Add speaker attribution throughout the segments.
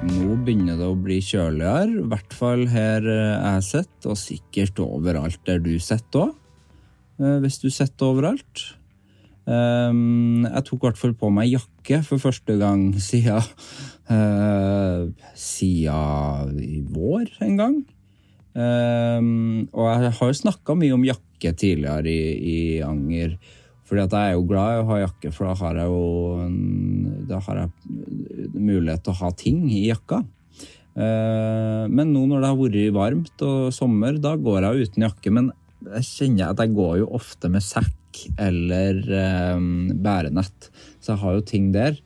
Speaker 1: Nå begynner det å bli kjøligere, i hvert fall her eh, jeg sitter, og sikkert overalt der du sitter òg. Hvis du sitter overalt. Ehm, Jeg tok i hvert fall på meg jakke for første gang siden eh, Siden i vår en gang. Ehm, Og jeg har jo snakka mye om jakke tidligere i, i Anger. Fordi at jeg er jo glad i å ha jakke, for da har jeg jo en- da har jeg mulighet til å ha ting i jakka. Eh, Men nå når det har vært varmt og sommer, da går jeg jo uten jakke. Men jeg kjenner at jeg går jo ofte med sekk eller eh, bærenett, så jeg har jo ting der.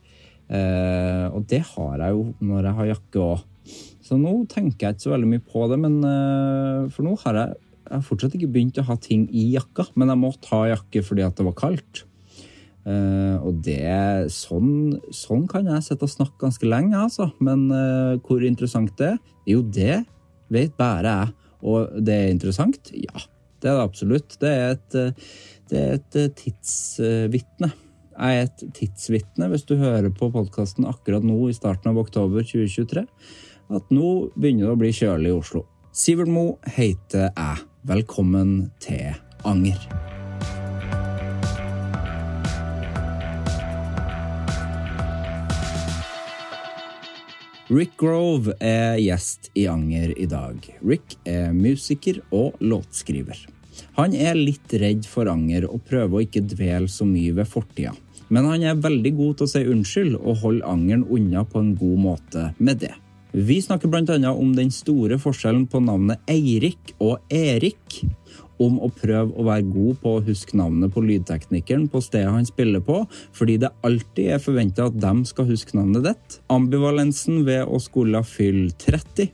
Speaker 1: Eh, Og det har jeg jo når jeg har jakke òg. Så nå tenker jeg ikke så veldig mye på det, men eh, for nå har jeg jeg har fortsatt ikke begynt å ha ting i jakka, men jeg må ta jakke fordi at det var kaldt. Eh, og det, sånn, sånn kan jeg sitte og snakke ganske lenge, altså. Men eh, hvor interessant det er? Jo, det vet bare jeg. Og det er interessant? Ja, det er det absolutt. Det er et, eh, det er et eh, tidsvitne. Jeg er et tidsvitne, hvis du hører på podkasten akkurat nå i starten av oktober 2023, at nå begynner det å bli kjølig i Oslo. Sivert Mo heter jeg. Velkommen til Anger. Rick Grove er gjest i Anger i dag. Rick er musiker og låtskriver. Han er litt redd for anger og prøver å ikke dvele så mye ved fortida. Men han er veldig god til å si unnskyld og holde angeren unna på en god måte med det. Vi snakker bl.a. om den store forskjellen på navnet Eirik og Erik. Om å prøve å være god på å huske navnet på lydteknikeren på stedet han spiller på, fordi det alltid er forventa at dem skal huske navnet ditt. Ambivalensen ved å skulle fylle 30.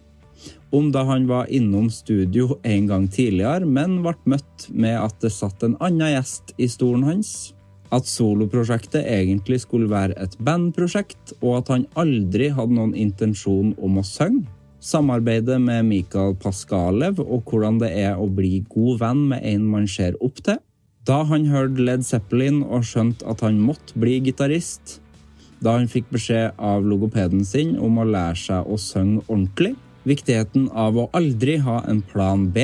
Speaker 1: Om da han var innom studio en gang tidligere, men ble møtt med at det satt en annen gjest i stolen hans. At soloprosjektet egentlig skulle være et bandprosjekt, og at han aldri hadde noen intensjon om å synge. Samarbeidet med Mikael Paskalev og hvordan det er å bli god venn med en man ser opp til. Da han hørte Led Zeppelin og skjønte at han måtte bli gitarist. Da han fikk beskjed av logopeden sin om å lære seg å synge ordentlig. Viktigheten av å aldri ha en plan B,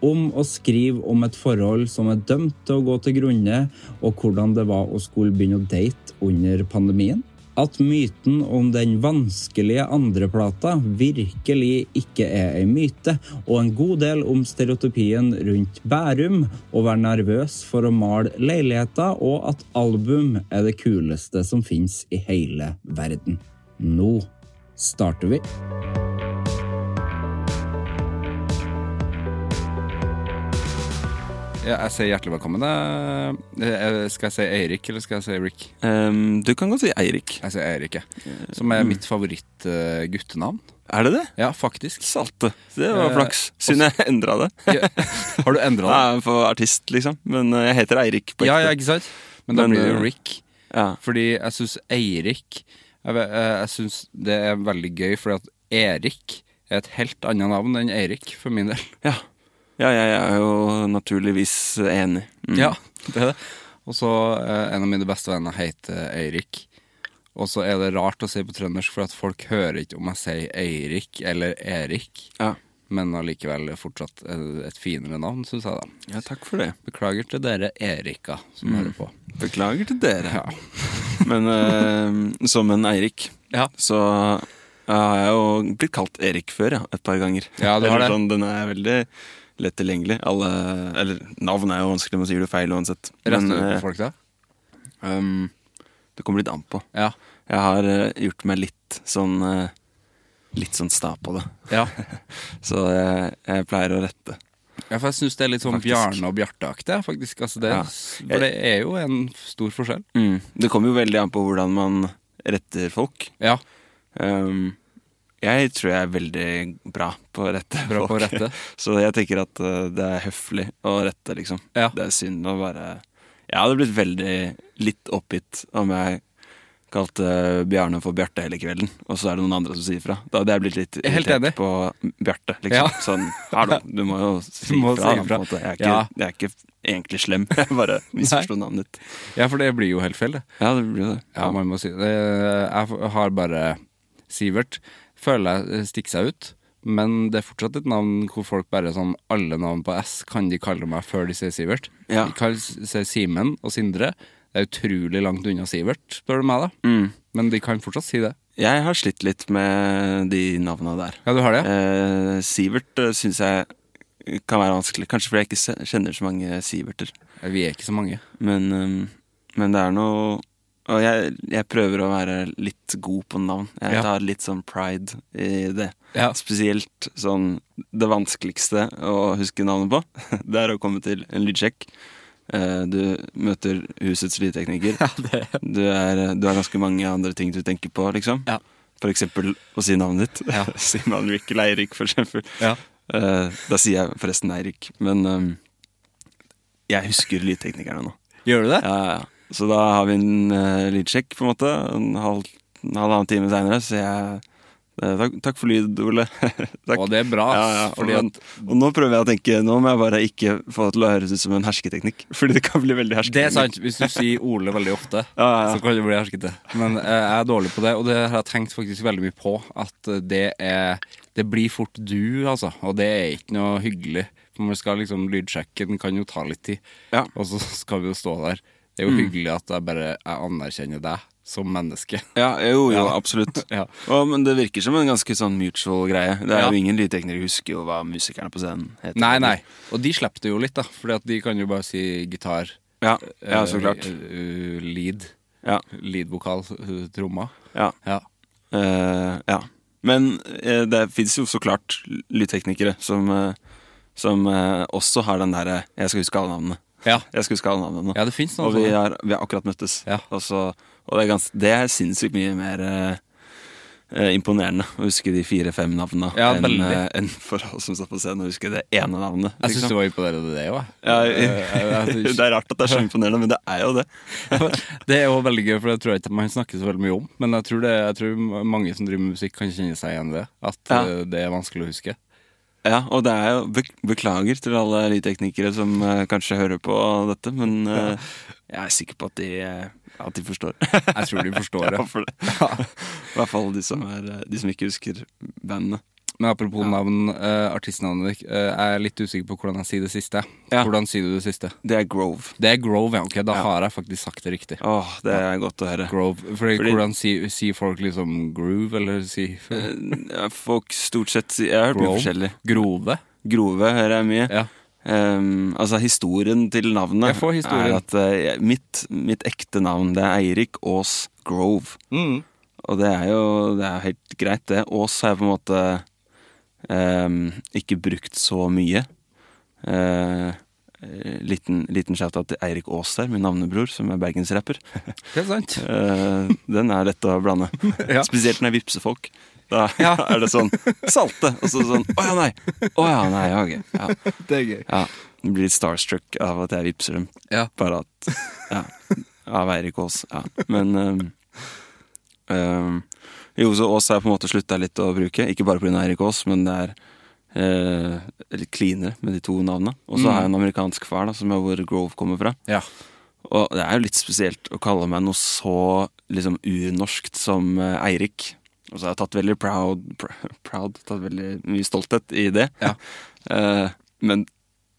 Speaker 1: om å skrive om et forhold som er dømt til å gå til grunne, og hvordan det var å skulle begynne å date under pandemien. At myten om den vanskelige andreplata virkelig ikke er ei myte, og en god del om stereotypien rundt Bærum, å være nervøs for å male leiligheter, og at album er det kuleste som fins i hele verden. Nå starter vi.
Speaker 2: Ja, jeg sier hjertelig velkommen. eh, eh, Skal jeg si Eirik, eller skal jeg si Rick?
Speaker 3: Ehm, du kan godt si Eirik.
Speaker 2: Altså, Jeg sier Eirik, jeg. Som er mitt favoritt-guttenavn.
Speaker 3: Er det det?
Speaker 2: Ja, faktisk.
Speaker 3: Salte. Det var
Speaker 2: Eh,
Speaker 3: flaks. Synd jeg endra det.
Speaker 2: Ja. Har du endra det?
Speaker 3: Jeg er for artist, liksom. Men eh, jeg heter Eirik på ekte.
Speaker 2: Ja, ja, ikke sant? Men da
Speaker 3: Men,
Speaker 2: blir det
Speaker 3: eh,
Speaker 2: Rick.
Speaker 3: Ja.
Speaker 2: Fordi jeg syns Eirik Jeg, ve- eh, jeg syns det er veldig gøy, fordi at Erik er et helt annet navn enn Eirik, for min del.
Speaker 3: Ja. ja, jeg er jo naturligvis enig. Mm.
Speaker 2: Ja, det er det. Og så eh, en av mine beste venner heter Eirik. Og så er det rart å si på trøndersk, for at folk hører ikke om jeg sier Eirik eller Erik.
Speaker 3: Ja.
Speaker 2: Men allikevel fortsatt eh, et finere navn, syns jeg, da.
Speaker 3: ja, takk for det.
Speaker 2: Beklager til dere Erika som hører på.
Speaker 3: Beklager til dere.
Speaker 2: Ja.
Speaker 3: Men eh, som en Eirik,
Speaker 2: Ja.
Speaker 3: så eh, har jeg jo blitt kalt Erik før, ja. Et par ganger.
Speaker 2: Ja, du har
Speaker 3: Eller
Speaker 2: det.
Speaker 3: Sånn, den er veldig lett tilgjengelig. Alle, eller navn er jo vanskelig, man sier det feil uansett.
Speaker 2: Retter du
Speaker 3: eh,
Speaker 2: på folk da?
Speaker 3: ehm, det kommer litt an på.
Speaker 2: Ja.
Speaker 3: Jeg har eh, gjort meg litt sånn eh, Litt sånn sta på det.
Speaker 2: Ja.
Speaker 3: Så jeg, jeg pleier å rette.
Speaker 2: ja, for jeg syns det er litt sånn
Speaker 3: Faktisk.
Speaker 2: Bjarne og Bjarte-aktig, faktisk. Altså det,
Speaker 3: Ja.
Speaker 2: For det er jo en stor forskjell.
Speaker 3: Mm. Det kommer jo veldig an på hvordan man retter folk.
Speaker 2: Ja,
Speaker 3: Ehm, jeg tror jeg er veldig bra på å rette
Speaker 2: Bra på
Speaker 3: folk.
Speaker 2: å rette.
Speaker 3: Så jeg tenker at eh, det er høflig å rette, liksom.
Speaker 2: Ja.
Speaker 3: Det er synd å bare Jeg hadde blitt veldig litt oppgitt om jeg kalte Bjarne for Bjarte hele kvelden, og så er det noen andre som sier fra. Da hadde jeg blitt litt
Speaker 2: Helt
Speaker 3: irritert
Speaker 2: enig.
Speaker 3: på Bjarte. Liksom.
Speaker 2: Ja.
Speaker 3: Sånn, hallo, du må jo si
Speaker 2: Du må
Speaker 3: fra.
Speaker 2: si
Speaker 3: da, på
Speaker 2: fra.
Speaker 3: en måte. Jeg, er ikke,
Speaker 2: Ja.
Speaker 3: jeg er ikke egentlig slem, jeg bare misforsto navnet ditt.
Speaker 2: ja for det blir jo helt feil, det.
Speaker 3: Ja, det blir jo det.
Speaker 2: Ja, man må si det. Eh, Jeg har bare Sivert. Føler jeg stikker seg ut. Men det er fortsatt et navn hvor folk bare sånn Alle navn på S kan de kalle meg før de sier Sivert.
Speaker 3: Ja.
Speaker 2: De kan si Simen og Sindre. Det er utrolig langt unna Sivert, spør du meg, da.
Speaker 3: Mm.
Speaker 2: Men de kan fortsatt si det.
Speaker 3: Jeg har slitt litt med de navna der.
Speaker 2: Ja, du har det? ja?
Speaker 3: Eh, Sivert eh, syns jeg kan være vanskelig. Kanskje fordi jeg ikke se- kjenner så mange Siverter.
Speaker 2: Vi er ikke så mange.
Speaker 3: Men, ehm, men det er noe Og jeg, jeg prøver å være litt god på navn. Jeg
Speaker 2: Ja.
Speaker 3: tar litt sånn pride i det.
Speaker 2: Ja.
Speaker 3: Spesielt sånn Det vanskeligste å huske navnet på, det er å komme til en lydsjekk. Eh, Du møter husets lydtekniker. Du, er, du har ganske mange andre ting du tenker på, liksom.
Speaker 2: Ja.
Speaker 3: For eksempel å si navnet ditt.
Speaker 2: Ja.
Speaker 3: Sier man Rick eller Eirik, for eksempel.
Speaker 2: Ja.
Speaker 3: Eh, da sier jeg forresten Eirik, men ehm, jeg husker lydteknikerne nå.
Speaker 2: Gjør du det?
Speaker 3: Ja, ja. Så da har vi en eh, lydsjekk, på en måte. En, halv, en halvannen time seinere sier jeg eh, takk, takk for lyd, Ole. takk.
Speaker 2: Og det er bra,
Speaker 3: Ja,
Speaker 2: ass,
Speaker 3: ja,
Speaker 2: fordi
Speaker 3: og,
Speaker 2: at
Speaker 3: og nå prøver jeg å tenke Nå må jeg bare ikke få det til å høres ut som en hersketeknikk. Fordi det kan bli veldig
Speaker 2: Det er
Speaker 3: hersketeknikk.
Speaker 2: sant. Hvis du sier Ole veldig ofte,
Speaker 3: Ja, ja, ja.
Speaker 2: så kan det bli herskete. Men eh, jeg er dårlig på det, og det har jeg tenkt faktisk veldig mye på. At eh, det er Det blir fort du, altså. Og det er ikke noe hyggelig. For man skal liksom lydsjekke, den kan jo ta litt tid.
Speaker 3: Ja. Mm.
Speaker 2: Og så skal vi jo stå der. Det er jo hyggelig at jeg bare jeg anerkjenner deg som menneske.
Speaker 3: Ja, jo, jo, absolutt.
Speaker 2: Ja.
Speaker 3: Å, men det virker som en ganske sånn mutual greie. Det er
Speaker 2: Ja.
Speaker 3: jo ingen lydteknikere husker jo hva musikerne på scenen heter.
Speaker 2: Nei, nei. Og de slipper det jo litt, da. For de kan jo bare si gitar.
Speaker 3: Ja,
Speaker 2: eh,
Speaker 3: ja så klart.
Speaker 2: eh, lead.
Speaker 3: Ja,
Speaker 2: Lead-vokal. eh, Tromma.
Speaker 3: ja.
Speaker 2: Ja.
Speaker 3: Eh, ja. Men eh, det fins jo så klart lydteknikere som, eh, som eh, også har den derre 'jeg skal huske alle navnene'.
Speaker 2: Ja.
Speaker 3: Jeg skal huske alle navnene nå.
Speaker 2: Ja, det finnes noen
Speaker 3: og vi
Speaker 2: sånne.
Speaker 3: har, vi har akkurat møttes.
Speaker 2: Ja.
Speaker 3: Og, så, og det, er gans, det er sinnssykt mye mer eh, eh, imponerende å huske de fire-fem navnene
Speaker 2: Ja,
Speaker 3: enn
Speaker 2: veldig.
Speaker 3: eh, enn for oss som står på scenen og huske det ene navnet.
Speaker 2: Jeg syns
Speaker 3: liksom.
Speaker 2: det var imponerende, det Eh, òg.
Speaker 3: ja, det er rart at det er så imponerende, men det er jo det.
Speaker 2: Det er jo veldig gøy, for det tror jeg ikke man snakker så veldig mye om. Men jeg tror, det, jeg tror mange som driver med musikk, kan kjenne seg igjen i det. At
Speaker 3: Ja.
Speaker 2: eh, det er vanskelig å huske.
Speaker 3: Ja, og det er jo bek- Beklager til alle lydteknikere som eh, kanskje hører på dette, men eh, jeg er sikker på at de, eh, at de forstår.
Speaker 2: Jeg tror de forstår
Speaker 3: Ja,
Speaker 2: det.
Speaker 3: for det. I hvert fall de som, er, eh, de som ikke husker bandene.
Speaker 2: Men apropos navn, eh, artistnavnet ditt. eh, jeg er litt usikker på hvordan jeg sier det siste.
Speaker 3: Ja.
Speaker 2: Hvordan sier du det siste?
Speaker 3: Det er Grove.
Speaker 2: Det er Grove, ja. Ok, da har jeg faktisk sagt det riktig.
Speaker 3: Åh, det er godt å høre.
Speaker 2: Grove. Fordi,
Speaker 3: Fordi-
Speaker 2: hvordan sier, sier folk liksom groove, eller sier
Speaker 3: Eh, Folk stort sett sier Jeg har hørt mye
Speaker 2: Grove?
Speaker 3: forskjellig.
Speaker 2: Grove?
Speaker 3: Grove hører jeg mye.
Speaker 2: Ja.
Speaker 3: Ehm, altså Historien til navnet
Speaker 2: Jeg får historien.
Speaker 3: er at eh, jeg- mitt, mitt ekte navn det er Eirik Aas Grove.
Speaker 2: Mm.
Speaker 3: Og det er jo det er jo helt greit, det. Ås har jeg på en måte ehm, ikke brukt så mye. Eh, eh, liten, liten shout-out til Eirik Aas der, min navnebror, som er bergensrapper.
Speaker 2: Det er sant.
Speaker 3: Eh, den er lett å blande.
Speaker 2: Ja.
Speaker 3: Spesielt når jeg vippser folk. Da
Speaker 2: Ja.
Speaker 3: er det sånn salte, og så sånn å ja, nei. Å ja, nei. ja, ok. Ja.
Speaker 2: Det er gøy.
Speaker 3: ja. Jeg Blir starstruck av at jeg vippser dem.
Speaker 2: Ja.
Speaker 3: Bare at ja, Av Eirik Aas. Ja. Men ehm, ehm, Jo, så Aas har jeg på en måte slutta litt å bruke. Ikke bare pga. Eirik Aas, men det er eh, litt cleanere med de to navnene. Og så har
Speaker 2: Mm.
Speaker 3: jeg en amerikansk far, da, som er hvor Grove kommer fra.
Speaker 2: Ja.
Speaker 3: Og det er jo litt spesielt å kalle meg noe så liksom unorskt som eh, Eirik. Og så har jeg tatt veldig proud, pr proud Tatt veldig mye stolthet i det.
Speaker 2: Ja.
Speaker 3: Eh, men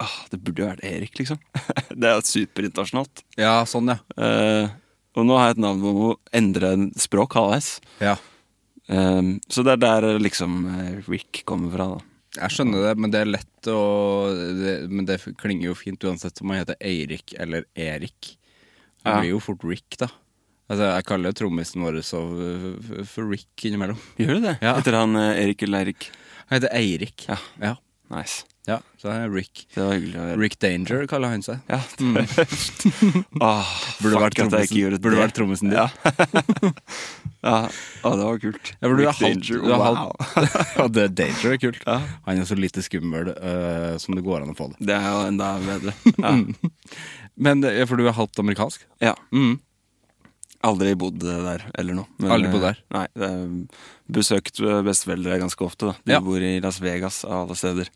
Speaker 3: ah, det burde jo vært Erik, liksom. det er jo superinternasjonalt.
Speaker 2: ja, sånn, ja.
Speaker 3: Eh, og nå har jeg et navn om å endre en språk halvveis.
Speaker 2: ja.
Speaker 3: Eh, så det er der eh, liksom eh, Rick kommer fra, da.
Speaker 2: Jeg skjønner det, men det er lett å det, Men det klinger jo fint uansett om man heter Eirik eller Erik. Det
Speaker 3: Ja.
Speaker 2: blir jo fort Rick, da. Altså, jeg kaller jo trommisen vår så, øh, for Rick innimellom.
Speaker 3: Gjør du det?
Speaker 2: Ja.
Speaker 3: Heter han eh, Erik eller Eirik?
Speaker 2: Han heter Eirik.
Speaker 3: Ja.
Speaker 2: Ja,
Speaker 3: Nice.
Speaker 2: ja så er Rick.
Speaker 3: Det var hyggelig å høre.
Speaker 2: Rick Danger kaller han seg.
Speaker 3: Ja, det er tøft. Åh,
Speaker 2: Mm. Ah, Burde
Speaker 3: fuck
Speaker 2: vært
Speaker 3: at jeg ikke gjorde
Speaker 2: trommisen, burde
Speaker 3: det.
Speaker 2: vært trommisen din.
Speaker 3: Ja. ja. Å, det var kult.
Speaker 2: Ja, for du er
Speaker 3: Rick
Speaker 2: halvt-
Speaker 3: Danger,
Speaker 2: du er
Speaker 3: wow.
Speaker 2: halvt- Ja, det er Danger er kult.
Speaker 3: Ja.
Speaker 2: Han er så lite skummel øh, som det går an å få det.
Speaker 3: Det er jo enda bedre. Ja.
Speaker 2: Men eh, For du er halvt amerikansk?
Speaker 3: ja. Aldri bodd der eller noe. Men,
Speaker 2: Mm. Aldri bodd der?
Speaker 3: eh, Nei. Eh, besøkt eh, besteforeldre ganske ofte, da. De
Speaker 2: Ja.
Speaker 3: bor i Las Vegas av alle steder.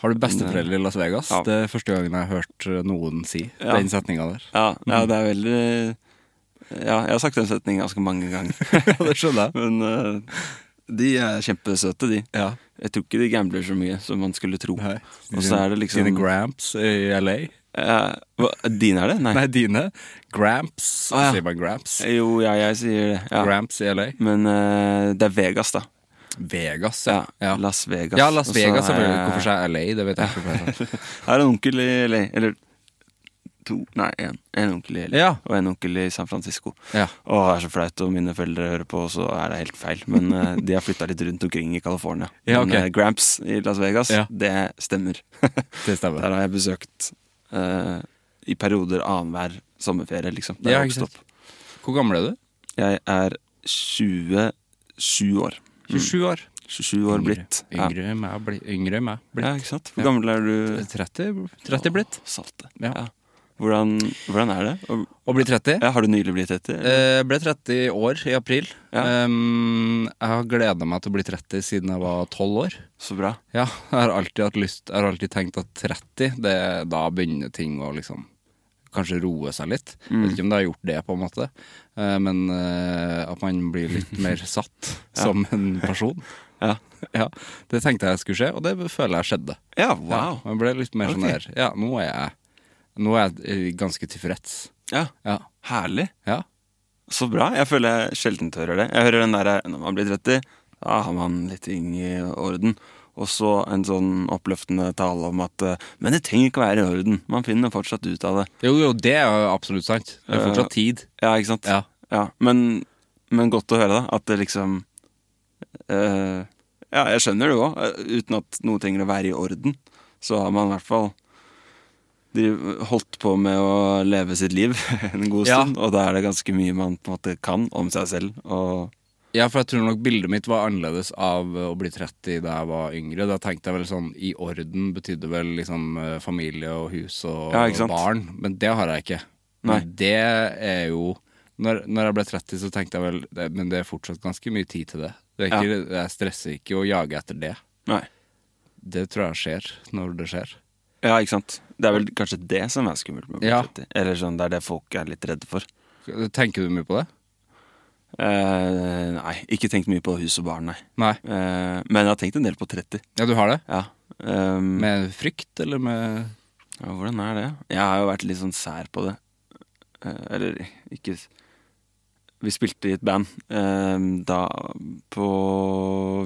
Speaker 2: Har du besteforeldre i Las Vegas?
Speaker 3: Ja.
Speaker 2: Det er første gangen jeg har hørt eh, noen si
Speaker 3: Ja.
Speaker 2: den setninga der.
Speaker 3: Ja, ja det er veldig Mm. Ja, jeg har sagt den setningen ganske mange ganger.
Speaker 2: det skjønner
Speaker 3: Men eh, de er kjempesøte, de.
Speaker 2: Ja.
Speaker 3: Jeg tror ikke de gambler så mye som man skulle tro.
Speaker 2: Nei.
Speaker 3: Og så er det liksom
Speaker 2: Dine Gramps i LA?
Speaker 3: Eh, hva, Dine er det? Nei.
Speaker 2: Nei, dine. Gramps.
Speaker 3: Å, ja.
Speaker 2: Sier man Gramps?
Speaker 3: Jo, ja, jeg sier det. Ja.
Speaker 2: Gramps i LA?
Speaker 3: Men eh, det er Vegas, da.
Speaker 2: Vegas,
Speaker 3: Ja,
Speaker 2: ja. Ja,
Speaker 3: Las Vegas.
Speaker 2: Ja, Las
Speaker 3: Og så
Speaker 2: Vegas
Speaker 3: er-
Speaker 2: selvfølgelig. Hvorfor sa jeg LA? Det vet jeg ikke. hvorfor jeg sa.
Speaker 3: Jeg har en onkel i LA. Eller to Nei, én. En onkel i LA
Speaker 2: Ja.
Speaker 3: og en onkel i San Francisco.
Speaker 2: Ja.
Speaker 3: Å, det er så flaut om mine foreldre hører på, så er det helt feil. Men eh, de har flytta litt rundt omkring i California.
Speaker 2: Ja,
Speaker 3: Men
Speaker 2: ok.
Speaker 3: eh, Gramps i Las Vegas,
Speaker 2: Ja.
Speaker 3: det stemmer.
Speaker 2: Det stemmer.
Speaker 3: Der har jeg besøkt eh, i perioder annenhver sommerferie, liksom. Der
Speaker 2: Ja,
Speaker 3: jeg
Speaker 2: ikke sant.
Speaker 3: vokste opp.
Speaker 2: Hvor gammel er du?
Speaker 3: Jeg er 27 år.
Speaker 2: 27 år.
Speaker 3: 27 år blitt.
Speaker 2: Mm. Yngre enn meg. bli- Yngre enn meg.
Speaker 3: Ja. ja,
Speaker 2: Blitt.
Speaker 3: ikke sant? Hvor gammel er du?
Speaker 2: 30, 30 blitt.
Speaker 3: Å, Salte.
Speaker 2: Ja.
Speaker 3: Hvordan, hvordan er det? Og,
Speaker 2: Å bli 30?
Speaker 3: ja, har du nylig blitt 30? eller?
Speaker 2: Eh, ble 30 år i april.
Speaker 3: Ja.
Speaker 2: Um, jeg har gleda meg til å bli 30 siden jeg var 12 år.
Speaker 3: Så bra.
Speaker 2: Ja, jeg har alltid hatt lyst Jeg har alltid tenkt at 30, det, da begynner ting å liksom Kanskje roe seg litt.
Speaker 3: Mm.
Speaker 2: Vet ikke om det har gjort det, på en måte. Eh, men eh, at man blir litt mer satt som en person.
Speaker 3: Ja.
Speaker 2: Ja, Det tenkte jeg skulle skje, og det føler jeg skjedde.
Speaker 3: Ja,
Speaker 2: Ja,
Speaker 3: wow.
Speaker 2: man ble litt mer
Speaker 3: Ok.
Speaker 2: sånn der Ja, nå er jeg Nå er jeg eh, ganske tilfreds.
Speaker 3: Ja,
Speaker 2: Ja.
Speaker 3: herlig.
Speaker 2: ja.
Speaker 3: Så bra. Jeg føler jeg sjelden hører det. Jeg hører den derre når man blir 30, da har man litt ting i orden. Og så en sånn oppløftende tale om at eh, Men det trenger ikke å være i orden. Man finner fortsatt ut av det.
Speaker 2: Jo, jo, det er jo absolutt sant. Det er fortsatt tid.
Speaker 3: Ja, ikke sant?
Speaker 2: Ja.
Speaker 3: Men, men godt å høre, da. At det liksom eh, Ja, jeg skjønner det jo òg. Uten at noe trenger å være i orden, så har man i hvert fall driv- holdt på med å leve sitt liv en god
Speaker 2: Ja.
Speaker 3: stund. Og da er det ganske mye man på en måte kan om seg selv. Og
Speaker 2: Ja, for jeg tror nok bildet mitt var annerledes av eh, å bli 30 da jeg var yngre. Da tenkte jeg vel sånn i orden betydde vel liksom eh, familie og hus og
Speaker 3: Ja, ikke sant?
Speaker 2: barn. Men det har jeg ikke. Men det er jo når, når jeg ble 30, så tenkte jeg vel det, Men det er fortsatt ganske mye tid til det. det er ikke, Jeg stresser ikke å jage etter det.
Speaker 3: Nei.
Speaker 2: Det tror jeg skjer når det skjer.
Speaker 3: Ja, ikke sant. Det er vel kanskje det som er skummelt med å bli
Speaker 2: Ja.
Speaker 3: 30. Eller sånn, det er det folk er litt redde for.
Speaker 2: Tenker du mye på det?
Speaker 3: Eh, nei, ikke tenkt mye på hus og barn, nei.
Speaker 2: Nei.
Speaker 3: Eh, men jeg har tenkt en del på 30.
Speaker 2: Ja, du har det?
Speaker 3: Ja. ehm,
Speaker 2: Med frykt, eller med
Speaker 3: ja, hvordan er det? Jeg har jo vært litt sånn sær på det. Eh, eller ikke s- Vi spilte i et band ehm, da på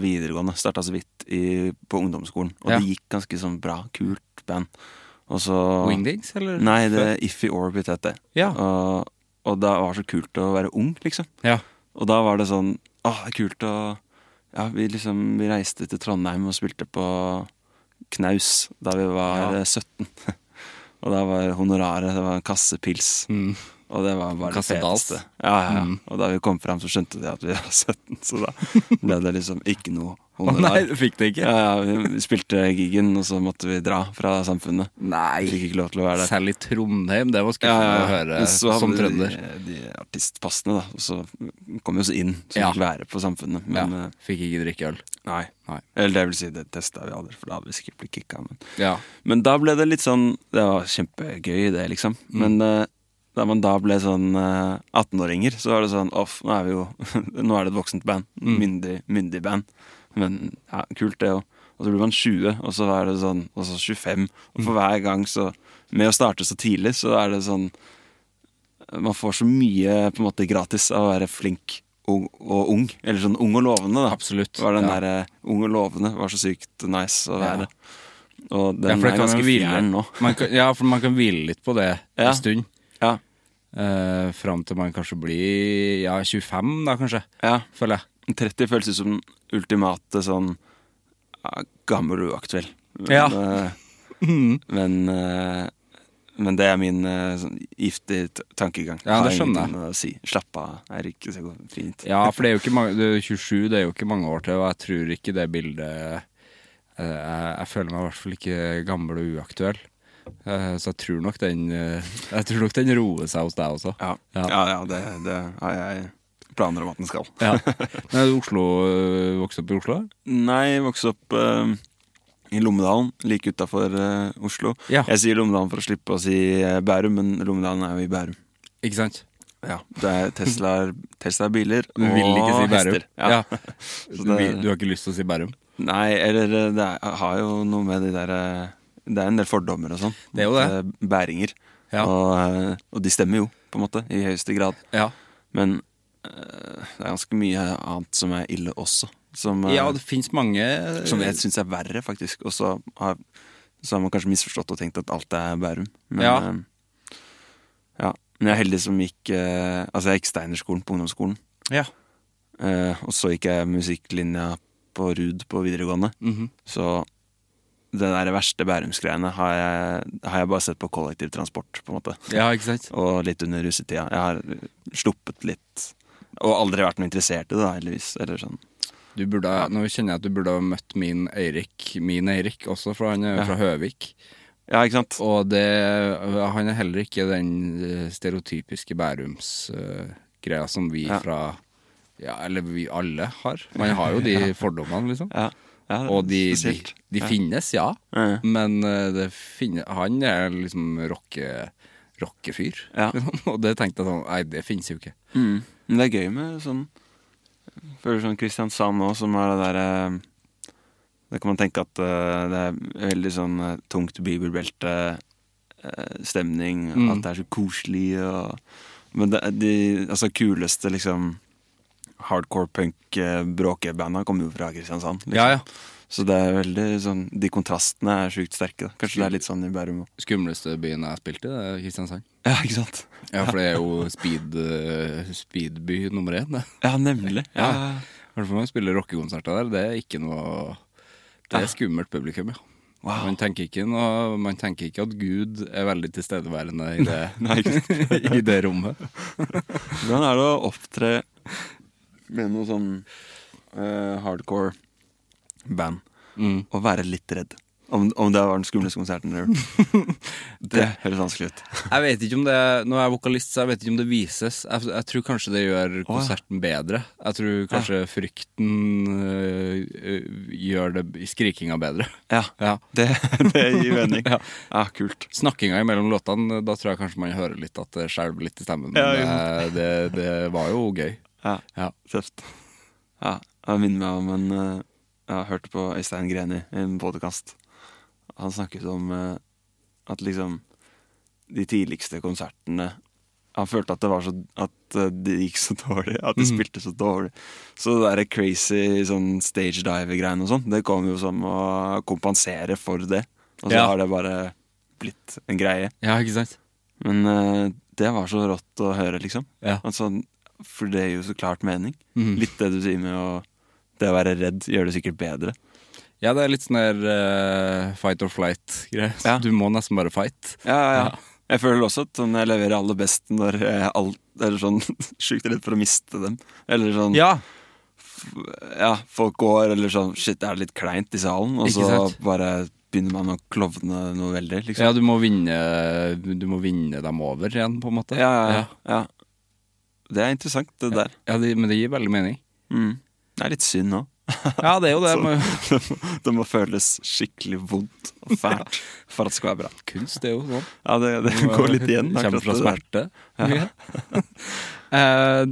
Speaker 3: videregående. Starta så vidt i, på ungdomsskolen. Og
Speaker 2: Ja.
Speaker 3: det gikk ganske sånn bra, kult band. Og så
Speaker 2: wingdings, eller?
Speaker 3: Nei, det er Iffy Orbit het det.
Speaker 2: Ja.
Speaker 3: Og, og da var det så kult å være ung, liksom.
Speaker 2: Ja.
Speaker 3: Og da var det sånn Åh, det er kult å Ja, vi liksom Vi reiste til Trondheim og spilte på Knaus da vi var
Speaker 2: Ja.
Speaker 3: eh, 17. Og da var honoraret det var en kasse pils. Og det var bare det
Speaker 2: Mm. Kasse Mm. Dals.
Speaker 3: feteste. Ja, ja, ja. Og da vi kom fram, så skjønte de at vi var 17, så da ble det liksom ikke noe honorar.
Speaker 2: nei, du fikk det ikke?
Speaker 3: Ja, ja, vi spilte giggen, og så måtte vi dra fra samfunnet.
Speaker 2: Nei.
Speaker 3: Fikk ikke lov til å være der.
Speaker 2: Selv i Trondheim, det var
Speaker 3: Ja,
Speaker 2: skuffende
Speaker 3: ja, ja.
Speaker 2: å høre
Speaker 3: Men så hadde
Speaker 2: som
Speaker 3: vi
Speaker 2: trønder.
Speaker 3: De, de artistpassene, da. Og så kom vi oss inn, så
Speaker 2: Ja.
Speaker 3: fikk vi være på Samfunnet.
Speaker 2: Ja,
Speaker 3: Men eh,
Speaker 2: fikk ikke drikke øl.
Speaker 3: nei.
Speaker 2: Nei.
Speaker 3: Eller det vil si, det testa vi aldri, for da hadde vi sikkert blitt kicka. Men,
Speaker 2: Ja.
Speaker 3: men da ble det litt sånn Det var kjempegøy, det, liksom.
Speaker 2: Mm.
Speaker 3: Men eh, da man da ble sånn eh, 18-åringer, så var det sånn Off, nå er vi jo Nå er det et voksent band.
Speaker 2: Mm.
Speaker 3: Myndig, myndig band. Men ja, kult, det òg. Og så blir man 20, og så er det sånn Og så 25. Og
Speaker 2: Mm.
Speaker 3: for hver gang så Med å starte så tidlig, så er det sånn man får så mye på en måte gratis av å være flink og, og ung. Eller sånn ung og lovende, da.
Speaker 2: Absolutt,
Speaker 3: Var den
Speaker 2: ja.
Speaker 3: der, eh, ung og lovende var så sykt nice å
Speaker 2: Ja.
Speaker 3: være. Og den
Speaker 2: ja, for det
Speaker 3: er
Speaker 2: kan
Speaker 3: ganske
Speaker 2: jo hvile.
Speaker 3: fjern nå.
Speaker 2: Man kan, ja, for man kan hvile litt på det
Speaker 3: Ja.
Speaker 2: en stund.
Speaker 3: Ja,
Speaker 2: Eh, fram til man kanskje blir ja, 25, da kanskje.
Speaker 3: ja.
Speaker 2: Føler jeg.
Speaker 3: 30 føles ut som den ultimate sånn ja, gammel og uaktuell. Men,
Speaker 2: Ja. Mm.
Speaker 3: eh, men, eh, men det er min eh, sånn giftige t- tankegang.
Speaker 2: Ja, det
Speaker 3: Har
Speaker 2: skjønner
Speaker 3: ingenting å Si. Slapp av, Eirik. Det går fint.
Speaker 2: Ja, for det er jo ikke mange, det er 27 det er jo ikke mange år til, og jeg tror ikke det bildet eh, jeg, jeg føler meg i hvert fall ikke gammel og uaktuell. Eh, så jeg tror nok den eh, Jeg tror nok den roer seg hos deg også.
Speaker 3: Ja,
Speaker 2: Ja.
Speaker 3: ja, ja det, det har jeg planer om at den skal.
Speaker 2: Ja. Men er du Oslo, øh, vokst opp i Oslo?
Speaker 3: Nei, jeg vokste opp eh, i Lommedalen, like utafor Oslo.
Speaker 2: Ja.
Speaker 3: Jeg sier Lommedalen for å slippe å si eh, Bærum, men Lommedalen er jo i Bærum.
Speaker 2: Ikke sant?
Speaker 3: Ja, Det er Tesla, Tesla biler
Speaker 2: Du
Speaker 3: og
Speaker 2: vil ikke si Bærum.
Speaker 3: hester. Ja.
Speaker 2: Du,
Speaker 3: det-
Speaker 2: vil- du har ikke lyst til å si Bærum?
Speaker 3: Nei, eller eh, det er, jeg har jo noe med de der eh, Det er en del fordommer og sånn.
Speaker 2: Det er jo det.
Speaker 3: mot, eh, Bæringer.
Speaker 2: Ja.
Speaker 3: Og, eh, og de stemmer jo, på en måte, i høyeste grad.
Speaker 2: Ja.
Speaker 3: Men eh, det er ganske mye annet som er ille også. Som, eh,
Speaker 2: ja, det fins mange
Speaker 3: Som jeg syns er verre, faktisk. Og så har, så har man kanskje misforstått og tenkt at alt er Bærum. Men,
Speaker 2: Ja.
Speaker 3: eh, ja. Men jeg er heldig som gikk eh, Altså, jeg gikk Steinerskolen på ungdomsskolen.
Speaker 2: Ja.
Speaker 3: eh, og så gikk jeg musikklinja på Ruud på videregående.
Speaker 2: Mhm.
Speaker 3: Så det der verste Bærums-greiene har, jeg- har jeg bare sett på kollektivtransport, på en måte.
Speaker 2: ja, ikke sant?
Speaker 3: Og litt under russetida. Jeg har sluppet litt. Og aldri vært noe interessert i det, da, heldigvis. Eller sånn.
Speaker 2: Du burde, Nå kjenner jeg at du burde ha møtt min Eirik, min Eirik også, for han er jo
Speaker 3: Ja.
Speaker 2: fra Høvik.
Speaker 3: Ja, ikke sant?
Speaker 2: Og det, han er heller ikke den eh, stereotypiske Bærums-greia som vi
Speaker 3: Ja.
Speaker 2: fra ja, Eller vi alle har. Man har jo de fordommene, liksom.
Speaker 3: Ja. Ja, det er
Speaker 2: Og de, de,
Speaker 3: Mm, spesielt.
Speaker 2: de finnes, ja.
Speaker 3: Ja, ja.
Speaker 2: Men eh, det finne, han er liksom rocke, rockefyr.
Speaker 3: Ja.
Speaker 2: og det tenkte jeg sånn Nei, det finnes jo ikke.
Speaker 3: Mm. Men det er gøy med sånn jeg Føler sånn Kristiansand nå, som er det derre Da kan man tenke at eh, det er veldig sånn eh, tungt bibelbelte-stemning. At det er så koselig og Men det, er de altså, kuleste liksom hardcore punk-bråkebanda kommer jo fra Kristiansand. Liksom.
Speaker 2: Ja, ja.
Speaker 3: Så det er veldig sånn De kontrastene er sjukt sterke. Da. Kanskje det er litt sånn i Bærum òg.
Speaker 2: Skumleste byen jeg spilte, det er Kristiansand.
Speaker 3: Ja, ikke sant?
Speaker 2: Ja, for det er jo speed, eh, speedby nummer én. det.
Speaker 3: Ja, nemlig. Ja, ja. ja.
Speaker 2: I hvert fall når man spiller rockekonserter der. Det er ikke noe Det er skummelt publikum, ja.
Speaker 3: Wow.
Speaker 2: Man, tenker ikke noe, man tenker ikke at Gud er veldig tilstedeværende i det,
Speaker 3: Nei, ikke sant?
Speaker 2: i det rommet.
Speaker 3: Hvordan er det å opptre med noe sånn eh, hardcore band og være litt redd? Om, om det var den skumleste konserten du har gjort. Det høres vanskelig ut.
Speaker 2: Jeg vet ikke om det Nå er jeg vokalist, så jeg vet ikke om det vises. Jeg, jeg tror kanskje det gjør konserten bedre. Jeg tror kanskje frykten øh, øh, gjør det i skrikinga bedre.
Speaker 3: Ja,
Speaker 2: Ja.
Speaker 3: Det, det gir mening. Ja, Kult.
Speaker 2: Snakkinga imellom låtene, da tror jeg kanskje man hører litt at det skjelver litt i stemmen. Men
Speaker 3: Ja,
Speaker 2: eh, det, det var jo gøy.
Speaker 3: Ja,
Speaker 2: Ja.
Speaker 3: Tøft. Ja, jeg minner meg om en eh, Jeg hørte på Øystein Greni i en podkast. Han snakket om eh, at liksom de tidligste konsertene Han følte at det var så At eh, det gikk så dårlig, at
Speaker 2: Mhm.
Speaker 3: de spilte så dårlig. Så det der crazy sånn stage dive-greiene og sånn, det kom jo som å kompensere for det. Og så
Speaker 2: Ja.
Speaker 3: har det bare blitt en greie.
Speaker 2: Ja, ikke sant?
Speaker 3: Men eh, det var så rått å høre, liksom.
Speaker 2: Ja.
Speaker 3: Altså, for det
Speaker 2: Mhm.
Speaker 3: gir jo så klart mening. Litt det du sier med å Det å være redd gjør det sikkert bedre.
Speaker 2: Ja, det er litt sånn der eh, fight or flight-greie.
Speaker 3: Ja.
Speaker 2: Du må nesten bare fight.
Speaker 3: Ja, ja, ja. Jeg føler også at sånn, jeg leverer aller best når jeg er alt, eller sånn, sjukt redd for å miste dem. Eller sånn
Speaker 2: Ja.
Speaker 3: ja, folk går, eller sånn Shit, det er litt kleint i salen. Og
Speaker 2: Ikke
Speaker 3: så
Speaker 2: sant?
Speaker 3: bare begynner man å klovne noe veldig, liksom.
Speaker 2: Ja, du må vinne Du må vinne dem over igjen, på en måte.
Speaker 3: Ja, ja, ja. Det er interessant, det der.
Speaker 2: Ja, det, Men det gir veldig mening.
Speaker 3: Mm. Det er litt synd nå.
Speaker 2: Ja, det er jo det.
Speaker 3: Så-
Speaker 2: men-
Speaker 3: det, må, det må føles skikkelig vondt og fælt for at det skal være bra.
Speaker 2: Kunst det er jo sånn.
Speaker 3: Ja, det, det går litt igjen.
Speaker 2: Kommer
Speaker 3: akkurat
Speaker 2: fra
Speaker 3: det der.
Speaker 2: smerte. mye. Eh,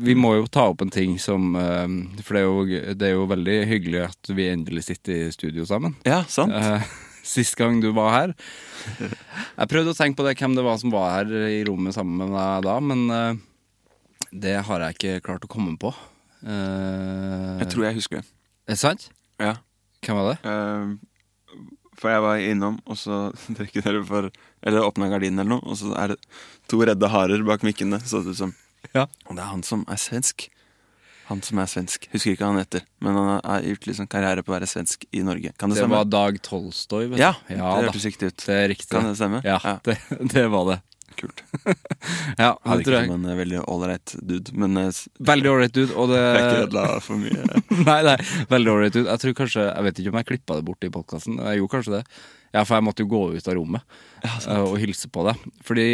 Speaker 2: vi må jo ta opp en ting som eh, For det er, jo, det er jo veldig hyggelig at vi endelig sitter i studio sammen.
Speaker 3: Ja, sant?
Speaker 2: Eh, Sist gang du var her. Jeg prøvde å tenke på det, hvem det var som var her i rommet sammen med deg da, men eh, det har jeg ikke klart å komme på. Eh,
Speaker 3: Jeg tror jeg husker det.
Speaker 2: Er det sant?
Speaker 3: Ja.
Speaker 2: Hvem var det?
Speaker 3: Eh, for jeg var innom, og så drikker dere for Eller åpna gardinen eller noe, og så er det to redde harer bak mikkene. Så det ut som
Speaker 2: Ja.
Speaker 3: Og det er han som er svensk. Han som er svensk. Husker ikke hva han heter, men han har gjort liksom karriere på å være svensk i Norge. Kan det,
Speaker 2: Det
Speaker 3: stemme?
Speaker 2: var Dag Tolstoy, vet du.
Speaker 3: ja, det
Speaker 2: da.
Speaker 3: hørtes riktig ut.
Speaker 2: det er riktig.
Speaker 3: Kan det stemme?
Speaker 2: Ja,
Speaker 3: Ja.
Speaker 2: Det, det var det.
Speaker 3: Kult.
Speaker 2: Ja,
Speaker 3: Han
Speaker 2: det tror
Speaker 3: virker
Speaker 2: jeg.
Speaker 3: som en eh, veldig ålreit dude, men eh, s-
Speaker 2: Veldig ålreit dude, og det
Speaker 3: jeg er ikke ødela for mye.
Speaker 2: Nei, nei, veldig ålreit dude. Jeg tror kanskje Jeg vet ikke om jeg klippa det bort i podkasten. Jeg gjorde kanskje det. Ja, for jeg måtte jo gå ut av rommet eh, og hilse på deg. Fordi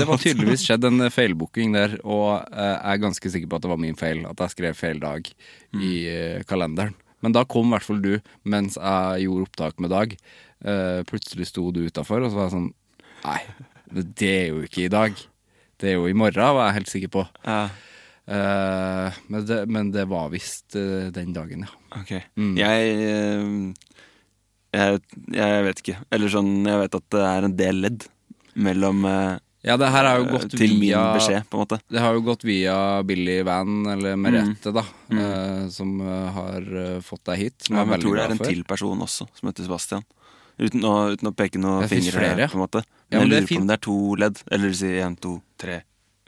Speaker 2: det var tydeligvis skjedd en eh, feilbooking der, og eh, jeg er ganske sikker på at det var min feil. At jeg skrev feil dag i eh, kalenderen. Men da kom i hvert fall du mens jeg gjorde opptak med Dag. Eh, Plutselig sto du utafor, og så var jeg sånn Nei, det er jo ikke i dag. Det er jo i morgen, var jeg helt sikker på.
Speaker 3: Ja.
Speaker 2: Eh, men, det, men det var visst eh, den dagen, ja.
Speaker 3: Ok.
Speaker 2: Mm.
Speaker 3: Jeg, eh, jeg Jeg vet ikke. Eller sånn, jeg vet at det er en del ledd mellom eh,
Speaker 2: Ja, det her har jo gått
Speaker 3: Til min
Speaker 2: via
Speaker 3: beskjed, Mm. på en måte.
Speaker 2: Det har jo gått via Billy Van, eller Merete, da, eh, som eh, har eh, fått deg hit. Som
Speaker 3: Ja,
Speaker 2: jeg er
Speaker 3: men jeg
Speaker 2: veldig
Speaker 3: tror det er
Speaker 2: glad
Speaker 3: en
Speaker 2: for.
Speaker 3: til person også, som heter Sebastian. Uten å, uten å peke noen
Speaker 2: Det finnes
Speaker 3: fingre,
Speaker 2: flere, ja.
Speaker 3: på en måte.
Speaker 2: Ja,
Speaker 3: Men
Speaker 2: men det er
Speaker 3: jeg lurer på om det er to ledd. Eller du sier én, to, tre,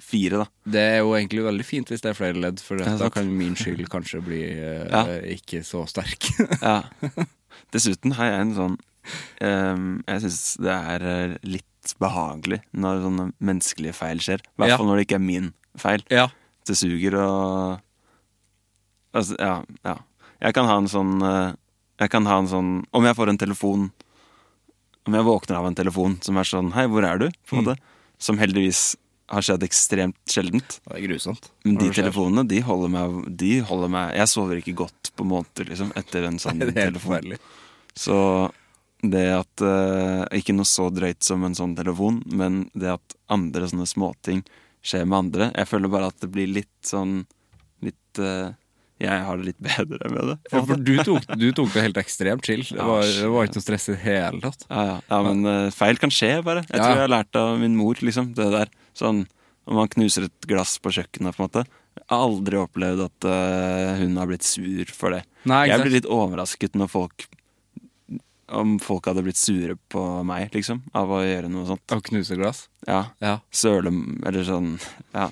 Speaker 3: fire, da.
Speaker 2: Det er jo egentlig veldig fint hvis det er flere ledd, for
Speaker 3: Ja,
Speaker 2: da
Speaker 3: sant.
Speaker 2: kan min skyld kanskje bli eh,
Speaker 3: Ja.
Speaker 2: ikke så sterk.
Speaker 3: Ja. Dessuten har jeg en sånn ehm, Jeg syns det er eh, litt behagelig når sånne menneskelige feil skjer. I hvert
Speaker 2: Ja.
Speaker 3: fall når det ikke er min feil.
Speaker 2: ja.
Speaker 3: Det suger å Altså, ja, ja. Jeg kan ha en sånn eh, Jeg kan ha en sånn Om jeg får en telefon Om jeg våkner av en telefon som er sånn Hei, hvor er du? På en måte. Som heldigvis har skjedd ekstremt sjeldent.
Speaker 2: Det er grusomt.
Speaker 3: Men de
Speaker 2: Når det skjer.
Speaker 3: telefonene, de holder meg, de holder meg Jeg sover ikke godt på måneder, liksom, etter en sånn
Speaker 2: Det er helt
Speaker 3: telefon.
Speaker 2: forferdelig.
Speaker 3: Så det at eh, Ikke noe så drøyt som en sånn telefon, men det at andre sånne småting skjer med andre Jeg føler bare at det blir litt sånn Litt eh, Jeg har det litt bedre med det. på
Speaker 2: Ja,
Speaker 3: en
Speaker 2: for
Speaker 3: måte.
Speaker 2: du tok, du tok det helt ekstremt chill. Det var, det var ikke noe stress i det hele tatt.
Speaker 3: Ja, ja. ja men eh, feil kan skje, bare.
Speaker 2: Ja.
Speaker 3: Jeg tror jeg har lært av min mor, liksom. Det der. Sånn om man knuser et glass på kjøkkenet, på en måte. Jeg har aldri opplevd at eh, hun har blitt sur for det.
Speaker 2: Nei, ikke
Speaker 3: jeg
Speaker 2: sant.
Speaker 3: blir litt overrasket når folk Om folk hadde blitt sure på meg, liksom. Av å gjøre noe sånt.
Speaker 2: Å knuse glass.
Speaker 3: Ja.
Speaker 2: Ja.
Speaker 3: Søle Eller sånn Ja.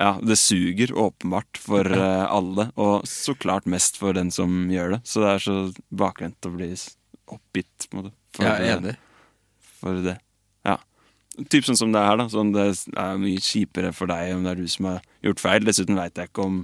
Speaker 3: Ja, det suger åpenbart for eh, alle, og så klart mest for den som gjør det. Så det er så bakvendt å bli s- oppgitt, på en måte. For,
Speaker 2: Jeg er enig.
Speaker 3: for det. Ja. Typ sånn som det er her, da. Sånn det er mye kjipere for deg om det er du som har gjort feil. Dessuten veit jeg ikke om,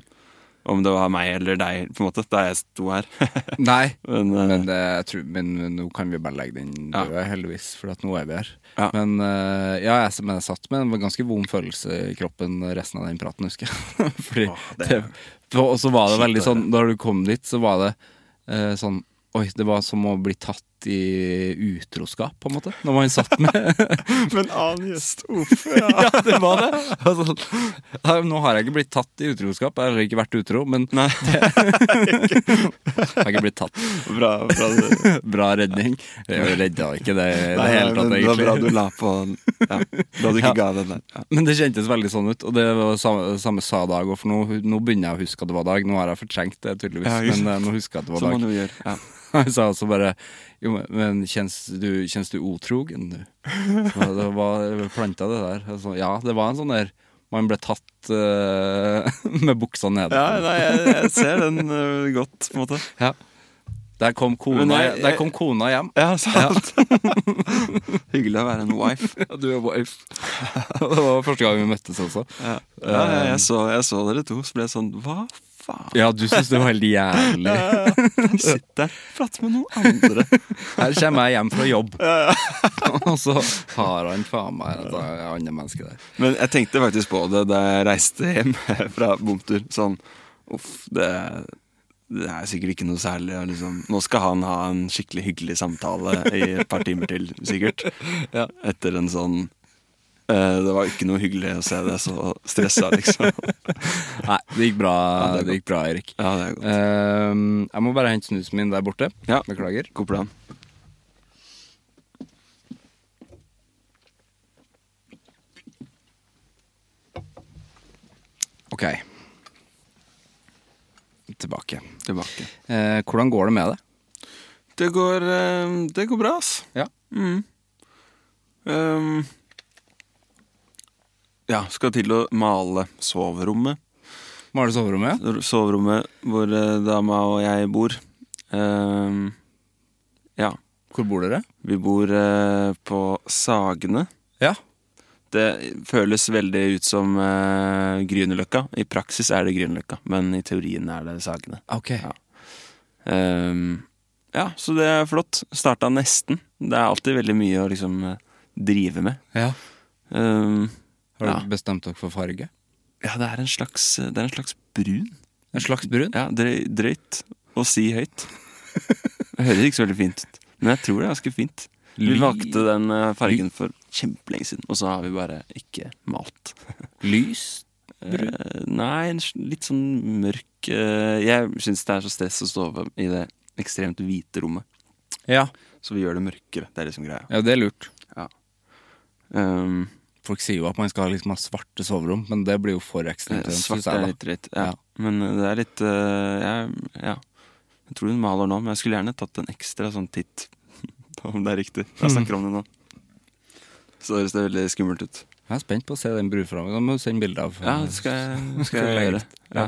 Speaker 3: om det var meg eller deg, på en måte, da jeg sto her.
Speaker 2: Nei.
Speaker 3: Men, eh,
Speaker 2: Men, det, jeg tror, men nå kan vi bare legge den
Speaker 3: Ja.
Speaker 2: død, heldigvis, for at nå er vi her.
Speaker 3: Ja.
Speaker 2: Men eh, ja, jeg, men jeg satt med en ganske vond følelse i kroppen resten av den praten, husker jeg. Fordi
Speaker 3: Åh,
Speaker 2: det,
Speaker 3: det-
Speaker 2: og så var det
Speaker 3: Shit, altså.
Speaker 2: veldig
Speaker 3: det er
Speaker 2: sånn, da du kom dit, så var det eh, sånn Oi, det var som å bli tatt i utroskap, på en måte, når man satt med
Speaker 3: men annen gjest, uff. Ja.
Speaker 2: Ja, det var det! Altså, ja, nå har jeg ikke blitt tatt i utroskap, jeg har ikke vært utro, men
Speaker 3: Nei,
Speaker 2: jeg har ikke blitt tatt.
Speaker 3: bra, bra du
Speaker 2: Bra redning. Jeg redda ikke det i det
Speaker 3: Nei,
Speaker 2: hele tatt,
Speaker 3: men
Speaker 2: egentlig.
Speaker 3: Det var bra du la på ja, Da du ikke ga den der. Ja.
Speaker 2: Men det kjentes veldig sånn ut, og det var samme, samme sa Dag. Og for nå, nå begynner jeg å huske at det var Dag. Nå har jeg fortrengt det, tydeligvis.
Speaker 3: Ja, ikke
Speaker 2: men eh, nå husker jeg at det
Speaker 3: Som
Speaker 2: var
Speaker 3: man
Speaker 2: Dag.
Speaker 3: jo gjør. Ja.
Speaker 2: Han sa også bare Jo, men- men kjennes du, kjennes du otrogen, du? Det var- det var planta, det der. Jeg sa, ja, det var en sånn der Man ble tatt eh, med buksa nede.
Speaker 3: Ja, nei, jeg, jeg ser den ø, eh, godt, på en måte.
Speaker 2: Ja. Der kom
Speaker 3: Men
Speaker 2: kona,
Speaker 3: jeg-
Speaker 2: der kom kona hjem.
Speaker 3: Ja, sant. Hyggelig å være en wife.
Speaker 2: Du er wife. det var første gang vi møttes også. Eh,
Speaker 3: Ja, Eh. ja, ja jeg, så, jeg så dere to, så ble jeg sånn Hva faen?
Speaker 2: Ja, du syns det var helt jævlig.
Speaker 3: Jeg sitter her og prater med noen andre.
Speaker 2: Her kommer jeg hjem fra jobb, og så har han faen meg et annet menneske der.
Speaker 3: Men jeg tenkte faktisk på det da jeg reiste hjem fra bomtur. Sånn uff, det, det er sikkert ikke noe særlig. og Liksom. Nå skal han ha en skikkelig hyggelig samtale i et par timer til, sikkert. Etter en sånn eh, Det var ikke noe hyggelig å se deg så stressa, liksom.
Speaker 2: Nei, det gikk bra,
Speaker 3: Ja, det er
Speaker 2: det gikk bra Erik.
Speaker 3: Ja, det er godt.
Speaker 2: Ehm, jeg må bare hente snusen min der borte.
Speaker 3: Ja.
Speaker 2: Beklager.
Speaker 3: God plan.
Speaker 2: Ok. Tilbake.
Speaker 3: Tilbake.
Speaker 2: Eh, hvordan går det med det?
Speaker 3: Det går, eh, det går bra, ass.
Speaker 2: Ja.
Speaker 3: Mm. Ehm, ja, skal til å male soverommet.
Speaker 2: Male soverommet?
Speaker 3: soverommet hvor eh, dama og jeg bor. Ehm, ja,
Speaker 2: Hvor bor dere?
Speaker 3: vi bor eh, på Sagene.
Speaker 2: Ja.
Speaker 3: Det føles veldig ut som uh, Grünerløkka. I praksis er det Grünerløkka, men i teorien er det Sagene.
Speaker 2: Ok.
Speaker 3: Ja. Ehm, ja, så det er flott. Starta nesten. Det er alltid veldig mye å liksom eh, drive med.
Speaker 2: Ja.
Speaker 3: Ehm,
Speaker 2: Har dere
Speaker 3: Ja.
Speaker 2: bestemt dere for farge?
Speaker 3: ja, det er en slags, eh, det er en slags brun.
Speaker 2: En slags brun?
Speaker 3: Ja, drøy, drøyt å si høyt. Det høres ikke så veldig fint ut, men jeg tror det er ganske fint. Vi
Speaker 2: Ly-
Speaker 3: valgte den eh, fargen for kjempelenge siden, og så har vi bare ikke malt.
Speaker 2: Lys?
Speaker 3: Eh, nei, en s- litt sånn mørk eh, Jeg syns det er så stress å stå over i det ekstremt hvite rommet,
Speaker 2: Ja.
Speaker 3: så vi gjør det mørkere. Det er liksom greia.
Speaker 2: ja, det er lurt.
Speaker 3: Um,
Speaker 2: Folk sier jo at man skal liksom ha svarte soverom, men det blir jo for
Speaker 3: eh,
Speaker 2: ekstremt. synes jeg,
Speaker 3: svart er
Speaker 2: da.
Speaker 3: litt drøyt. Ja.
Speaker 2: Ja.
Speaker 3: Men eh, det er litt eh, jeg, Ja. Jeg tror hun maler nå, men jeg skulle gjerne tatt en ekstra sånn titt på om det er riktig. Jeg snakker om det nå. Så høres det veldig skummelt ut.
Speaker 2: Jeg er spent på å se den brudframmen. Da må du sende bilde av.
Speaker 3: Ja, det skal jeg, skal
Speaker 2: Skulle
Speaker 3: jeg gjøre.
Speaker 2: legge
Speaker 3: Ja.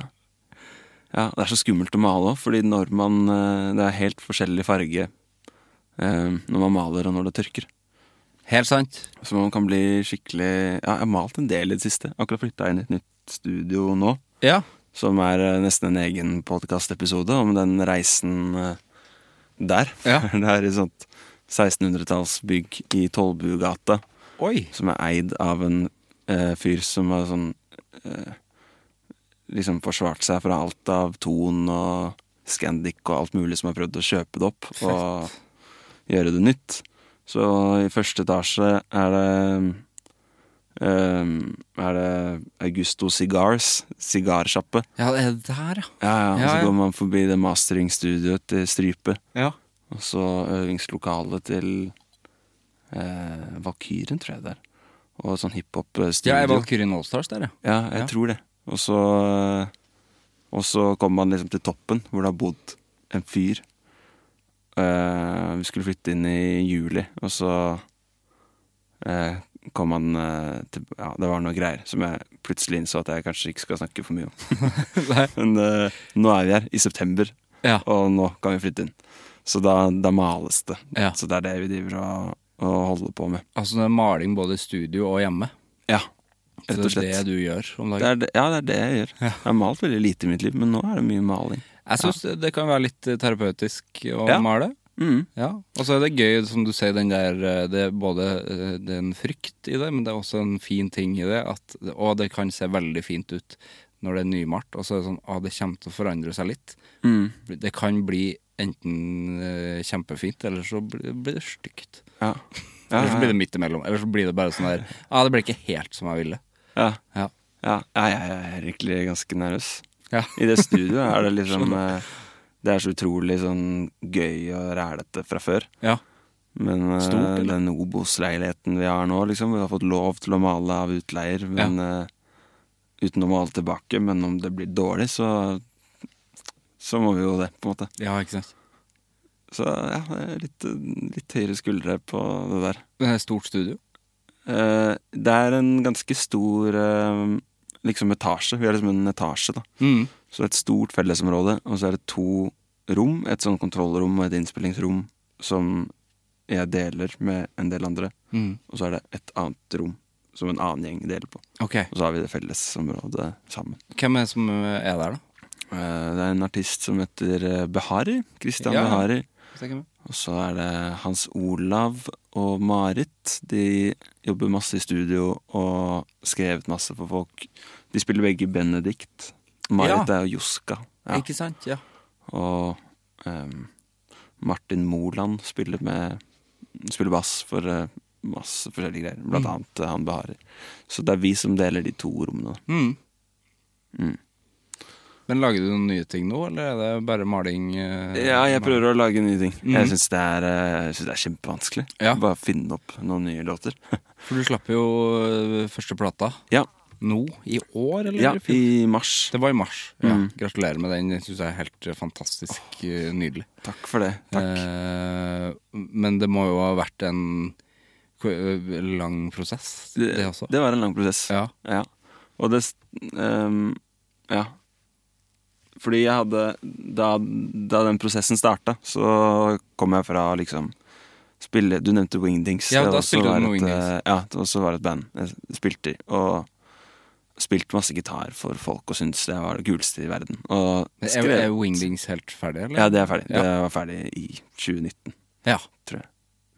Speaker 3: ja, det er så skummelt å male òg, fordi når man eh, Det er helt forskjellig farge eh, når man maler og når det tørker.
Speaker 2: Helt sant.
Speaker 3: Så man kan bli skikkelig Ja, jeg har malt en del i det siste. Akkurat flytta inn i et nytt studio nå.
Speaker 2: Ja.
Speaker 3: som er eh, nesten en egen podkastepisode om den reisen eh, der.
Speaker 2: Ja.
Speaker 3: det er et sånt 1600-tallsbygg i Tollbugata
Speaker 2: Oi.
Speaker 3: som er eid av en eh, fyr som har sånn eh, Liksom forsvart seg fra alt av Ton og Scandic og alt mulig som har prøvd å kjøpe det opp og gjøre det nytt. Så i første etasje er det eh, er det Augusto Cigars, sigarsjappe.
Speaker 2: Ja, det er der, ja.
Speaker 3: Ja, ja, og
Speaker 2: Ja,
Speaker 3: så
Speaker 2: ja.
Speaker 3: går man forbi det masteringstudioet til Strype.
Speaker 2: Ja.
Speaker 3: Og så øvingslokalet til eh, Valkyrien, tror jeg det er. Og sånn hiphop-studio.
Speaker 2: Jeg er Valkyrien Allstars der, ja.
Speaker 3: Ja, jeg
Speaker 2: Ja.
Speaker 3: tror det. Og så eh, Og så kommer man liksom til toppen, hvor det har bodd en fyr. Eh, vi skulle flytte inn i juli, og så eh, kom han eh, til Ja, det var noe greier som jeg plutselig innså at jeg kanskje ikke skal snakke for mye om. Men eh, nå er vi her, i september,
Speaker 2: Ja.
Speaker 3: og nå kan vi flytte inn. Så da, da males det.
Speaker 2: Ja.
Speaker 3: Så det er det vi driver og, og holder på med.
Speaker 2: Altså det er maling både i studio og hjemme.
Speaker 3: Ja,
Speaker 2: Så
Speaker 3: rett og
Speaker 2: Det
Speaker 3: slett.
Speaker 2: er det du gjør om
Speaker 3: Det
Speaker 2: dagen.
Speaker 3: er det, ja, det er det jeg gjør. Jeg har malt veldig lite i mitt liv, men nå er det mye maling.
Speaker 2: Jeg syns det- det kan være litt eh, terapeutisk å
Speaker 3: Ja.
Speaker 2: male.
Speaker 3: Mm.
Speaker 2: Ja. Og så er det gøy, som du sier, den der eh, Det er både eh, det er en frykt i det, men det er også en fin ting i det. At, og det kan se veldig fint ut når det er nymalt. Og så er det sånn ah, det kommer til å forandre seg litt.
Speaker 3: Mm.
Speaker 2: Det kan bli enten eh, kjempefint, eller så blir blir det stygt.
Speaker 3: Ja. Ja,
Speaker 2: Eller så blir
Speaker 3: ja,
Speaker 2: det midt imellom. Eller så blir det bare sånn der Ja, det ble ikke helt som jeg ville.
Speaker 3: ja.
Speaker 2: Ja.
Speaker 3: ja. ja jeg er egentlig ganske nervøs.
Speaker 2: Ja.
Speaker 3: I det studioet er det liksom eh, Det er så utrolig sånn gøy og rælete fra før.
Speaker 2: Ja.
Speaker 3: Men eh,
Speaker 2: Stort, eller?
Speaker 3: den Obos-leiligheten vi har nå, liksom Vi har fått lov til å male av utleier, men eh, uten å male tilbake. Men om det blir dårlig, så så må vi jo det, på en måte.
Speaker 2: ja, ikke sant.
Speaker 3: Så ja, det er litt, litt høyere skuldre på det der.
Speaker 2: Det er stort studio.
Speaker 3: Eh, det er en ganske stor eh, liksom etasje. Vi er liksom en etasje, da.
Speaker 2: Mm.
Speaker 3: Så det er et stort fellesområde, og så er det to rom, et sånn kontrollrom og et innspillingsrom som jeg deler med en del andre.
Speaker 4: Mm.
Speaker 3: Og så er det et annet rom som en annen gjeng deler på.
Speaker 4: Ok,
Speaker 3: Og så har vi det fellesområdet sammen.
Speaker 4: Hvem er det som er der, da?
Speaker 3: Eh, Det er en artist som heter eh, Behari. Christian
Speaker 4: Ja.
Speaker 3: Behari.
Speaker 4: Hvis jeg kan-
Speaker 3: Og så er det Hans Olav og Marit. De jobber masse i studio og skrevet masse for folk. De spiller begge i Benedikt. Marit
Speaker 4: Ja.
Speaker 3: er jo Joska. Ja.
Speaker 4: Ikke sant? Ja.
Speaker 3: Og ehm, Martin Moland spiller med Spiller bass for eh, masse forskjellige greier. Blant annet eh, han Behari. Så det er vi som deler de to rommene.
Speaker 4: Mm.
Speaker 3: Mm.
Speaker 4: Men lager du noen nye ting nå, eller er det bare maling? eh,
Speaker 3: Ja, jeg prøver å lage nye ting.
Speaker 4: Mhm.
Speaker 3: Jeg syns det, er, eh, jeg synes det er kjempevanskelig.
Speaker 4: Ja.
Speaker 3: Bare finne opp noen nye låter.
Speaker 4: For du slapp jo eh, første plata
Speaker 3: Ja,
Speaker 4: nå, i år, eller?
Speaker 3: ja
Speaker 4: i fjor?
Speaker 3: i mars.
Speaker 4: Det var i mars. Ja.
Speaker 3: Mm.
Speaker 4: Gratulerer med den. Jeg syns jeg er helt eh, fantastisk eh, nydelig.
Speaker 3: Takk for det. Takk.
Speaker 4: Eh, men det må jo ha vært en k- eh, lang prosess, det, også.
Speaker 3: det var en lang prosess.
Speaker 4: Ja.
Speaker 3: Ja. Og det s- ehm, Ja. Fordi jeg hadde Da, da den prosessen starta, så kom jeg fra liksom spille Du nevnte Wingdings.
Speaker 4: Ja,
Speaker 3: Det
Speaker 4: da
Speaker 3: også
Speaker 4: spilte du
Speaker 3: var
Speaker 4: med
Speaker 3: et,
Speaker 4: Wingdings.
Speaker 3: eh, Ja, det også var et band jeg spilte i. Og spilte masse gitar for folk og syntes det var det kuleste i verden. Og
Speaker 4: Er,
Speaker 3: skrev-
Speaker 4: er Wingdings helt ferdig, eller?
Speaker 3: Ja, det er ferdig.
Speaker 4: Ja.
Speaker 3: Det var ferdig i 2019,
Speaker 4: Ja.
Speaker 3: tror jeg.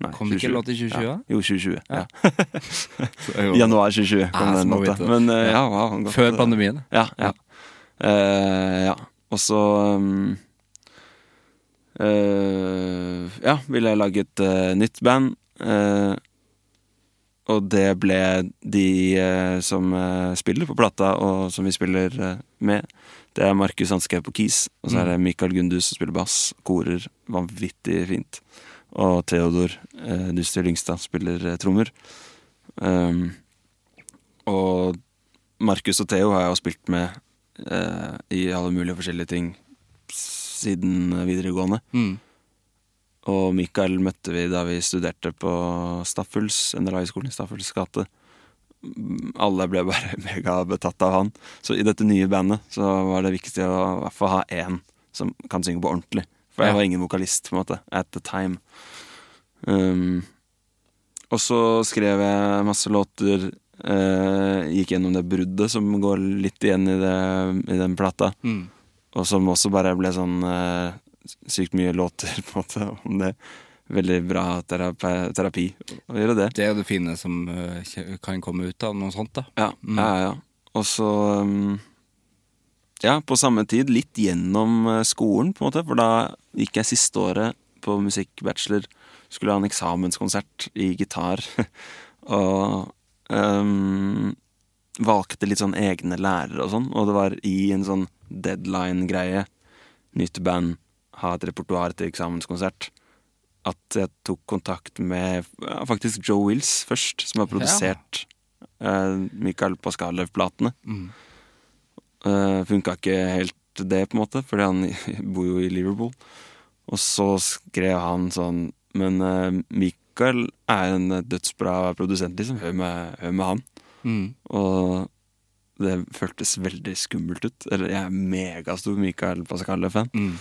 Speaker 3: Nei,
Speaker 4: Kom det ikke en låt i 2020,
Speaker 3: Ja.
Speaker 4: da?
Speaker 3: Jo, 2020. Ja.
Speaker 4: Jo.
Speaker 3: Januar 2020 kom
Speaker 4: Ja,
Speaker 3: den
Speaker 4: så må vi vite
Speaker 3: låta.
Speaker 4: det.
Speaker 3: Men eh, ja, wow, godt,
Speaker 4: Før
Speaker 3: eh,
Speaker 4: pandemien.
Speaker 3: ja, ja. Eh, ja. Og så um, eh, Ja, ville jeg lage et eh, nytt band. eh, og det ble de eh, som eh, spiller på plata, og som vi spiller eh, med. Det er Markus Hanske på keys, og så er det
Speaker 4: Mm.
Speaker 3: Mikael Gundus som spiller bass. Korer vanvittig fint. Og Theodor eh, Duster Lyngstad spiller eh, trommer. Um, og Markus og Theo har jeg jo spilt med eh, i alle mulige forskjellige ting siden videregående.
Speaker 4: Mm.
Speaker 3: Og Mikael møtte vi da vi studerte på Staffels, NLA-skolen i Staffels gate. Mm, Alle ble bare megabetatt av han. Så i dette nye bandet så var det viktig å i hvert fall ha én som kan synge på ordentlig. For jeg
Speaker 4: Ja.
Speaker 3: var ingen vokalist, på en måte, at the time. Um, og så skrev jeg masse låter. eh, gikk gjennom det bruddet som går litt igjen i, det, i den plata.
Speaker 4: Mm.
Speaker 3: Og som også bare ble sånn eh, sykt mye låter på en måte om det. Veldig bra terapi, terapi å gjøre det.
Speaker 4: Det er jo det fine som eh, kje- kan komme ut av noe sånt, da.
Speaker 3: Ja, ja, ja. Og så um, Ja, på samme tid litt gjennom eh, skolen, på en måte. For da gikk jeg siste året på musikkbachelor. Skulle ha en eksamenskonsert i gitar. og um, valgte litt sånn egne lærere og sånn. Og det var i en sånn deadline-greie. Nytt band, ha et repertoar til eksamenskonsert. At jeg tok kontakt med ja, faktisk Joe Wills først, som har produsert eh, Michael Pascalev-platene.
Speaker 4: Mm.
Speaker 3: Uh, Funka ikke helt det, på en måte, fordi han bor jo i Liverpool. Og så skrev han sånn Men eh, Michael er en dødsbra produsent, liksom. Hør med, hør med han.
Speaker 4: Mm.
Speaker 3: Og det føltes veldig skummelt ut. Eller jeg er megastor Michael Pascale-fan.
Speaker 4: Mm.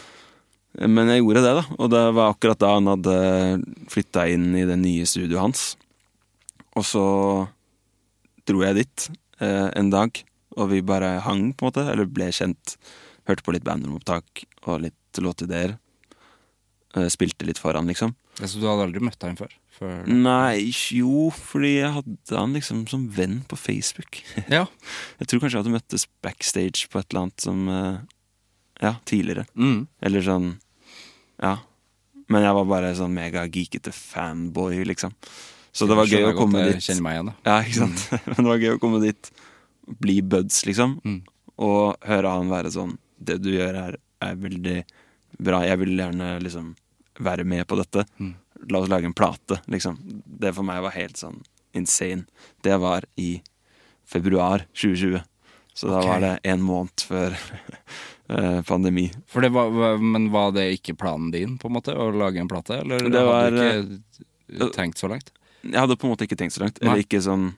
Speaker 3: Men jeg gjorde det, da. Og det var akkurat da han hadde flytta inn i det nye studioet hans. Og så dro jeg dit eh, en dag, og vi bare hang, på en måte. Eller ble kjent. Hørte på litt bandromopptak og litt låtideer. Eh, spilte litt for han, liksom.
Speaker 4: Ja, Så Altså, du hadde aldri møtt han før? før...
Speaker 3: Nei, jo, fordi jeg hadde han liksom som venn på Facebook.
Speaker 4: Ja.
Speaker 3: Jeg tror kanskje jeg hadde møttes backstage på et eller annet som eh, Ja, tidligere.
Speaker 4: Mm.
Speaker 3: Eller sånn Ja. Men jeg var bare sånn megageekete fanboy, liksom. Så det var
Speaker 4: Skjønner
Speaker 3: gøy å
Speaker 4: jeg
Speaker 3: komme
Speaker 4: godt, jeg
Speaker 3: dit.
Speaker 4: Kjenner meg Mm. igjen, da.
Speaker 3: Ja, ikke sant? Men det var gøy å komme dit, bli buds, liksom,
Speaker 4: Mm.
Speaker 3: og høre han være sånn Det du gjør her, er veldig bra. Jeg vil gjerne liksom være med på dette.
Speaker 4: Mm.
Speaker 3: La oss lage en plate, liksom. Det for meg var helt sånn insane. Det var i februar 2020. Så da
Speaker 4: Ok.
Speaker 3: var det en måned før eh, pandemi.
Speaker 4: For det var, var- men var det ikke planen din, på en måte? Å lage en plate? Eller
Speaker 3: Det var, eh,
Speaker 4: hadde du ikke tenkt så langt?
Speaker 3: Jeg hadde på en måte ikke tenkt så langt.
Speaker 4: Nei.
Speaker 3: Eller ikke sånn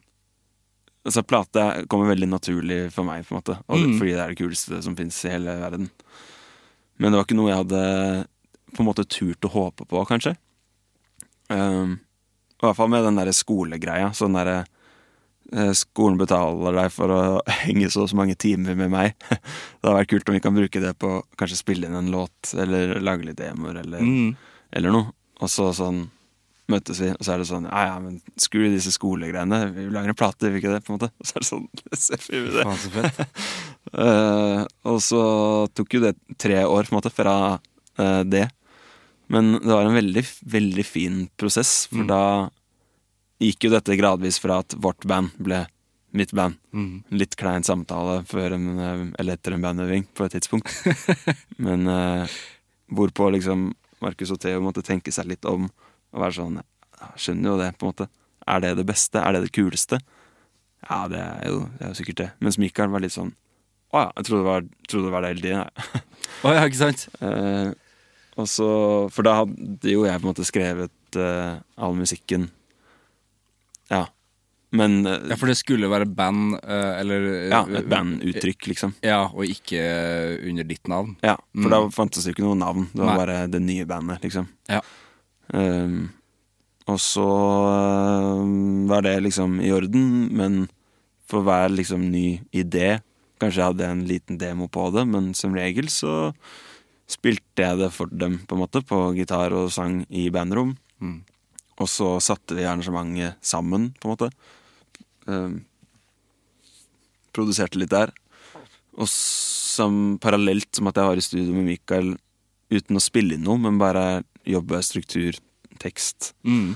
Speaker 3: Altså Plate kommer veldig naturlig for meg, på en måte. Og
Speaker 4: Mm.
Speaker 3: Fordi det er det kuleste som fins i hele verden. Men det var ikke noe jeg hadde på en måte turt å håpe på, kanskje. Ehm, I hvert fall med den derre skolegreia. Sånn derre eh, Skolen betaler deg for å henge så og så mange timer med meg. Det hadde vært kult om vi kan bruke det på å kanskje spille inn en låt, eller lage litt demoer, eller,
Speaker 4: Mm.
Speaker 3: eller noe. Og så sånn møtes vi, og så er det sånn Ja ja, men screw disse skolegreiene. Vi lager en plate, gjør vi ikke det? på en måte Og så er det sånn Selvfølgelig gjør vi det.
Speaker 2: Faen, så fett.
Speaker 3: Eh, og så tok jo det tre år på en måte fra eh, det. Men det var en veldig, veldig fin prosess,
Speaker 2: Mm.
Speaker 3: for da gikk jo dette gradvis fra at vårt band ble mitt band. Litt klein samtale før en, eh, eller etter en bandøving på et tidspunkt. Men eh, hvorpå liksom Markus og Theo måtte tenke seg litt om og være sånn "Jeg Skjønner jo det, på en måte. Er det det beste? Er det det kuleste? Ja, det er jo, det er jo sikkert det. Mens Mikael var litt sånn Å ja, jeg trodde det var, trodde det, var det hele tiden. jeg."
Speaker 2: Å ja, ikke sant?
Speaker 3: Eh, og så, for da hadde jo jeg på en måte skrevet eh, all musikken. Ja. Men eh,
Speaker 2: Ja, for det skulle være band, eh, eller
Speaker 3: ja, et banduttrykk, liksom.
Speaker 2: Ja, og ikke
Speaker 4: eh,
Speaker 2: under ditt navn.
Speaker 3: Ja, For
Speaker 2: Mm.
Speaker 3: da fantes det jo ikke noe navn. Det var
Speaker 2: Nei.
Speaker 3: bare det nye bandet, liksom.
Speaker 2: Ja.
Speaker 3: Eh, og så eh, var det liksom i orden, men for hver liksom ny idé Kanskje jeg hadde en liten demo på det, men som regel så spilte jeg det for dem, på en måte, på gitar og sang i bandrom.
Speaker 4: Mm.
Speaker 3: Og så satte vi arrangementet sammen, på en måte. Ehm, produserte litt der. Og som parallelt som at jeg var i studio med Mikael uten å spille inn noe, men bare jobbe struktur, tekst,
Speaker 4: Mm.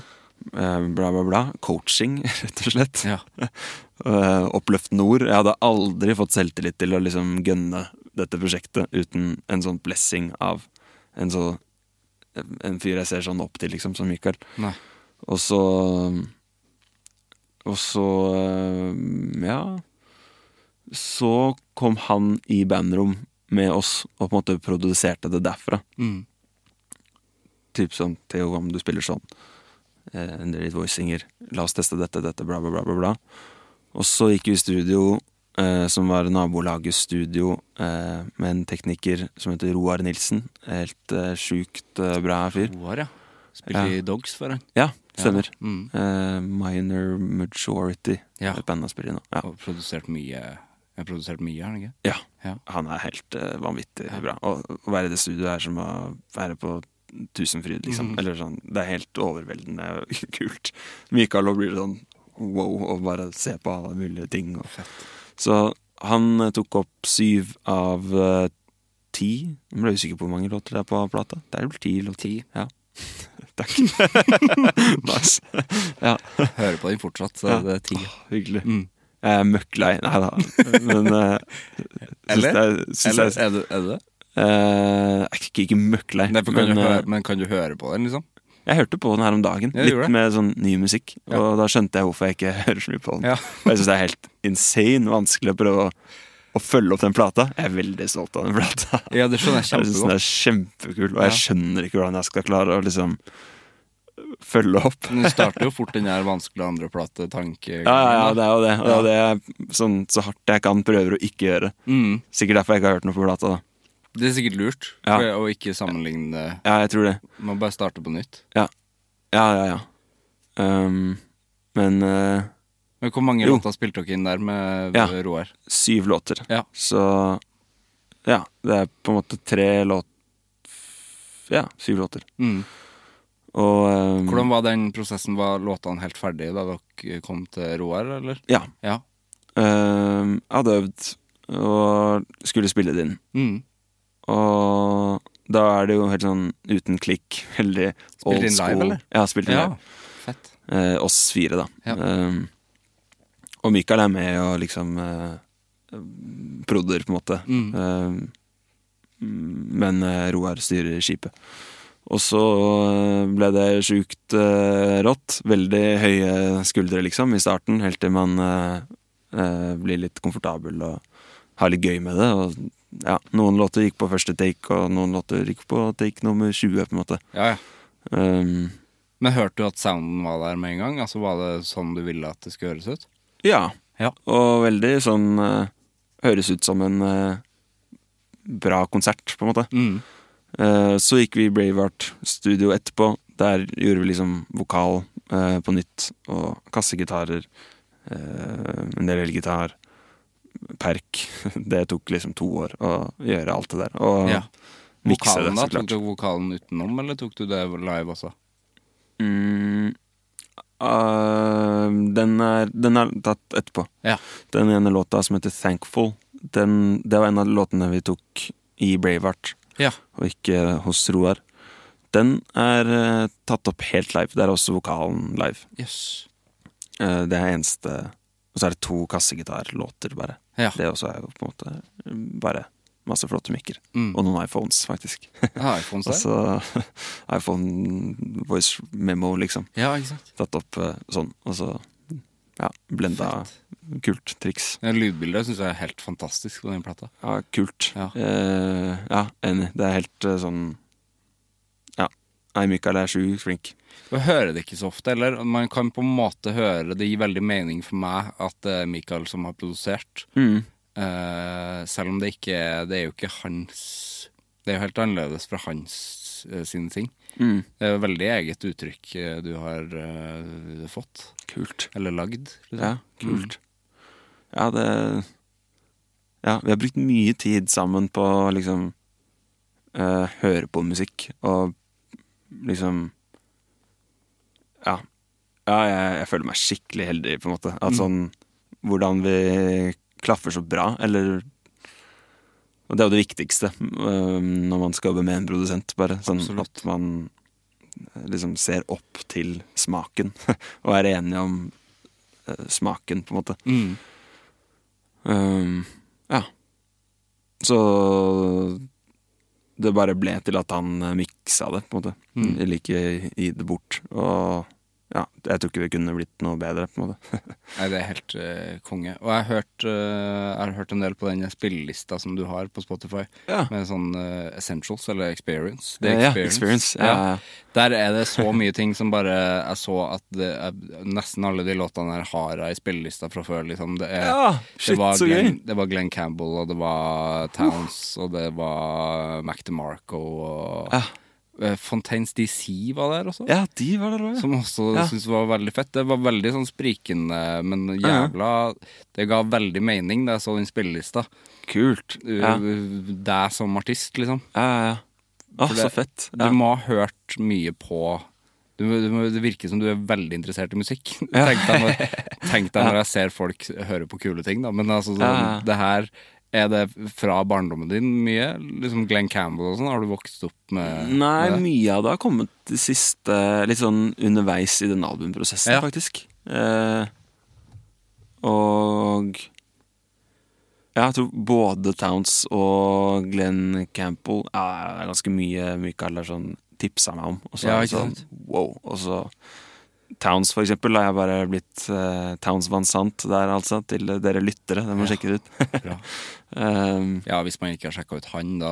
Speaker 3: eh, bla, bla, bla. Coaching, rett og slett.
Speaker 2: Ja.
Speaker 3: Eh, oppløftende ord. Jeg hadde aldri fått selvtillit til å liksom gønne dette prosjektet uten en sånn blessing av en så En fyr jeg ser sånn opp til, liksom, som Mikael.
Speaker 4: Nei.
Speaker 3: Og så Og så eh, Ja. Så kom han i bandrom med oss og på en måte produserte det derfra.
Speaker 4: Mm.
Speaker 3: Typ sånn Theo, om du spiller sånn eh, Endre ditt voicinger La oss teste dette, dette, bla bla bla bla bla Og så gikk vi i studio eh, Som var nabolagets studio eh, Med en tekniker som heter Roar Nilsen Helt eh, sjukt eh, bra fyr
Speaker 4: Roar, ja. Spilte i Dogs for han.
Speaker 3: Ja, stemmer
Speaker 4: Mm.
Speaker 3: eh, Minor Majority
Speaker 4: Ja.
Speaker 3: er Bandet spiller i nå ja.
Speaker 4: Og produsert mye. Jeg har produsert mye, har han ikke?
Speaker 3: ja,
Speaker 4: Ja.
Speaker 3: han er helt eh, vanvittig bra Og å være i det studioet er som å være på Tusenfryd liksom
Speaker 4: Mm.
Speaker 3: Eller sånn, det er helt overveldende kult Mikael og blir sånn wow, og bare se på alle mulige ting. Og. Så han eh, tok opp syv av eh, ti. Jeg ble usikker på hvor mange låter det er på plata. Det er vel ti låter. Ja. Takk. nice. ja,
Speaker 2: Hører på den fortsatt, så
Speaker 3: Ja.
Speaker 2: det er ti.
Speaker 3: hyggelig.
Speaker 4: Mm.
Speaker 3: Jeg er møkk lei. Nei da. Men eh, syns
Speaker 2: Eller?
Speaker 3: jeg- syns
Speaker 2: Eller
Speaker 3: jeg-
Speaker 2: er det er det? det?
Speaker 3: Eh, jeg er ikke, ikke møkk lei.
Speaker 2: Nei, for kan
Speaker 3: men,
Speaker 2: du
Speaker 3: eh,
Speaker 2: høre, men kan du høre på den, liksom?
Speaker 3: Jeg hørte på den her om dagen,
Speaker 2: Ja, du gjorde
Speaker 3: litt
Speaker 2: det.
Speaker 3: med sånn ny musikk.
Speaker 2: Ja.
Speaker 3: Og da skjønte jeg hvorfor jeg ikke hører så mye på den.
Speaker 2: Ja.
Speaker 3: Og jeg syns det er helt insane vanskelig å prøve å, å følge opp den plata. Jeg er veldig stolt av den plata.
Speaker 2: Ja, det skjønner
Speaker 3: Jeg syns den er kjempekul, og
Speaker 2: Ja.
Speaker 3: jeg skjønner ikke hvordan jeg skal klare å liksom følge opp.
Speaker 2: Den starter jo fort den der vanskelige andreplate-tanke...
Speaker 3: Ja, ja, ja, det er jo det. Og det er det jeg sånn, så hardt jeg kan prøver å ikke gjøre.
Speaker 2: Mm.
Speaker 3: Sikkert derfor jeg ikke har hørt noe på plata. da
Speaker 2: Det er sikkert lurt
Speaker 3: Ja.
Speaker 2: for å ikke sammenligne
Speaker 3: Ja, jeg tror det.
Speaker 2: Må bare starte på nytt.
Speaker 3: Ja, ja, ja. Um, men eh,
Speaker 2: Men Hvor mange
Speaker 3: Jo.
Speaker 2: låter spilte dere inn der med eh,
Speaker 3: Ja.
Speaker 2: Roar?
Speaker 3: syv låter.
Speaker 2: Ja.
Speaker 3: Så ja, det er på en måte tre låt... Ja, syv låter.
Speaker 2: Mm.
Speaker 3: Og ehm,
Speaker 2: Hvordan var den prosessen? Var låtene helt ferdige da dere kom til Roar, eller?
Speaker 3: Ja.
Speaker 2: Ja.
Speaker 3: ehm, jeg hadde øvd og skulle spille det inn.
Speaker 2: Mm.
Speaker 3: Og da er det jo helt sånn uten klikk. Veldig old
Speaker 2: inn live,
Speaker 3: school.
Speaker 2: eller?
Speaker 3: Ja, spilt inn
Speaker 2: Ja.
Speaker 3: live.
Speaker 2: Fett.
Speaker 3: Eh, oss fire, da.
Speaker 2: Ja.
Speaker 3: Ehm, og Mikael er med og liksom eh, prodder, på en måte.
Speaker 2: Mm.
Speaker 3: Ehm, men eh, Roar styrer skipet. Og så eh, ble det sjukt eh, rått. Veldig høye skuldre, liksom, i starten. Helt til man eh, eh, blir litt komfortabel og har litt gøy med det. Og, ja, noen låter gikk på første take, og noen låter gikk på take nummer 20, på en måte.
Speaker 2: Ja, ja.
Speaker 3: Ehm,
Speaker 2: Men hørte du at sounden var der med en gang? Altså Var det sånn du ville at det skulle høres ut?
Speaker 3: Ja.
Speaker 2: Ja.
Speaker 3: Og veldig sånn eh, Høres ut som en eh, bra konsert, på en måte.
Speaker 2: Mm.
Speaker 3: Eh, Så gikk vi i Braveheart studio etterpå. Der gjorde vi liksom vokal eh, på nytt, og kassegitarer, eh, en del elgitar, perk. Det tok liksom to år å gjøre alt det der. Og
Speaker 2: Ja.
Speaker 3: mikse
Speaker 2: Vokalen,
Speaker 3: det,
Speaker 2: da?
Speaker 3: så
Speaker 2: Tok
Speaker 3: klart.
Speaker 2: du vokalen utenom, eller tok du det live også?
Speaker 3: Mm, eh, den, er, den er tatt etterpå.
Speaker 2: Ja.
Speaker 3: Den ene låta som heter 'Thankful', den, det var en av låtene vi tok i Braveheart.
Speaker 2: Ja.
Speaker 3: og ikke hos Roar. Den er eh, tatt opp helt live. Der er også vokalen live.
Speaker 2: Jøss.
Speaker 3: Eh, det er eneste Og så er det to kassegitarlåter, bare.
Speaker 2: Ja.
Speaker 3: Det også er jo på en måte eh, bare masse flotte mikker.
Speaker 2: Mm.
Speaker 3: Og noen iPhones, faktisk.
Speaker 2: Ah, iPhones der?
Speaker 3: Altså iPhone voice memo, liksom.
Speaker 2: Ja, ikke sant.
Speaker 3: Tatt opp eh, sånn, og så ja, blenda kult triks.
Speaker 2: Ja, Lydbildet syns jeg er helt fantastisk på den plata.
Speaker 3: Ja, kult.
Speaker 2: Ja.
Speaker 3: Ja, Eh, ja enig. Det er helt eh, sånn Ja. Nei, Mikael er sjukt flink.
Speaker 2: Jeg hører det ikke så ofte, eller man kan på en måte høre Det gir veldig mening for meg at det er Michael som har produsert. Eh, selv om det ikke er Det er jo ikke hans Det er jo helt annerledes fra hans eh, sine ting.
Speaker 3: Mm.
Speaker 2: Det er jo veldig eget uttrykk eh, du har eh, fått,
Speaker 3: Kult.
Speaker 2: eller lagd. liksom.
Speaker 3: Ja, kult. Ja, det Ja, vi har brukt mye tid sammen på å liksom eh, høre på musikk og liksom Ja. Ja, jeg, jeg føler meg skikkelig heldig, på en måte. At sånn Hvordan vi klaffer så bra, eller Og det er jo det viktigste eh, når man skal jobbe med en produsent, bare. Sånn
Speaker 2: Absolutt.
Speaker 3: at man eh, liksom ser opp til smaken, og er enige om eh, smaken, på en måte.
Speaker 2: Mm.
Speaker 3: Ehm, ja. Så det bare ble til at han eh, miksa det, på en måte.
Speaker 2: Mm.
Speaker 3: Eller ikke gi det bort. Og ja, jeg tror ikke det kunne blitt noe bedre, på en måte.
Speaker 2: Nei, det er helt eh, konge. Og jeg har, hørt, eh, jeg har hørt en del på den spillelista som du har på Spotify,
Speaker 3: ja.
Speaker 2: med sånn eh, Essentials eller Experience.
Speaker 3: Det
Speaker 2: The
Speaker 3: ja, experience. Ja, ja. ja.
Speaker 2: Der er det så mye ting som bare Jeg så at det er, nesten alle de låtene her har jeg i spillelista fra før. Liksom. Det, er,
Speaker 3: Ja,
Speaker 2: det,
Speaker 3: shit,
Speaker 2: var
Speaker 3: så
Speaker 2: Glenn,
Speaker 3: gøy.
Speaker 2: det var Glenn Campbell, og det var Towns, og det var Mac DeMarco, og
Speaker 3: Ja.
Speaker 2: Eh, Fontaines DC var der også.
Speaker 3: ja, de var der òg, ja.
Speaker 2: Som også
Speaker 3: Ja.
Speaker 2: syntes var veldig fett. Det var veldig sånn sprikende, men
Speaker 3: ja.
Speaker 2: jævla Det ga veldig mening da jeg så den spillelista.
Speaker 3: Kult.
Speaker 2: Uh,
Speaker 3: Ja, ja,
Speaker 2: Deg som artist, liksom.
Speaker 3: ja. ja. Å,
Speaker 2: For det-
Speaker 3: så fett. Ja.
Speaker 2: Du må ha hørt mye på du, må- du, må- Det virker som du er veldig interessert i musikk. Tenk deg når, tenk deg når jeg ser folk høre på kule ting, da. Men altså, sånn,
Speaker 3: Ja, ja.
Speaker 2: det her er det fra barndommen din mye? Liksom Glenn Campbell og sånn? Har du vokst opp med
Speaker 3: Nei,
Speaker 2: med det?
Speaker 3: mye av det har kommet det siste Litt sånn underveis i den albumprosessen,
Speaker 2: Ja.
Speaker 3: faktisk. Eh, og Ja, jeg tror både Towns og Glenn Campbell ja, er ganske mye Michael har sånn tipsa meg om. Og så,
Speaker 2: Ja,
Speaker 3: er det
Speaker 2: ikke
Speaker 3: sånn,
Speaker 2: sant?
Speaker 3: wow. Og så Towns, for eksempel, har jeg bare blitt eh, Towns Van Sant der, altså. Til dere lyttere. Dere må sjekke det ut.
Speaker 2: Bra.
Speaker 3: um,
Speaker 2: Ja, hvis man ikke har sjekka ut han, da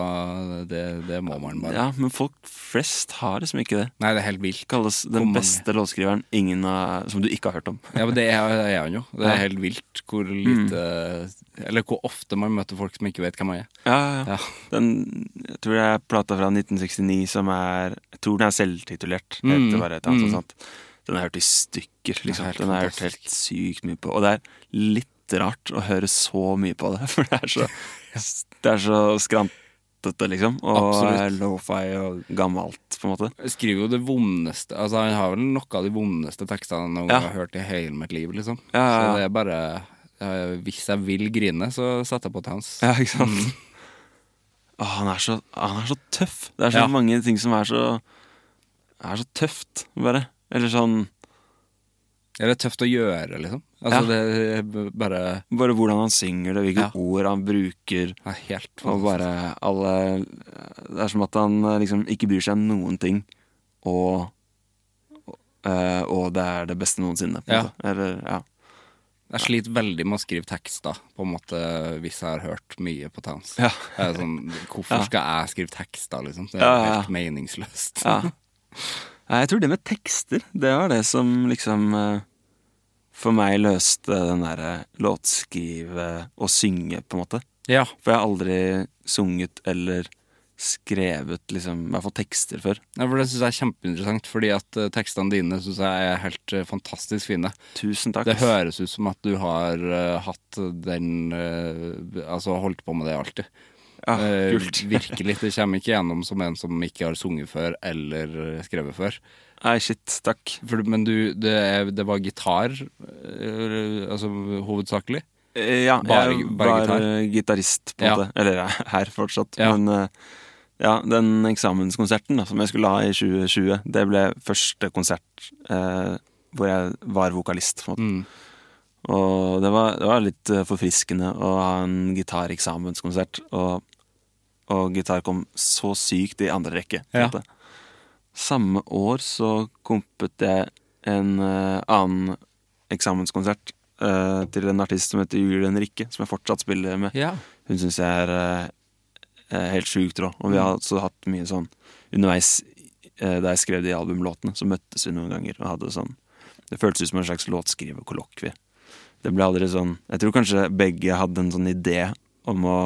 Speaker 2: Det, det må man bare.
Speaker 3: ja, men folk flest har liksom ikke det.
Speaker 2: Nei, det er helt vilt.
Speaker 3: kalles
Speaker 2: Hvor
Speaker 3: den
Speaker 2: mange?
Speaker 3: beste låtskriveren ingen har, som du ikke har hørt om.
Speaker 2: Ja, men det er, det er han jo. Det er helt vilt hvor lite
Speaker 3: Mm.
Speaker 2: Eller hvor ofte man møter folk som ikke vet hvem han er.
Speaker 3: Ja, ja, ja.
Speaker 2: Ja.
Speaker 3: Den, jeg tror det er plata fra 1969 som er Jeg tror den er selvtitulert.
Speaker 2: Mm,
Speaker 3: Heter bare et annet,
Speaker 2: mm.
Speaker 3: sånt. Den har jeg hørt i stykker. Liksom.
Speaker 2: Det er helt
Speaker 3: den har jeg hørt
Speaker 2: fantastisk.
Speaker 3: helt sykt mye på. Og det er litt rart å høre så mye på det, for det er så, det er så skrantete, liksom. Og
Speaker 2: Absolutt.
Speaker 3: lo-fi og gammelt, på en måte.
Speaker 2: Jeg Skriver jo det vondeste Altså Han har vel noe av de vondeste tekstene jeg noen
Speaker 3: Ja.
Speaker 2: gang har hørt i hele mitt liv, liksom.
Speaker 3: Ja, ja, ja.
Speaker 2: Så det er bare eh, Hvis jeg vil grine, så setter jeg på Towns.
Speaker 3: Ja, ikke sant? Åh, han, er så, han er så tøff. Det er så
Speaker 2: Mm. Ja.
Speaker 3: mange ting som er så Er så tøft, bare. Eller sånn
Speaker 2: Er det tøft å gjøre, liksom? Altså,
Speaker 3: Ja.
Speaker 2: det er b- bare
Speaker 3: Bare hvordan han synger det, hvilke
Speaker 2: Ja.
Speaker 3: ord han bruker.
Speaker 2: ja, Helt fantastisk.
Speaker 3: Og bare alle Det er som at han eh, liksom ikke bryr seg om noen ting. Og eh, Og det er det beste noensinne. På en
Speaker 2: Ja.
Speaker 3: måte. Eller, ja.
Speaker 2: Jeg sliter veldig med å skrive tekster, på en måte, hvis jeg har hørt mye på Towns.
Speaker 3: Ja.
Speaker 2: Det er sånn, hvorfor skal jeg skrive tekster, liksom? Det er
Speaker 3: Ja, ja, ja.
Speaker 2: helt meningsløst.
Speaker 3: Ja. Nei, Jeg tror det med tekster, det var det som liksom eh, For meg løste den derre låtskrive og synge, på en måte.
Speaker 2: Ja.
Speaker 3: For jeg har aldri sunget eller skrevet liksom, i hvert fall tekster før.
Speaker 2: Ja, for Det syns jeg er kjempeinteressant, fordi at eh, tekstene dine synes jeg er helt eh, fantastisk fine.
Speaker 3: Tusen takk.
Speaker 2: Det høres ut som at du har eh, hatt den eh, Altså holdt på med det alltid.
Speaker 3: Ja,
Speaker 2: Eh,
Speaker 3: Ah, kult.
Speaker 2: virkelig. Det kommer ikke gjennom som en som ikke har sunget før eller eh, skrevet før.
Speaker 3: Nei, shit. Takk.
Speaker 2: For, du- men du, det, er- det var gitar, eh, altså hovedsakelig.
Speaker 3: Eh, Ja,
Speaker 2: Bare-
Speaker 3: jeg
Speaker 2: bare
Speaker 3: var
Speaker 2: gitar?
Speaker 3: eh, gitarist, på en
Speaker 2: Ja.
Speaker 3: måte. Eller jeg er her fortsatt.
Speaker 2: Ja.
Speaker 3: Men eh, ja, den eksamenskonserten da, som jeg skulle ha i 2020, det ble første konsert eh, hvor jeg var vokalist, på en måte.
Speaker 2: Mm.
Speaker 3: Og det var, det var litt eh, forfriskende å ha en gitareksamenskonsert, og, og gitar kom så sykt i andre rekke. på en
Speaker 2: Ja.
Speaker 3: måte. Samme år så kompet jeg en eh, annen eksamenskonsert eh, til en artist som heter Julen Rikke, som jeg fortsatt spiller med.
Speaker 2: Ja.
Speaker 3: Hun syns jeg er eh, helt sjukt rå. Og vi har også hatt mye sånn underveis eh, da jeg skrev de albumlåtene, så møttes vi noen ganger og hadde sånn Det føltes ut som en slags låtskriverkollokvie. Det ble aldri sånn Jeg tror kanskje begge hadde en sånn idé om å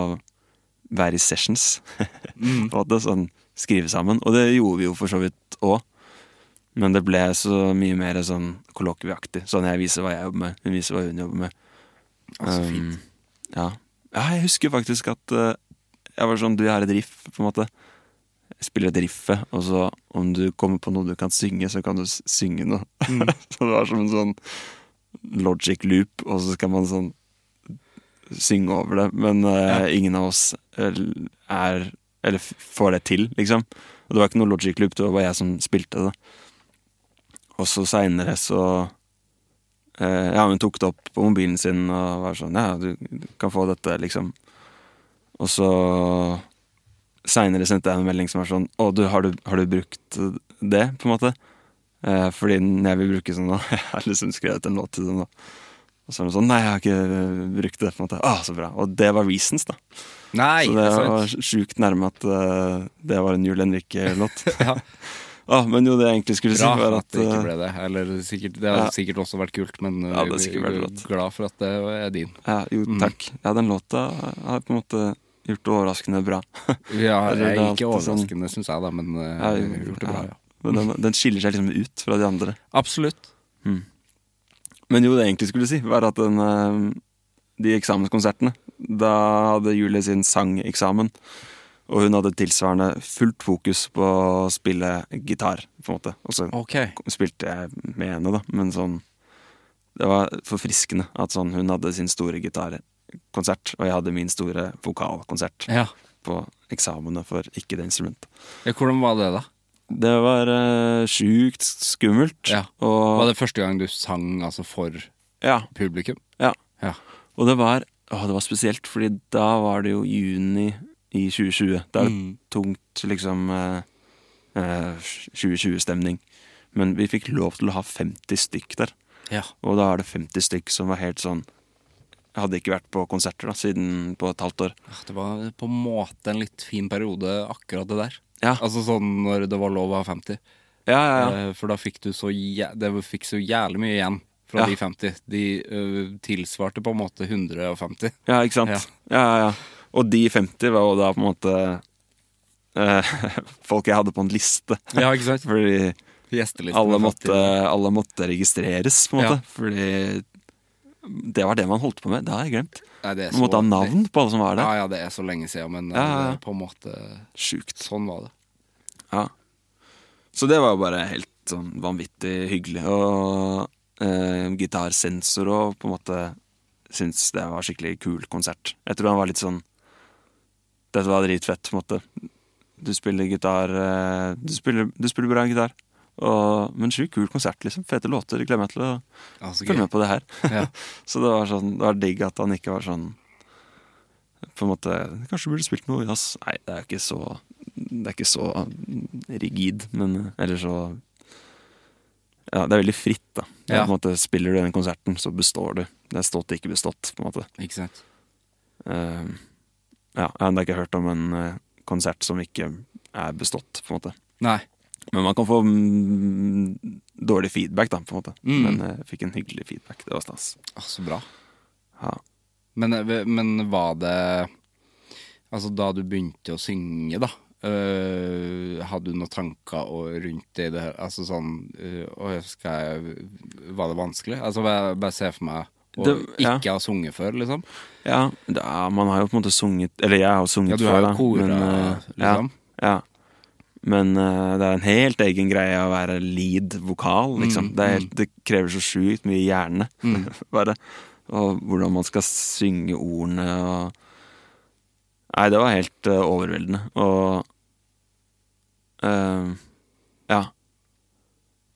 Speaker 3: være i sessions. på en måte, sånn skrive sammen. Og det gjorde vi jo for så vidt òg. Men det ble så mye mer sånn kollokvieaktig. Sånn jeg viser hva jeg jobber med, hun viser hva hun jobber med. Um, ja. ja, jeg husker faktisk at eh, jeg var sånn Du, jeg har et riff, på en måte. Jeg spiller et riffet, og så om du kommer på noe du kan synge, så kan du s- synge noe. så det var som en sånn logic loop, og så skal man sånn synge over det. Men eh, ingen av oss eh, er Eller f- får det til, liksom. Og det var ikke noe logic loop, det var bare jeg som spilte det. Og så seinere så eh, Ja, hun tok det opp på mobilen sin og var sånn Ja, du, du kan få dette, liksom. Og så seinere sendte jeg en melding som var sånn Å, du, har du, har du brukt det, på en måte? Eh, fordi den jeg vil bruke sånn nå Jeg har liksom skrevet en låt til den nå. Og så er det sånn Nei, jeg har ikke eh, brukt det, på en måte. Å, så bra. Og det var reasons, da.
Speaker 2: Nei,
Speaker 3: så
Speaker 2: det
Speaker 3: det
Speaker 2: er sant.
Speaker 3: var sjukt nærme at eh, det var en Jul Henrik-låt. Å, men jo, det jeg egentlig skulle
Speaker 2: Bra
Speaker 3: si, var
Speaker 2: at
Speaker 3: at
Speaker 2: det ikke
Speaker 3: eh,
Speaker 2: ble det. Eller sikkert, det hadde
Speaker 3: ja.
Speaker 2: sikkert også vært kult, men
Speaker 3: Ja, det hadde
Speaker 2: vi
Speaker 3: sikkert vært rått.
Speaker 2: er glad for at det er din.
Speaker 3: Ja, jo, takk. Ja, den låta har på en måte gjort det overraskende bra.
Speaker 2: Ja,
Speaker 3: Eller
Speaker 2: det
Speaker 3: det
Speaker 2: er
Speaker 3: er
Speaker 2: ikke
Speaker 3: alltid sånn-
Speaker 2: overraskende, syns jeg, da, men eh,
Speaker 3: Ja,
Speaker 2: vi
Speaker 3: jo,
Speaker 2: har gjort det bra.
Speaker 3: ja. Mm.
Speaker 2: Ja.
Speaker 3: Men den, den skiller seg liksom ut fra de andre.
Speaker 2: Absolutt.
Speaker 3: Men jo, det jeg egentlig skulle si, var at den, eh, de eksamenskonsertene Da hadde Julie sin sangeksamen, og hun hadde tilsvarende fullt fokus på å spille gitar, på en måte. Og så
Speaker 2: Ok.
Speaker 3: spilte jeg med henne, da, men sånn Det var forfriskende at sånn hun hadde sin store gitarkonsert, og jeg hadde min store vokalkonsert
Speaker 2: Ja.
Speaker 3: på eksamene for ikke det instrumentet.
Speaker 2: ja. Hvordan var det, da?
Speaker 3: Det var eh, sjukt skummelt.
Speaker 2: Ja.
Speaker 3: Og,
Speaker 2: Var det første gang du sang altså for
Speaker 3: ja,
Speaker 2: publikum?
Speaker 3: ja.
Speaker 2: Ja.
Speaker 3: og det var å, det var spesielt, fordi da var det jo juni i 2020. Da er det tungt liksom eh, eh, 2020-stemning. Men vi fikk lov til å ha 50 stykk der.
Speaker 2: ja.
Speaker 3: Og da er det 50 stykk som var helt sånn Jeg hadde ikke vært på konserter da, siden på et halvt år.
Speaker 2: Ah, Det var på en måte en litt fin periode, akkurat det der.
Speaker 3: Ja,
Speaker 2: Altså sånn når det var lov å ha 50.
Speaker 3: ja, ja. ja.
Speaker 2: Eh, For da fikk du så, jæ det fikk så jævlig mye igjen fra
Speaker 3: Ja.
Speaker 2: de 50. De ø, tilsvarte på en måte 150.
Speaker 3: Ja, ikke sant?
Speaker 2: Ja.
Speaker 3: Ja. Ja, ja, Og de 50 var jo da på en måte eh, folk jeg hadde på en liste.
Speaker 2: Ja, ikke sant?
Speaker 3: Fordi
Speaker 2: Gjestelisten
Speaker 3: alle
Speaker 2: var
Speaker 3: måtte,
Speaker 2: 50.
Speaker 3: alle måtte registreres, på en
Speaker 2: Ja.
Speaker 3: måte. Fordi det var det man holdt på med. Det har jeg glemt.
Speaker 2: Nei, det er
Speaker 3: Man
Speaker 2: så-
Speaker 3: måtte ha navn på alle som
Speaker 2: Ja,
Speaker 3: var der.
Speaker 2: ja, det er så lenge siden, men eh,
Speaker 3: Ja, ja, ja.
Speaker 2: det er på en måte
Speaker 3: Sjukt.
Speaker 2: Sånn var det.
Speaker 3: Ja. Så det var jo bare helt sånn vanvittig hyggelig. Og eh, gitarsensor og på en måte syntes det var skikkelig kul konsert. Jeg tror han var litt sånn Dette var dritfett, på en måte. Du spiller gitar eh, Du spiller, du spiller bra gitar. Og, men sjukt kul konsert, liksom. Fete låter. Gleder meg til å
Speaker 2: Altså,
Speaker 3: følge med på det her.
Speaker 2: Ja.
Speaker 3: så det var sånn Det var digg at han ikke var sånn På en måte Kanskje du burde spilt noe jazz. Nei, det er ikke så Det er ikke så rigid, men Eller så Ja, det er veldig fritt, da. Det er
Speaker 2: Ja.
Speaker 3: På en måte Spiller du den konserten, så består du. Det er stått, ikke bestått, på en måte.
Speaker 2: Ikke sant?
Speaker 3: Eh, ja, jeg har ennå ikke hørt om en eh, konsert som ikke er bestått, på en måte.
Speaker 2: Nei.
Speaker 3: Men man kan få mm, dårlig feedback, da, på en måte.
Speaker 2: Mm.
Speaker 3: Men jeg fikk en hyggelig feedback. Det var stas.
Speaker 2: Ah, så bra.
Speaker 3: Ja.
Speaker 2: Men, eh, men var det Altså, da du begynte å synge, da, øh, hadde du noen tanker og- rundt det? i det her? Altså sånn øh, «Åh, skal jeg, Var det vanskelig? Altså bare, bare se for meg å
Speaker 3: Det- ja.
Speaker 2: ikke ha sunget før, liksom.
Speaker 3: Ja, det er, man har jo på en måte sunget Eller jeg har jo sunget
Speaker 2: Ja, du
Speaker 3: før,
Speaker 2: har jo
Speaker 3: da,
Speaker 2: kora,
Speaker 3: eh,
Speaker 2: liksom.
Speaker 3: Ja, ja. Men eh, det er en helt egen greie å være lead-vokal,
Speaker 2: Mm,
Speaker 3: liksom. det, er helt, det krever så sjukt mye hjerne. Bare. Og hvordan man skal synge ordene og Nei, det var helt eh, overveldende. Og eh, Ja.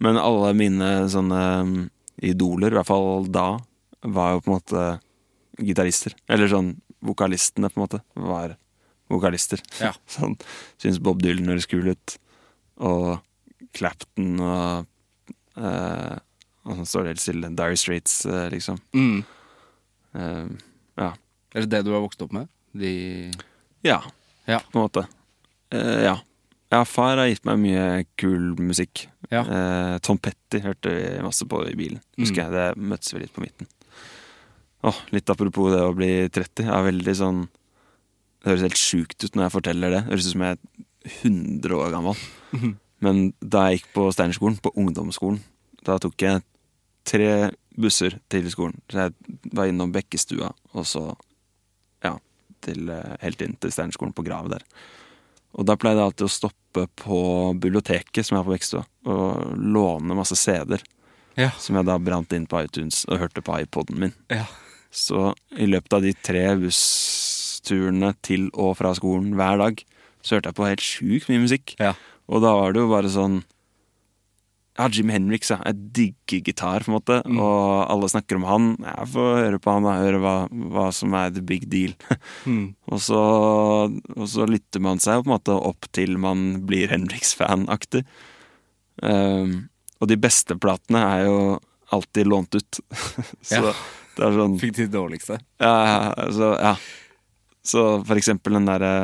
Speaker 3: Men alle mine sånne eh, idoler, i hvert fall da, var jo på en måte gitarister. Eller sånn vokalistene, på en måte, var vokalister.
Speaker 2: Ja.
Speaker 3: sånn, Syns Bob Dylan høres kul ut. Og Clapton og eh, Og så står det helt stille. Dire Straits, eh, liksom.
Speaker 2: Mm.
Speaker 3: Eh, ja.
Speaker 2: Er det det du har vokst opp med? De
Speaker 3: ja.
Speaker 2: Ja.
Speaker 3: På en måte. Eh, ja. ja. Far har gitt meg mye kul musikk.
Speaker 2: Ja.
Speaker 3: Eh, Tom Petty hørte vi masse på i bilen. Husker jeg, Det møttes vi litt på midten. Åh, litt apropos det å bli 30. Jeg er veldig sånn Det høres helt sjukt ut når jeg forteller det. Det høres ut som jeg er 100 år gammel. Men da jeg gikk på Steinerskolen, på ungdomsskolen, da tok jeg tre busser til skolen. Så jeg var innom Bekkestua, og så ja, til, eh, helt inn til Steinerskolen på Gravet der. Og da pleide jeg alltid å stoppe på biblioteket som er på Bekkestua, og låne masse CD-er.
Speaker 2: Ja.
Speaker 3: Som jeg da brant inn på iTunes og hørte på iPoden min.
Speaker 2: Ja.
Speaker 3: Så i løpet av de tre bussturene til og fra skolen hver dag, så hørte jeg på helt sjukt mye musikk.
Speaker 2: Ja.
Speaker 3: Og da var det jo bare sånn Ja, Jim Henriks, ja. Jeg digger gitar, på en måte. Og alle snakker om han. Jeg får høre på han, da. Høre hva, hva som er the big deal. og, så, og så lytter man seg jo på en måte opp til man blir Henriks-fan-aktig. Um, og de beste platene er jo alltid lånt ut. så
Speaker 2: Ja.
Speaker 3: det er sånn
Speaker 2: fikk de dårligste.
Speaker 3: ja, altså, ja. Så for eksempel den derre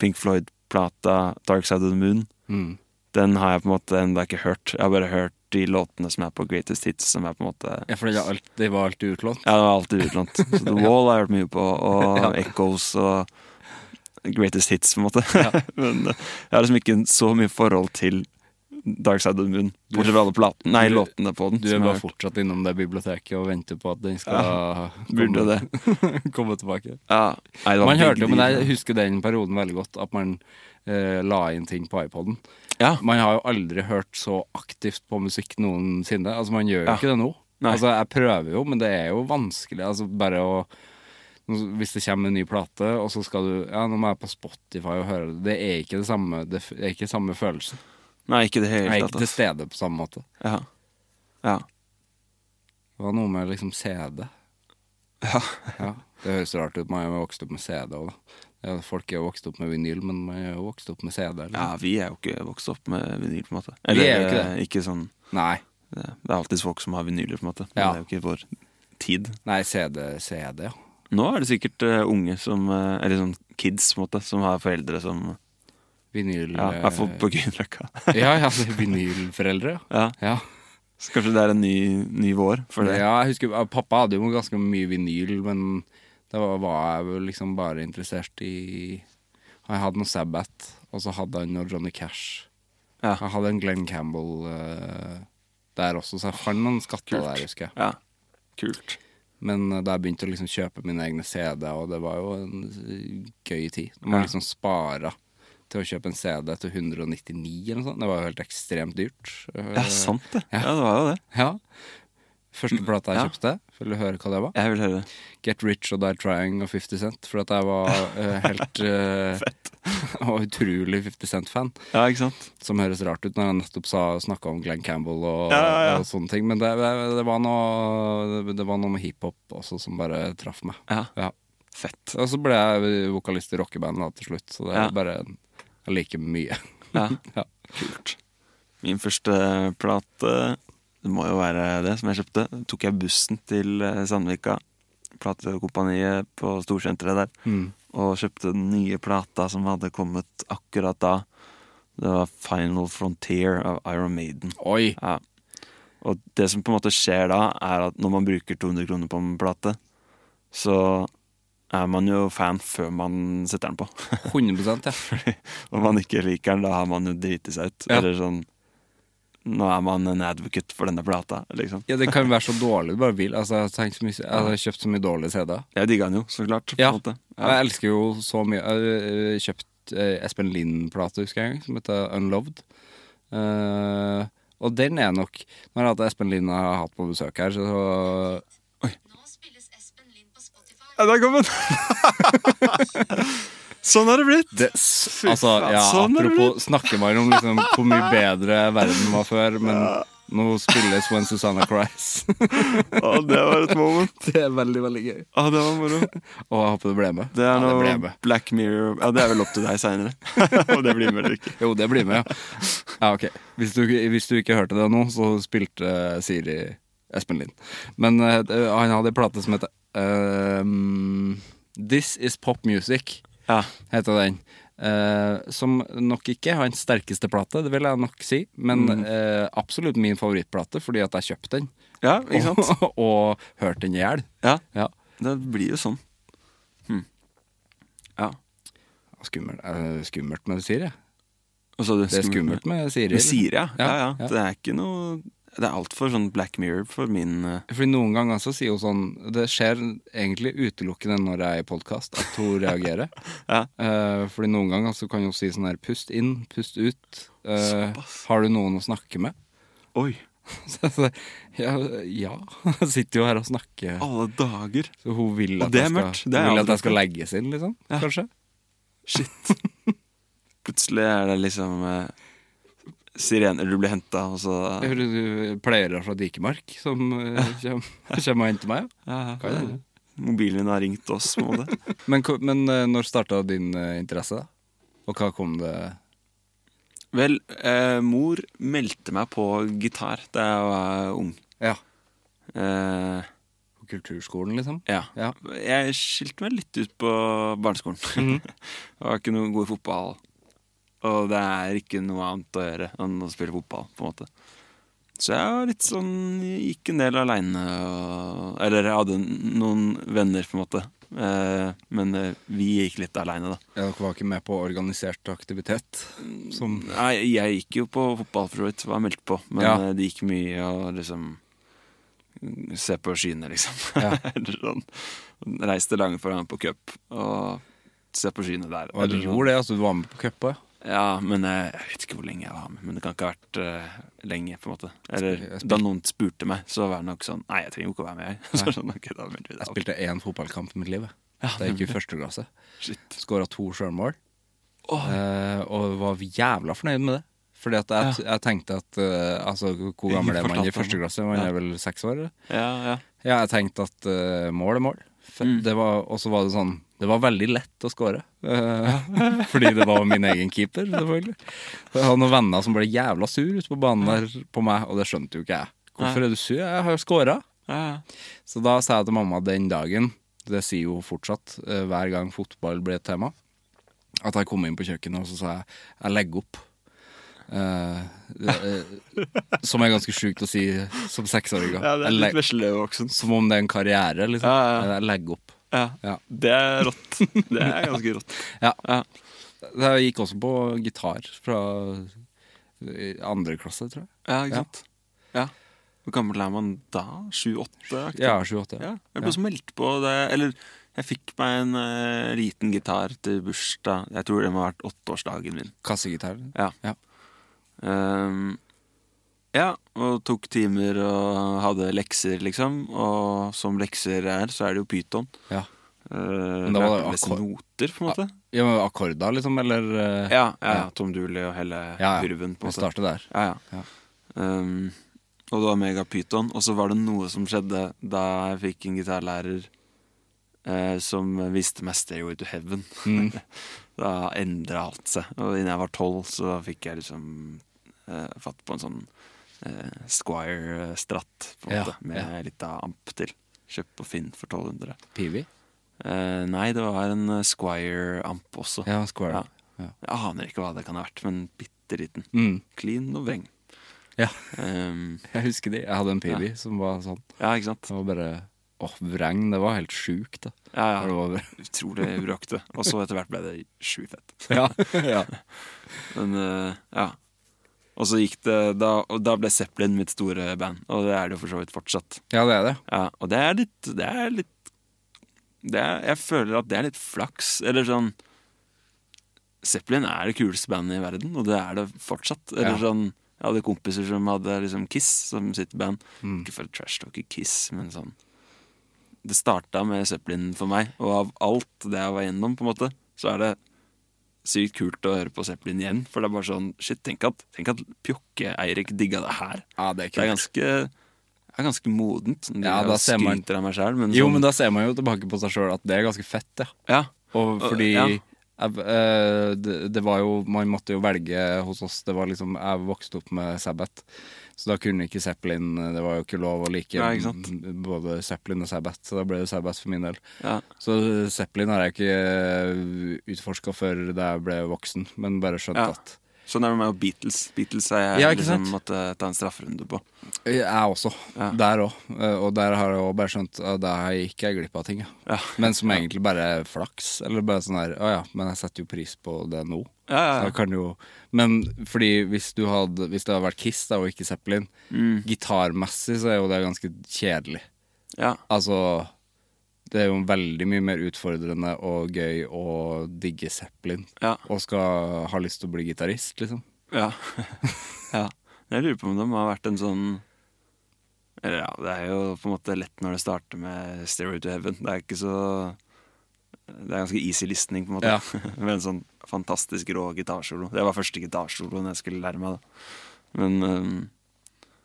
Speaker 3: Pink Floyd-plata Dark Side of the Moon,
Speaker 2: Mm.
Speaker 3: den har jeg på en måte enda ikke hørt. Jeg har bare hørt de låtene som er på Greatest Hits, som er på en måte
Speaker 2: Ja, for det, var alt- det var alltid utlånt.
Speaker 3: Ja, det var alltid utlånt. Så The Wall har jeg hørt mye på, og Echoes og Greatest Hits, på en måte. Men eh, jeg har liksom ikke så mye forhold til Dark Side of the Moon, bortsett fra alle platene, nei,
Speaker 2: du-
Speaker 3: låtene på den.
Speaker 2: Du er
Speaker 3: som jeg har
Speaker 2: bare
Speaker 3: hørt.
Speaker 2: fortsatt innom det biblioteket og venter på at den skal
Speaker 3: Burde det.
Speaker 2: komme, komme tilbake.
Speaker 3: Ja. Nei, det var
Speaker 2: Man
Speaker 3: big
Speaker 2: hørte jo, men
Speaker 3: deal.
Speaker 2: jeg husker den perioden veldig godt, at man eh, la inn ting på iPoden.
Speaker 3: Ja.
Speaker 2: Man har jo aldri hørt så aktivt på musikk noensinne. Altså, man gjør jo
Speaker 3: Ja.
Speaker 2: ikke det nå.
Speaker 3: Nei.
Speaker 2: Altså, jeg prøver jo, men det er jo vanskelig. Altså, bare å nå- Hvis det kommer en ny plate, og så skal du Ja, nå må jeg på Spotify og høre det. Det er ikke det samme, det f- er ikke samme følelsen.
Speaker 3: Nei, ikke i det
Speaker 2: Jeg
Speaker 3: hele
Speaker 2: er
Speaker 3: tatt.
Speaker 2: ikke til
Speaker 3: ass.
Speaker 2: stede på samme måte.
Speaker 3: Ja. ja.
Speaker 2: Det var noe med liksom CD. Ja. Det høres rart ut, man er jo vokst opp med CD òg, da. Ja, folk er jo vokst opp med vinyl, men man er jo vokst opp med CD. Eller?
Speaker 3: Ja, vi er jo ikke vokst opp med vinyl, på en måte.
Speaker 2: Vi er jo ikke
Speaker 3: eh,
Speaker 2: det.
Speaker 3: ikke sånn
Speaker 2: Nei.
Speaker 3: Det det er alltid folk som har vinyler, på en måte. Men
Speaker 2: Ja.
Speaker 3: det er jo ikke vår tid.
Speaker 2: Nei, CD, CD, ja.
Speaker 3: Nå er det sikkert eh, unge som eh, Eller sånn kids, på en måte, som har foreldre som
Speaker 2: Vinyl
Speaker 3: Ja,
Speaker 2: eh,
Speaker 3: er for, på Grünerløkka.
Speaker 2: ja, ja, det er vinylforeldre, ja.
Speaker 3: ja.
Speaker 2: ja.
Speaker 3: Så kanskje det er en ny, ny vår for det.
Speaker 2: Ja, jeg husker eh, Pappa hadde jo ganske mye vinyl, men da var- var jeg jo liksom bare interessert i Han hadde noe Sabbath, og så hadde han noe Johnny Cash.
Speaker 3: Ja.
Speaker 2: Han hadde en Glenn Campbell eh, der også, så jeg fant noen skatter der, husker jeg.
Speaker 3: Ja. Kult.
Speaker 2: Men eh, da jeg begynte å liksom kjøpe mine egne CD, og det var jo en eh, gøy tid Når man
Speaker 3: Ja.
Speaker 2: liksom spara til å kjøpe en CD til 199 eller noe sånt. Det var jo helt ekstremt dyrt. eh,
Speaker 3: Ja, sant det. Ja, det var jo det.
Speaker 2: Ja. Første plata jeg
Speaker 3: Ja.
Speaker 2: kjøpte, vil du høre hva det var?
Speaker 3: Jeg vil høre det.
Speaker 2: Get Rich og Die Trying og 50 Cent, for at jeg var eh, helt eh, Og utrolig 50 Cent-fan.
Speaker 3: Ja, ikke sant?
Speaker 2: Som høres rart ut når jeg nettopp snakka om Glenn Campbell og,
Speaker 3: Ja, ja, ja.
Speaker 2: og sånne ting. Men det, det, det, var noe, det var noe med hiphop også som bare traff meg.
Speaker 3: Ja.
Speaker 2: Ja.
Speaker 3: Fett.
Speaker 2: Og så ble jeg vokalist i rockeband da, til slutt, så det er
Speaker 3: Ja.
Speaker 2: bare Jeg liker mye.
Speaker 3: Ja.
Speaker 2: Ja.
Speaker 3: Kult. Min første plate, det må jo være det som jeg kjøpte, tok jeg bussen til eh, Sandvika, platekompaniet på Storsenteret der, og kjøpte den nye plata som hadde kommet akkurat da. Det var Final Frontier av Iron Maiden.
Speaker 2: Oi!
Speaker 3: Ja. Og det som på en måte skjer da, er at når man bruker 200 kroner på en plate, så er man jo fan før man setter den på.
Speaker 2: 100 ja.
Speaker 3: Fordi Om man ikke liker den, da har man jo driti seg ut.
Speaker 2: Ja.
Speaker 3: Eller sånn Nå er man en advocate for denne plata, liksom.
Speaker 2: ja. Det kan være så dårlig du bare vil. Altså, jeg, har tenkt så mye, jeg har kjøpt så mye dårlige CD-er.
Speaker 3: Jeg digga den jo, så klart. På
Speaker 2: Ja.
Speaker 3: en måte.
Speaker 2: Og Jeg elsker jo så mye Jeg har kjøpt eh, Espen Lind-plate, husker jeg, en gang, som heter Unloved. Eh, og den er nok Når jeg har hatt Espen Lind jeg har hatt på besøk her, så
Speaker 5: Nå spilles Espen Lind på Spotify.
Speaker 3: Ja, der kom den! sånn har det blitt. Fy
Speaker 2: Altså,
Speaker 3: faen,
Speaker 2: ja,
Speaker 3: sånn har det blitt.
Speaker 2: apropos snakker man om liksom, hvor mye bedre verden var før, men nå spilles When Susanna Cries.
Speaker 3: Å, det var et moment.
Speaker 2: det er veldig, veldig gøy.
Speaker 3: Å, det var moro.
Speaker 2: Og jeg håper det ble med.
Speaker 3: Det er
Speaker 2: ja,
Speaker 3: noe
Speaker 2: det ble med.
Speaker 3: Black Mirror Ja, det er vel opp til deg seinere. Om det blir med eller ikke.
Speaker 2: Jo, det blir med, ja. ja ok. hvis, du, hvis du ikke hørte det nå, så spilte eh, Siri Espen Lind. Men eh, det- han hadde en plate som heter ehm, This Is Pop Music,
Speaker 3: Ja.
Speaker 2: heter den. Eh, som nok ikke er hans sterkeste plate, det vil jeg nok si, men
Speaker 3: Mm.
Speaker 2: eh, absolutt min favorittplate, fordi at jeg kjøpte den.
Speaker 3: ja, ikke sant?
Speaker 2: Og, og hørte den i hjel.
Speaker 3: Ja,
Speaker 2: Ja.
Speaker 3: det blir jo sånn. Hm. Ja.
Speaker 2: Skummelt, eh, skummelt med Siri.
Speaker 3: Og så
Speaker 2: Det er skummelt med Siri.
Speaker 3: Med Siri, ja. Ja, ja.
Speaker 2: ja.
Speaker 3: Det er ikke noe Det er altfor sånn Black Mirror for min eh,
Speaker 2: Fordi noen ganger så sier hun sånn Det skjer egentlig utelukkende når jeg er i podkast at hun reagerer.
Speaker 3: Ja.
Speaker 2: Eh, fordi noen ganger så kan hun si sånn her Pust inn, pust ut. Eh,
Speaker 3: Såpass.
Speaker 2: har du noen å snakke med?
Speaker 3: Oi,
Speaker 2: Så jeg sier, ja, ja. Jeg sitter jo her og snakker.
Speaker 3: alle dager!
Speaker 2: Så hun vil
Speaker 3: Og
Speaker 2: at,
Speaker 3: det er
Speaker 2: jeg,
Speaker 3: mørkt.
Speaker 2: skal,
Speaker 3: Det er
Speaker 2: vil
Speaker 3: aldri
Speaker 2: at jeg skal
Speaker 3: fint.
Speaker 2: legges inn, liksom.
Speaker 3: Ja.
Speaker 2: Kanskje.
Speaker 3: Shit. Plutselig er det liksom eh, sirener du blir henta, og så
Speaker 2: Jeg hører du pleiere fra Dikemark som eh, kommer, kommer og henter meg.
Speaker 3: ja, ja.
Speaker 2: Kan hende.
Speaker 3: Mobilen din har ringt oss, på en måte.
Speaker 2: Men, ko- men eh, når starta din eh, interesse, da? Og hva kom det
Speaker 3: Vel, eh, mor meldte meg på gitar da jeg var ung.
Speaker 2: Ja,
Speaker 3: Eh,
Speaker 2: på kulturskolen, liksom?
Speaker 3: ja.
Speaker 2: Ja.
Speaker 3: Jeg skilte meg litt ut på barneskolen. jeg var ikke noe god i fotball. Og det er ikke noe annet å gjøre enn å spille fotball, på en måte. Så jeg var litt sånn gikk en del aleine. Eller jeg hadde noen venner, på en måte. Eh, Men eh, vi gikk litt aleine, da.
Speaker 2: Ja, Dere var ikke med på organisert aktivitet? Som
Speaker 3: Nei, jeg gikk jo på fotball, for så vidt. Var meldt på. Men
Speaker 2: Ja.
Speaker 3: eh, det gikk mye å liksom Se på skyene, liksom.
Speaker 2: Ja.
Speaker 3: eller sånn. Reiste lange for å være med på cup og se på skyene der.
Speaker 2: Hva er det du gjorde det? Altså, du var med på cupa?
Speaker 3: Ja, men eh, jeg vet ikke hvor lenge jeg var med. Men det kan ikke ha vært eh, lenge. på en måte Eller
Speaker 2: Jeg spil-
Speaker 3: da noen spurte meg, så var det nok sånn Nei, jeg trenger jo ikke å være med, jeg. Så sånn, ok, da melder vi
Speaker 2: Jeg
Speaker 3: deg
Speaker 2: spilte én fotballkamp i mitt liv. jeg. Da jeg gikk i første klasse.
Speaker 3: Shit.
Speaker 2: Skåra to sjølmål.
Speaker 3: Åh.
Speaker 2: Eh, og var jævla fornøyd med det. Fordi at jeg, jeg tenkte at eh, Altså, hvor gammel er man
Speaker 3: fortalte
Speaker 2: i første
Speaker 3: om-
Speaker 2: klasse? Man er vel seks år? eller?
Speaker 3: Ja, ja.
Speaker 2: Ja, jeg tenkte at eh, mål er mål. F-
Speaker 3: Mm.
Speaker 2: Det var, og så var det sånn Det var veldig lett å score. eh, fordi det var min egen keeper, selvfølgelig. Og Jeg hadde noen venner som ble jævla sur ute på banen der på meg, og det skjønte jo ikke jeg. Hvorfor er du sur? Jeg har scora.
Speaker 3: ja, ja.
Speaker 2: Så da sa jeg til mamma den dagen, det sier jo fortsatt eh, hver gang fotball blir et tema, at jeg kom inn på kjøkkenet og så sa jeg jeg legger opp. Eh, eh, som er ganske sjukt å si som seksåring. da.
Speaker 3: ja det
Speaker 2: Jeg
Speaker 3: er
Speaker 2: leg-
Speaker 3: litt veslevoksen.
Speaker 2: som om det er en karriere, liksom.
Speaker 3: Ja, ja, ja.
Speaker 2: Jeg legger opp.
Speaker 3: Ja.
Speaker 2: Ja.
Speaker 3: Det er rått. Det er ganske rått.
Speaker 2: Ja.
Speaker 3: Ja.
Speaker 2: Jeg gikk også på gitar fra eh, andre klasse, tror jeg.
Speaker 3: Ja, ikke
Speaker 2: Ja.
Speaker 3: sant? Ja. Hvor gammel er man da? Sju-åtte?
Speaker 2: Ja, 28.
Speaker 3: Ja. Jeg ble også meldt på det Eller jeg fikk meg en eh, liten gitar til bursdag. Jeg tror det må ha vært åtteårsdagen min.
Speaker 2: Kassegitar.
Speaker 3: Ja.
Speaker 2: Ja.
Speaker 3: Ehm, ja, og tok timer og hadde lekser, liksom. Og som lekser er, så er det jo pyton.
Speaker 2: Ja.
Speaker 3: Uh,
Speaker 2: Men da var det
Speaker 3: liksom
Speaker 2: akkord-
Speaker 3: noter, på en måte.
Speaker 2: ja, men akkorder, liksom, eller eh,
Speaker 3: Ja, ja, ja. Tom Dooley og hele kurven,
Speaker 2: Vi
Speaker 3: på en måte.
Speaker 2: starter der.
Speaker 3: Ja, ja.
Speaker 2: Ja.
Speaker 3: Ehm, og det var megapyton. Og så var det noe som skjedde da jeg fikk en gitarlærer eh, som viste meg Stairway to Heaven.
Speaker 2: Mm.
Speaker 3: da endra alt seg. Og innen jeg var tolv, så da fikk jeg liksom eh, fatt på en sånn eh, Squire Stratt, på en
Speaker 2: Ja,
Speaker 3: måte, med litt av amp til. Kjøpt på Finn for 1200.
Speaker 2: Pivi.
Speaker 3: Eh, nei, det var en eh, Squire-amp også.
Speaker 2: Ja, Square. Ja.
Speaker 3: Jeg aner ikke hva det kan ha vært, men bitte liten.
Speaker 2: Mm.
Speaker 3: Clean og vreng.
Speaker 2: Ja.
Speaker 3: Ehm,
Speaker 2: Jeg husker de. Jeg hadde en Pivi som var sånn.
Speaker 3: ja, ikke sant?
Speaker 2: Det var bare Åh, vreng, det var helt sjukt, da.
Speaker 3: Ja,
Speaker 2: Det
Speaker 3: ja.
Speaker 2: var,
Speaker 3: Utrolig urakte. Og så etter hvert ble det sjukt fett.
Speaker 2: ja, ja.
Speaker 3: Men eh, ja. Og så gikk det da, og da ble Zeppelin mitt store band, og det er det jo for så vidt fortsatt.
Speaker 2: ja, det er det.
Speaker 3: Ja, og det er litt Det er litt det er, Jeg føler at det er litt flaks, eller sånn Zeppelin er det kuleste bandet i verden, og det er det fortsatt. Eller
Speaker 2: Ja.
Speaker 3: sånn Jeg hadde kompiser som hadde liksom Kiss som sitt band. Ikke for å trash talk i Kiss, men sånn Det starta med Zeppelin for meg, og av alt det jeg var igjennom, på en måte, så er det sykt kult å høre på Zeppelin igjen. For det er bare sånn Shit, tenk at, tenk at Pjokke-Eirik digga det her.
Speaker 2: Ja, det er
Speaker 3: Det er
Speaker 2: kult.
Speaker 3: ganske, det er ganske modent. sånn, Jeg
Speaker 2: Ja, da ser man-
Speaker 3: skryter av meg selv men,
Speaker 2: Jo,
Speaker 3: sånn-
Speaker 2: men da ser man jo tilbake på seg sjøl at det er ganske fett, ja.
Speaker 3: ja.
Speaker 2: Og
Speaker 3: Øh,
Speaker 2: fordi
Speaker 3: ja.
Speaker 2: jeg, eh, det, det var jo Man måtte jo velge hos oss. Det var liksom, Jeg vokste opp med Sabbath, så da kunne ikke Zeppelin eh, Det var jo ikke lov å like
Speaker 3: Nei, ikke sant?
Speaker 2: m- både Zeppelin og Sabbath, så da ble det Sabbath for min del.
Speaker 3: Ja.
Speaker 2: Så eh, Zeppelin har jeg ikke utforska før da jeg ble voksen, men bare skjønt
Speaker 3: Ja.
Speaker 2: at
Speaker 3: Sånn er det med Beatles. Beatles er jeg
Speaker 2: Ja, ikke
Speaker 3: liksom
Speaker 2: sant?
Speaker 3: måtte ta en strafferunde på.
Speaker 2: Jeg også.
Speaker 3: Ja.
Speaker 2: Der òg. Og der har jeg òg bare skjønt at der gikk jeg glipp av ting. Ja.
Speaker 3: Ja.
Speaker 2: Men som egentlig bare er flaks. Eller bare sånn her Å ja, men jeg setter jo pris på det nå.
Speaker 3: Ja, ja, ja.
Speaker 2: Så jeg kan jo Men fordi hvis du hadde Hvis det hadde vært Kiss da, og ikke Zeppelin,
Speaker 3: Mm.
Speaker 2: gitarmessig så er jo det ganske kjedelig.
Speaker 3: Ja.
Speaker 2: Altså Det er jo veldig mye mer utfordrende og gøy å digge Zeppelin
Speaker 3: Ja.
Speaker 2: og skal ha lyst til å bli gitarist, liksom.
Speaker 3: Ja. ja. Jeg lurer på om de har vært en sånn Eller ja, det er jo på en måte lett når det starter med Stairway to Heaven. Det er ikke så Det er ganske easy listening, på en måte. med en sånn fantastisk rå gitarsolo. Det var første gitarsoloen jeg skulle lære meg, da. Men øhm,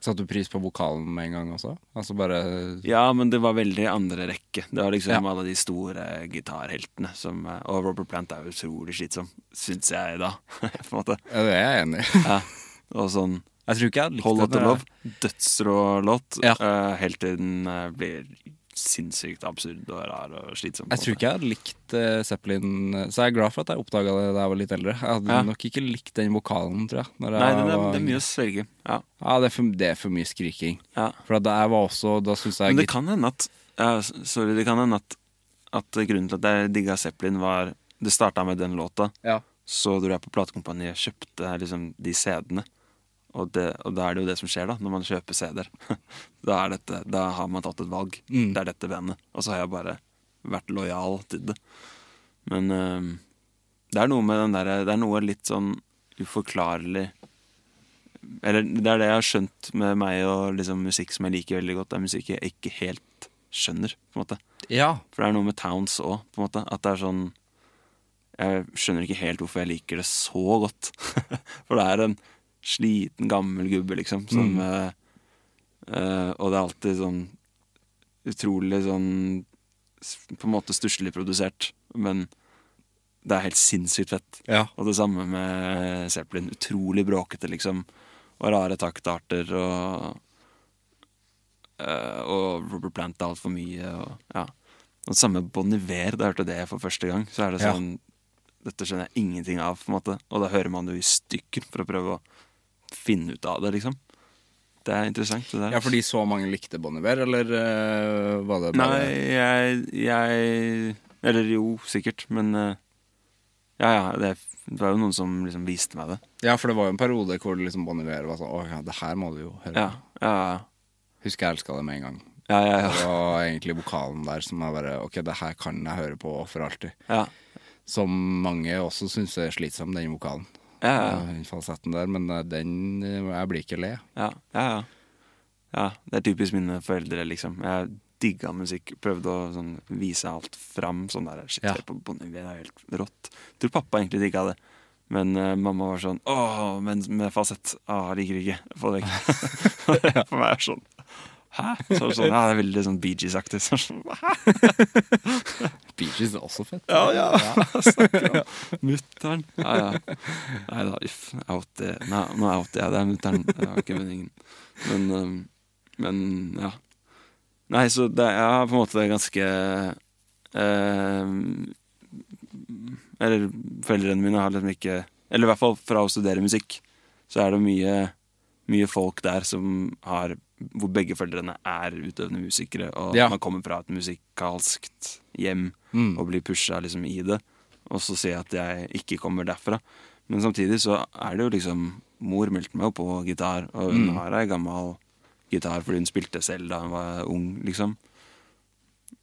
Speaker 2: Satte du pris på vokalen med en gang også? Altså bare
Speaker 3: Ja, men det var veldig andre rekke. Det var liksom
Speaker 2: Ja.
Speaker 3: alle de store gitarheltene som eh, Og Robert Plant er jo utrolig slitsom, syns jeg da, på en måte.
Speaker 2: Ja, det er jeg enig i.
Speaker 3: Ja. Og sånn
Speaker 2: Jeg tror ikke jeg hadde likt
Speaker 3: Hold
Speaker 2: det
Speaker 3: Out of
Speaker 2: når
Speaker 3: Love, dødsrå låt,
Speaker 2: Ja.
Speaker 3: eh, helt til den eh, blir sinnssykt absurd og rar og slitsom. på en
Speaker 2: Jeg, jeg tror
Speaker 3: måte.
Speaker 2: ikke jeg hadde likt eh, Zeppelin Så jeg er glad for at jeg oppdaga det da jeg var litt eldre. Jeg hadde
Speaker 3: Ja.
Speaker 2: nok ikke likt den vokalen, tror jeg. Når jeg
Speaker 3: Nei, det,
Speaker 2: var
Speaker 3: det, det er
Speaker 2: yngre.
Speaker 3: mye å svelge. Ja.
Speaker 2: Ja, det er for, det er for mye skriking.
Speaker 3: ja.
Speaker 2: For at jeg var også Da syns jeg
Speaker 3: Men det kan hende at ja, s- Sorry, det kan hende at, at grunnen til at jeg digga Zeppelin, var Det starta med den låta.
Speaker 2: ja.
Speaker 3: så dro jeg på platekompaniet og kjøpte liksom de CD-ene. Og, det, og da er det jo det som skjer, da, når man kjøper CD-er. da, er dette, da har man tatt et valg. Det er dette bandet. Og så har jeg bare vært lojal til det. Men øhm, det er noe med den derre Det er noe litt sånn uforklarlig Eller det er det jeg har skjønt med meg og liksom musikk som jeg liker veldig godt. Det er musikk jeg ikke helt skjønner, på en måte.
Speaker 2: ja.
Speaker 3: For det er noe med Towns òg, på en måte. At det er sånn Jeg skjønner ikke helt hvorfor jeg liker det så godt. For det er en sliten, gammel gubbe, liksom, som
Speaker 2: Mm.
Speaker 3: eh, eh, Og det er alltid sånn utrolig sånn s- På en måte stusslig produsert, men det er helt sinnssykt fett.
Speaker 2: Ja.
Speaker 3: Og det samme med Zeppelin. Utrolig bråkete, liksom. Og rare taktarter og eh, Og Robert Plant er altfor mye. Og, ja. og samme Bon Iver, da jeg hørte det for første gang, så er det
Speaker 2: Ja.
Speaker 3: sånn Dette skjønner jeg ingenting av, på en måte. Og da hører man det jo i stykker for å prøve å finne ut av det, liksom. Det er interessant, det der.
Speaker 2: ja, fordi så mange likte Bon Iver, eller eh, var det bare
Speaker 3: Nei, jeg, jeg Eller jo, sikkert, men eh, Ja, ja, det, det var jo noen som liksom viste meg det.
Speaker 2: Ja, for det var jo en periode hvor liksom Bon Iver var sånn Å ja, det her må du jo høre.
Speaker 3: Ja, ja,
Speaker 2: Husker jeg elska det med en gang.
Speaker 3: ja, ja, ja,
Speaker 2: Det var egentlig vokalen der som jeg bare Ok, det her kan jeg høre på for alltid.
Speaker 3: ja,
Speaker 2: Som mange også syns er slitsom, den vokalen.
Speaker 3: ja, ja,
Speaker 2: Ja, den falsetten der, men eh, den eh, Jeg blir ikke le.
Speaker 3: ja, ja, ja. ja det er typisk mine foreldre, liksom. Jeg digga musikk. Prøvde å sånn, vise alt fram. Sånn der, shit,
Speaker 2: Ja.
Speaker 3: hør på Bon Iver, det er helt rått. Jeg tror pappa egentlig digga det. Men eh, mamma var sånn Å, men med fasett. Å, jeg liker det ikke. Få det vekk. Og det For meg er sånn Hæ? Så er det sånn, ja, det er veldig sånn Bee Gees-aktig. Så er det sånn, Hæ?
Speaker 2: Bee Gees er også fett.
Speaker 3: Ja, ja. Snakker om mutter'n. Ja, ja. Nei da, uff. Outer. Nei, nå outer jeg deg, mutter'n. Det var ikke meningen. Men, øhm, men ja. Nei, så det er på en måte ganske øhm, Eh, Eller foreldrene mine har liksom ikke Eller i hvert fall fra å studere musikk, så er det mye, mye folk der som har hvor begge foreldrene er utøvende musikere, og
Speaker 2: Ja.
Speaker 3: man kommer fra et musikalskt hjem
Speaker 2: Mm.
Speaker 3: og blir pusha liksom i det. Og så ser jeg at jeg ikke kommer derfra. Men samtidig så er det jo liksom Mor meldte meg jo på gitar, og
Speaker 2: Mm.
Speaker 3: hun har ei gammel gitar fordi hun spilte selv da hun var ung, liksom.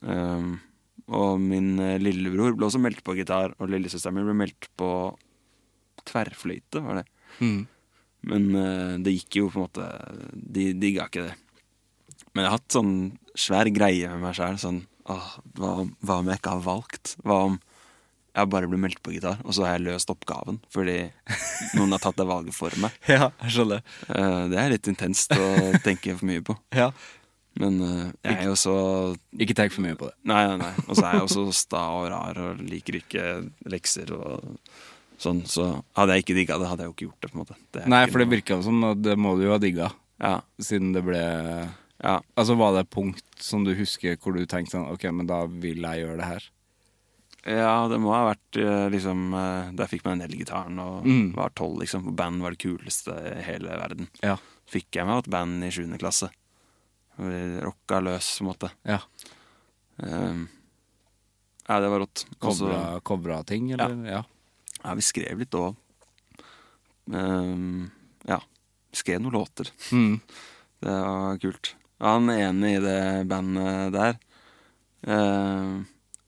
Speaker 3: Ehm, og min eh, lillebror ble også meldt på gitar, og lillesøsteren min ble meldt på tverrfløyte, var det.
Speaker 2: Mm.
Speaker 3: Men eh, det gikk jo på en måte De digga ikke det. Men jeg har hatt sånn svær greie med meg sjæl. Sånn, åh, hva, om- hva om jeg ikke har valgt? Hva om jeg bare blir meldt på gitar, og så har jeg løst oppgaven fordi noen har tatt det valget for meg?
Speaker 2: Ja, jeg skjønner.
Speaker 3: Eh, det er litt intenst å tenke for mye på.
Speaker 2: Ja.
Speaker 3: Men eh, jeg er jo så
Speaker 2: Ikke tenk for mye på det.
Speaker 3: Nei, nei, nei. Og så er jeg også sta og rar og liker ikke lekser og sånn. Så hadde jeg ikke digga det, hadde jeg jo ikke gjort det. på en måte er
Speaker 2: Nei,
Speaker 3: ikke
Speaker 2: for det
Speaker 3: noe-
Speaker 2: virka som at det må du jo ha digga,
Speaker 3: Ja,
Speaker 2: siden det ble
Speaker 3: ja.
Speaker 2: Altså, var det et punkt som du husker hvor du tenkte sånn Ok, men da vil jeg gjøre det her.
Speaker 3: Ja, det må ha vært eh, liksom eh, Da jeg fikk meg den elgitaren og
Speaker 2: Mm.
Speaker 3: var tolv, liksom. og Band var det kuleste i hele verden.
Speaker 2: Ja.
Speaker 3: Fikk jeg meg et band i sjuende klasse. Og vi Rocka løs, på en måte.
Speaker 2: Ja.
Speaker 3: Um, ja, det var rått. Og så-
Speaker 2: Kobra, kobra ting, eller? Ja.
Speaker 3: ja, vi skrev litt òg. Um, ja. Vi Skrev noen låter.
Speaker 2: Mm.
Speaker 3: Det var kult. Han ene i det bandet der eh,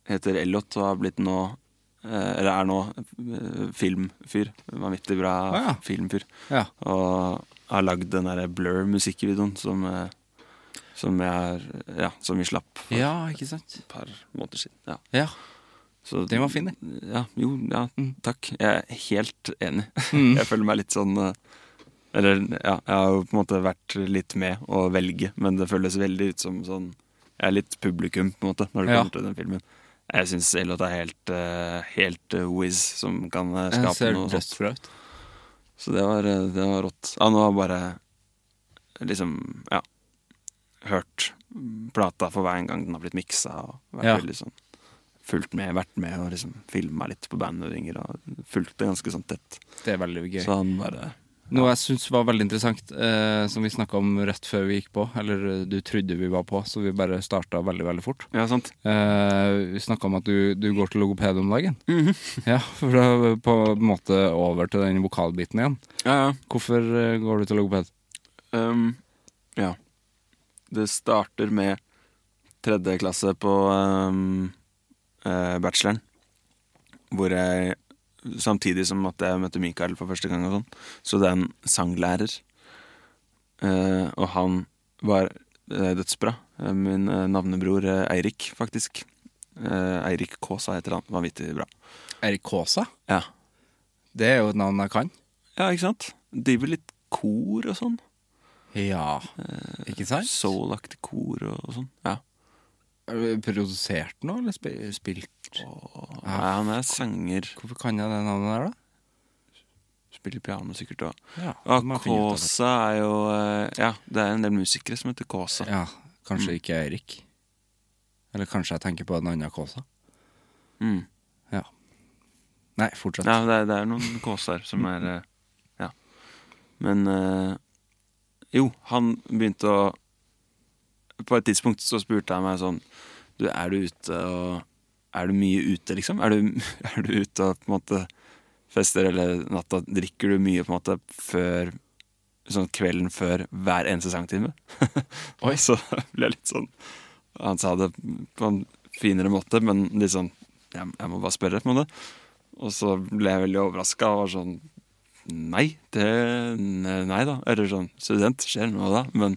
Speaker 3: heter Elliot og har blitt nå eh, Eller er nå eh, filmfyr. Vanvittig bra
Speaker 2: Ah, ja.
Speaker 3: filmfyr.
Speaker 2: ja.
Speaker 3: Og har lagd den derre Blur-musikkvideoen som, eh, som, jeg har- ja, som vi slapp for
Speaker 2: Ja, ikke sant?
Speaker 3: et par måneder siden. Ja.
Speaker 2: Ja.
Speaker 3: Så-
Speaker 2: Den var fin, den.
Speaker 3: Ja, jo, ja,
Speaker 2: Mm.
Speaker 3: takk. Jeg er helt enig. Jeg føler meg litt sånn eh, Eller, ja, jeg har jo på en måte vært litt med å velge, men det føles veldig ut som sånn Jeg er litt publikum, på en måte, når det
Speaker 2: Ja.
Speaker 3: kommer til den filmen. Jeg syns Elliot er helt, eh, helt eh, whiz, som kan eh,
Speaker 2: Den
Speaker 3: skape
Speaker 2: ser
Speaker 3: noe sånt.
Speaker 2: dødsbra ut.
Speaker 3: Så det var, eh, det var rått. Han var bare liksom Ja. Hørt plata for hver gang den har blitt miksa, og vært
Speaker 2: Ja.
Speaker 3: veldig sånn fulgt med, vært med og liksom filma litt på bandøvinger og fulgt det ganske sånn tett.
Speaker 2: Det er veldig gøy.
Speaker 3: Så han bare
Speaker 2: Noe jeg syns var veldig interessant, eh, som vi snakka om rett før vi gikk på. Eller eh, du trodde vi var på, så vi bare starta veldig, veldig fort.
Speaker 3: Ja, sant.
Speaker 2: Eh, vi snakka om at du, du går til logoped om dagen. Ja, for da er vi på en måte over til den vokalbiten igjen.
Speaker 3: Ja, ja.
Speaker 2: Hvorfor eh, går du til logoped?
Speaker 3: Ehm, ja. Det starter med tredje klasse på ehm, eh, bacheloren. Hvor jeg, samtidig som at jeg møtte Mikael for første gang og sånn, så det er en sanglærer. Eh, og han var eh, dødsbra. Eh, Min eh, navnebror eh, Eirik, faktisk. Eh, Eirik Kaasa heter han. Vanvittig bra.
Speaker 2: Erik Kaasa?
Speaker 3: Ja.
Speaker 2: Det er jo et navn jeg kan.
Speaker 3: ja, ikke sant? Driver litt kor og sånn.
Speaker 2: Ja, ikke sant?
Speaker 3: Soul-aktig kor og, og sånn. Ja.
Speaker 2: Er det Produsert nå, eller spi- spilt?
Speaker 3: Nei, han er sanger.
Speaker 2: Hvorfor kan jeg det navnet der, da?
Speaker 3: Spiller piano sikkert òg.
Speaker 2: Ja,
Speaker 3: Ja,
Speaker 2: det må jeg finne ut av.
Speaker 3: Kåsa er jo eh, Ja, det er en del musikere som heter Kåsa.
Speaker 2: Ja, kanskje
Speaker 3: Mm.
Speaker 2: ikke Eirik. Eller kanskje jeg tenker på en annen Kåsa.
Speaker 3: Mm.
Speaker 2: Ja. Nei, fortsett.
Speaker 3: Ja, det er, det er noen Kåsar som er eh, Ja. Men eh, Jo, han begynte å På et tidspunkt så spurte han meg sånn Du, er du ute og Er du mye ute, liksom? Er du, er du ute og på en måte fester eller natta? Drikker du mye på en måte før Sånn kvelden før hver eneste sangtime? Oi. Så ble jeg litt sånn Han sa det på en finere måte, men litt sånn Jeg, jeg må bare spørre, på en måte. Og så ble jeg veldig overraska og var sånn Nei, det Nei da. Eller sånn Student, skjer noe da? Men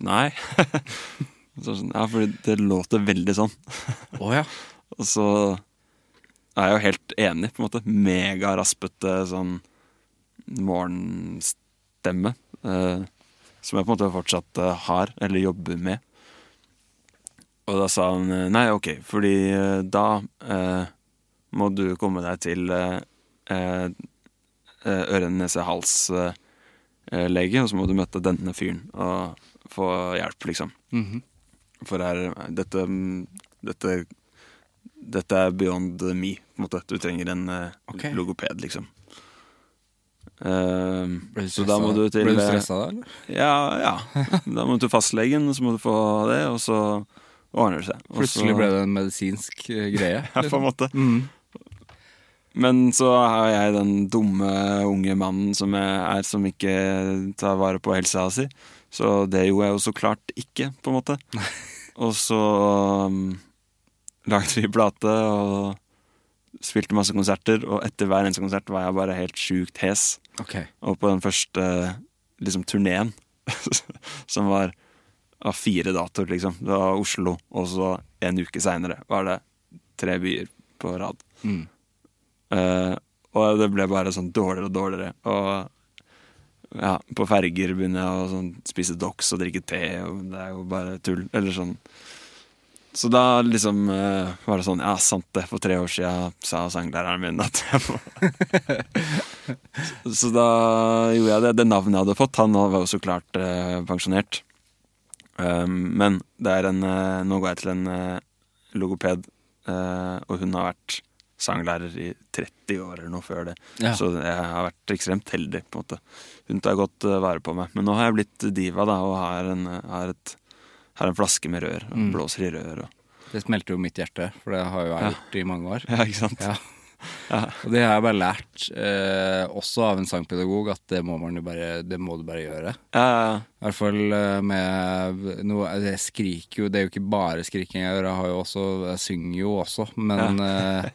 Speaker 3: nei. så sånn, ja, fordi det låter veldig sånn.
Speaker 2: Å ja.
Speaker 3: Og så er jeg jo helt enig, på en måte. Megaraspete sånn morgenstemme. Eh, som jeg på en måte fortsatt eh, har, eller jobber med. Og da sa han eh, nei, ok, fordi eh, da eh, må du komme deg til eh, eh, øre-nese-hals-lege, eh, og så må du møte denne fyren og få hjelp, liksom.
Speaker 2: Mhm.
Speaker 3: For her, dette, dette Dette er beyond me, på en måte. Du trenger en eh,
Speaker 2: Ok.
Speaker 3: logoped, liksom. Ehm,
Speaker 2: Ble du
Speaker 3: så da må
Speaker 2: stressa-
Speaker 3: du til eh,
Speaker 2: Ble du stressa da, eller?
Speaker 3: Ja, ja. Da må du til fastlegen, og så må du få det, og så ordner det seg. Og
Speaker 2: Plutselig
Speaker 3: så-
Speaker 2: ble det en medisinsk eh, greie.
Speaker 3: Ja, på en måte. Men så er jeg den dumme unge mannen som jeg er, som ikke tar vare på helsa si. Så det gjorde jeg jo så klart ikke, på en måte. Og så um, lagde vi plate og spilte masse konserter, og etter hver eneste konsert var jeg bare helt sjukt hes.
Speaker 2: Ok.
Speaker 3: Og på den første liksom, turneen, som var av fire datoer, liksom. Det var Oslo, og så en uke seinere var det tre byer på rad.
Speaker 2: Mm.
Speaker 3: Eh, og det ble bare sånn dårligere og dårligere. Og ja, på ferger begynner jeg å sånn, spise dox og drikke te, og det er jo bare tull. Eller sånn. Så da liksom eh, var det sånn Ja, sant det, for tre år siden sa sanglæreren min at jeg må så, så da gjorde jeg det. Det navnet jeg hadde fått, han var jo så klart eh, pensjonert. Um, men det er en eh, Nå går jeg til en eh, logoped, eh, og hun har vært sanglærer i 30 år eller noe før det.
Speaker 2: Ja.
Speaker 3: Så jeg har vært ekstremt heldig, på en måte. Hun tar godt eh, vare på meg. Men nå har jeg blitt diva, da, og har en, eh, har et, har en flaske med rør. Og
Speaker 2: Mm.
Speaker 3: Blåser i rør og
Speaker 2: Det smelter jo mitt hjerte, for det har jo jeg
Speaker 3: Ja.
Speaker 2: gjort i mange år.
Speaker 3: Ja, ikke sant?
Speaker 2: Ja. Og det har jeg bare lært, eh, også av en sangpedagog, at det må, man jo bare, det må du bare gjøre.
Speaker 3: Ja, ja, ja.
Speaker 2: I hvert fall eh, med noe, Jeg skriker jo, det er jo ikke bare skriking jeg gjør, jeg, har jo også, jeg synger jo også, men eh,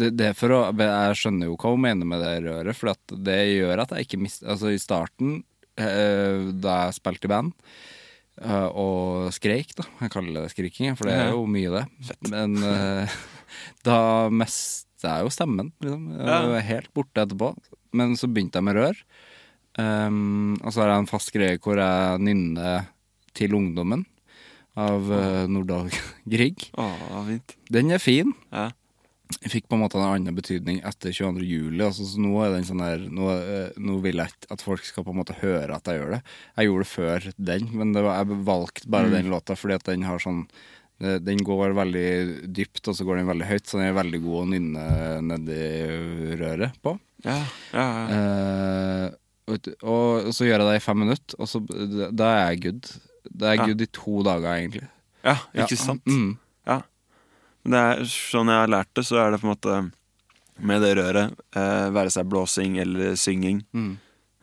Speaker 2: det, det er for å, Jeg skjønner jo hva hun mener med det røret, for at det gjør at jeg ikke mister Altså, i starten, eh, da jeg spilte i band, eh, og skreik, da Jeg kaller det skriking, for det er jo mye, det. Men eh, da mista jeg jo stemmen, liksom. Jeg var helt borte etterpå. Men så begynte jeg med rør. Ehm, og så har jeg en fast greie hvor jeg nynner til ungdommen av eh, Nordahl Grieg.
Speaker 3: Å, hva fint.
Speaker 2: Den er fin.
Speaker 3: Ja.
Speaker 2: Jeg fikk på en måte en annen betydning etter 22. juli. Altså, så nå er den sånn her nå, eh, nå vil jeg ikke at folk skal på en måte høre at jeg gjør det. Jeg gjorde det før den, men det var, jeg valgte bare den låta fordi at den har sånn eh, den går veldig dypt, og så går den veldig høyt, så den er veldig god å nynne nedi røret på.
Speaker 3: Ja, ja, ja.
Speaker 2: Eh, vet du, og så gjør jeg det i fem minutter, og så, da er jeg good. Da er jeg
Speaker 3: Ja.
Speaker 2: good i to dager, egentlig.
Speaker 3: ja ikke sant?
Speaker 2: Mm.
Speaker 3: Ja. Men Det er, sånn jeg har lært det, så er det på en måte med det røret, eh, være seg blåsing eller synging.
Speaker 2: Mm.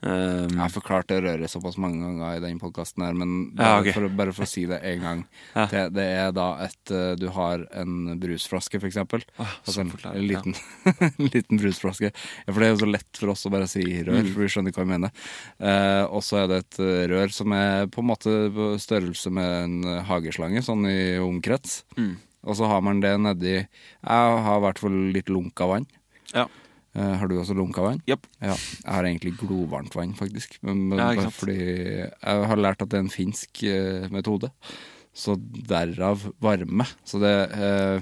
Speaker 3: Um,
Speaker 2: Jeg har forklart det røret såpass mange ganger i den podkasten her, men
Speaker 3: Ja,
Speaker 2: bare,
Speaker 3: ok.
Speaker 2: for, å- bare for å si det én gang.
Speaker 3: Ja.
Speaker 2: Det, det er da et eh, Du har en brusflaske, for eksempel. altså en,
Speaker 3: forklarer,
Speaker 2: en liten, en liten brusflaske. Ja, for det er jo så lett for oss å bare si rør,
Speaker 3: Mm.
Speaker 2: for vi skjønner hva vi mener. Eh, og så er det et eh, rør som er på en måte på størrelse med en eh, hageslange, sånn i omkrets.
Speaker 3: Mm.
Speaker 2: Og så har man det nedi Jeg har i hvert fall litt lunka vann.
Speaker 3: ja.
Speaker 2: Eh, har du også lunka vann?
Speaker 3: Japp.
Speaker 2: Ja, jeg har egentlig glovarmt vann, faktisk. Men, men
Speaker 3: Ja, ikke
Speaker 2: bare
Speaker 3: sant.
Speaker 2: fordi jeg har lært at det er en finsk eh, metode. Så derav varme. Så det, eh,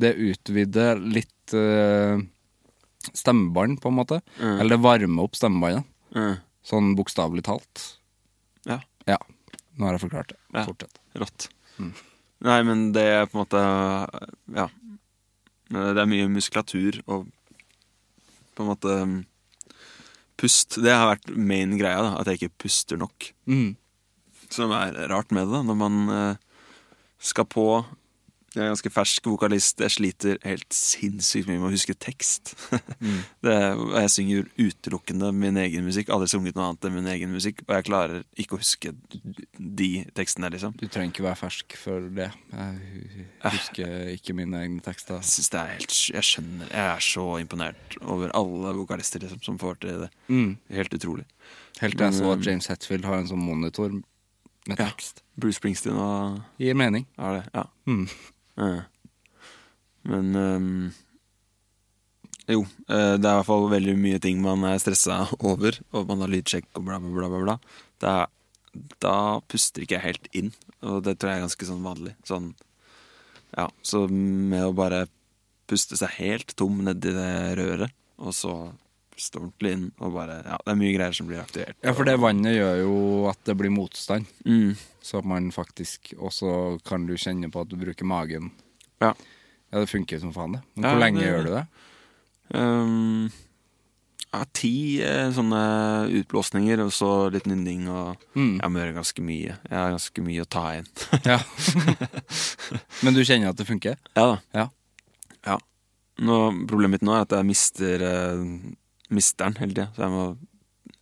Speaker 2: det utvider litt eh, stemmebånd, på en måte. Eller det varmer opp stemmebåndet.
Speaker 3: Mm.
Speaker 2: Sånn bokstavelig talt.
Speaker 3: Ja.
Speaker 2: Ja. Nå har jeg forklart det.
Speaker 3: Ja.
Speaker 2: Fortsett.
Speaker 3: Rått. Nei, men det er på en måte Ja. Eh, Det er mye muskulatur og på en måte um, Pust. Det har vært main greia, da, at jeg ikke puster nok.
Speaker 2: Mm.
Speaker 3: Som er rart med det, da, når man eh, skal på Jeg er ganske fersk vokalist, jeg sliter helt sinnssykt mye med å huske tekst. det, er- og jeg synger utelukkende min egen musikk, aldri sunget noe annet enn min egen musikk, og jeg klarer ikke å huske de tekstene, liksom.
Speaker 2: Du trenger ikke være fersk for det. Jeg husker ikke mine egne tekster.
Speaker 3: Jeg synes det er helt, jeg skjønner Jeg er så imponert over alle vokalister liksom, som får til det.
Speaker 2: Mm.
Speaker 3: Helt utrolig.
Speaker 2: Helt til jeg så at James Hetfield har en sånn monitor med
Speaker 3: eh, Ja.
Speaker 2: tekst.
Speaker 3: Bruce Springsteen og
Speaker 2: Gir mening.
Speaker 3: er det. Ja.
Speaker 2: Mm.
Speaker 3: Ja. Men ehm, Jo, eh, det er i hvert fall veldig mye ting man er stressa over, og man har lydsjekk og bla, bla, bla. bla, bla. Da, da puster ikke jeg helt inn, og det tror jeg er ganske sånn vanlig. Sånn, ja, så med å bare puste seg helt tom nedi det røret, og så puste ordentlig inn, og bare Ja, det er mye greier som blir aktivert.
Speaker 2: Ja, for det vannet gjør jo at det blir motstand,
Speaker 3: Mm.
Speaker 2: så at man faktisk Og så kan du kjenne på at du bruker magen.
Speaker 3: Ja.
Speaker 2: Ja, det funker som faen, det. Men
Speaker 3: Ja,
Speaker 2: hvor lenge
Speaker 3: det-
Speaker 2: gjør du det?
Speaker 3: Ehm, ja, ti eh, sånne utblåsninger, og så litt nynning. Og jeg må gjøre ganske mye. Jeg har ganske mye å ta igjen.
Speaker 2: Ja. Men du kjenner at det funker?
Speaker 3: Ja da.
Speaker 2: Ja.
Speaker 3: Ja. Nå, problemet mitt nå er at jeg mister eh, Mister den hele tida. Så jeg må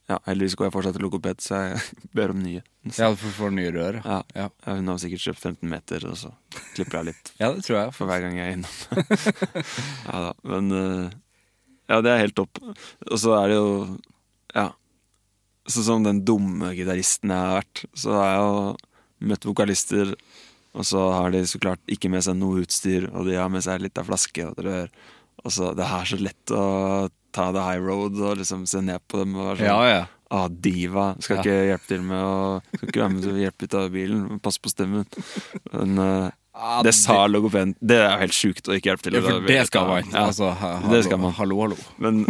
Speaker 3: ja, Heldigvis går jeg fortsatt til logoped, så jeg ber om nye.
Speaker 2: Ja, du får nye rør.
Speaker 3: Ja.
Speaker 2: Ja.
Speaker 3: Hun har sikkert kjøpt 15 meter, og så klipper jeg litt
Speaker 2: ja, det tror jeg.
Speaker 3: for hver gang jeg er innom. ja da, men eh, Ja, det er helt topp. Og så er det jo Ja. Sånn som den dumme gitaristen jeg har vært, så har jeg jo møtt vokalister, og så har de så klart ikke med seg noe utstyr, og de har med seg litt av flaske og et rør. Og så Det er så lett å ta the high road og liksom se ned på dem og være sånn
Speaker 2: Ja, ja.
Speaker 3: Ah, diva. Skal ikke hjelpe til med å Skal ikke være med til å hjelpe ut av bilen. men Pass på stemmen. Men eh, det sa logopeden. Det er jo helt sjukt å ikke hjelpe til.
Speaker 2: Ja, for
Speaker 3: Da-
Speaker 2: det skal man.
Speaker 3: Ja.
Speaker 2: Altså, ha-
Speaker 3: Det skal man.
Speaker 2: Hallo, hallo.
Speaker 3: Men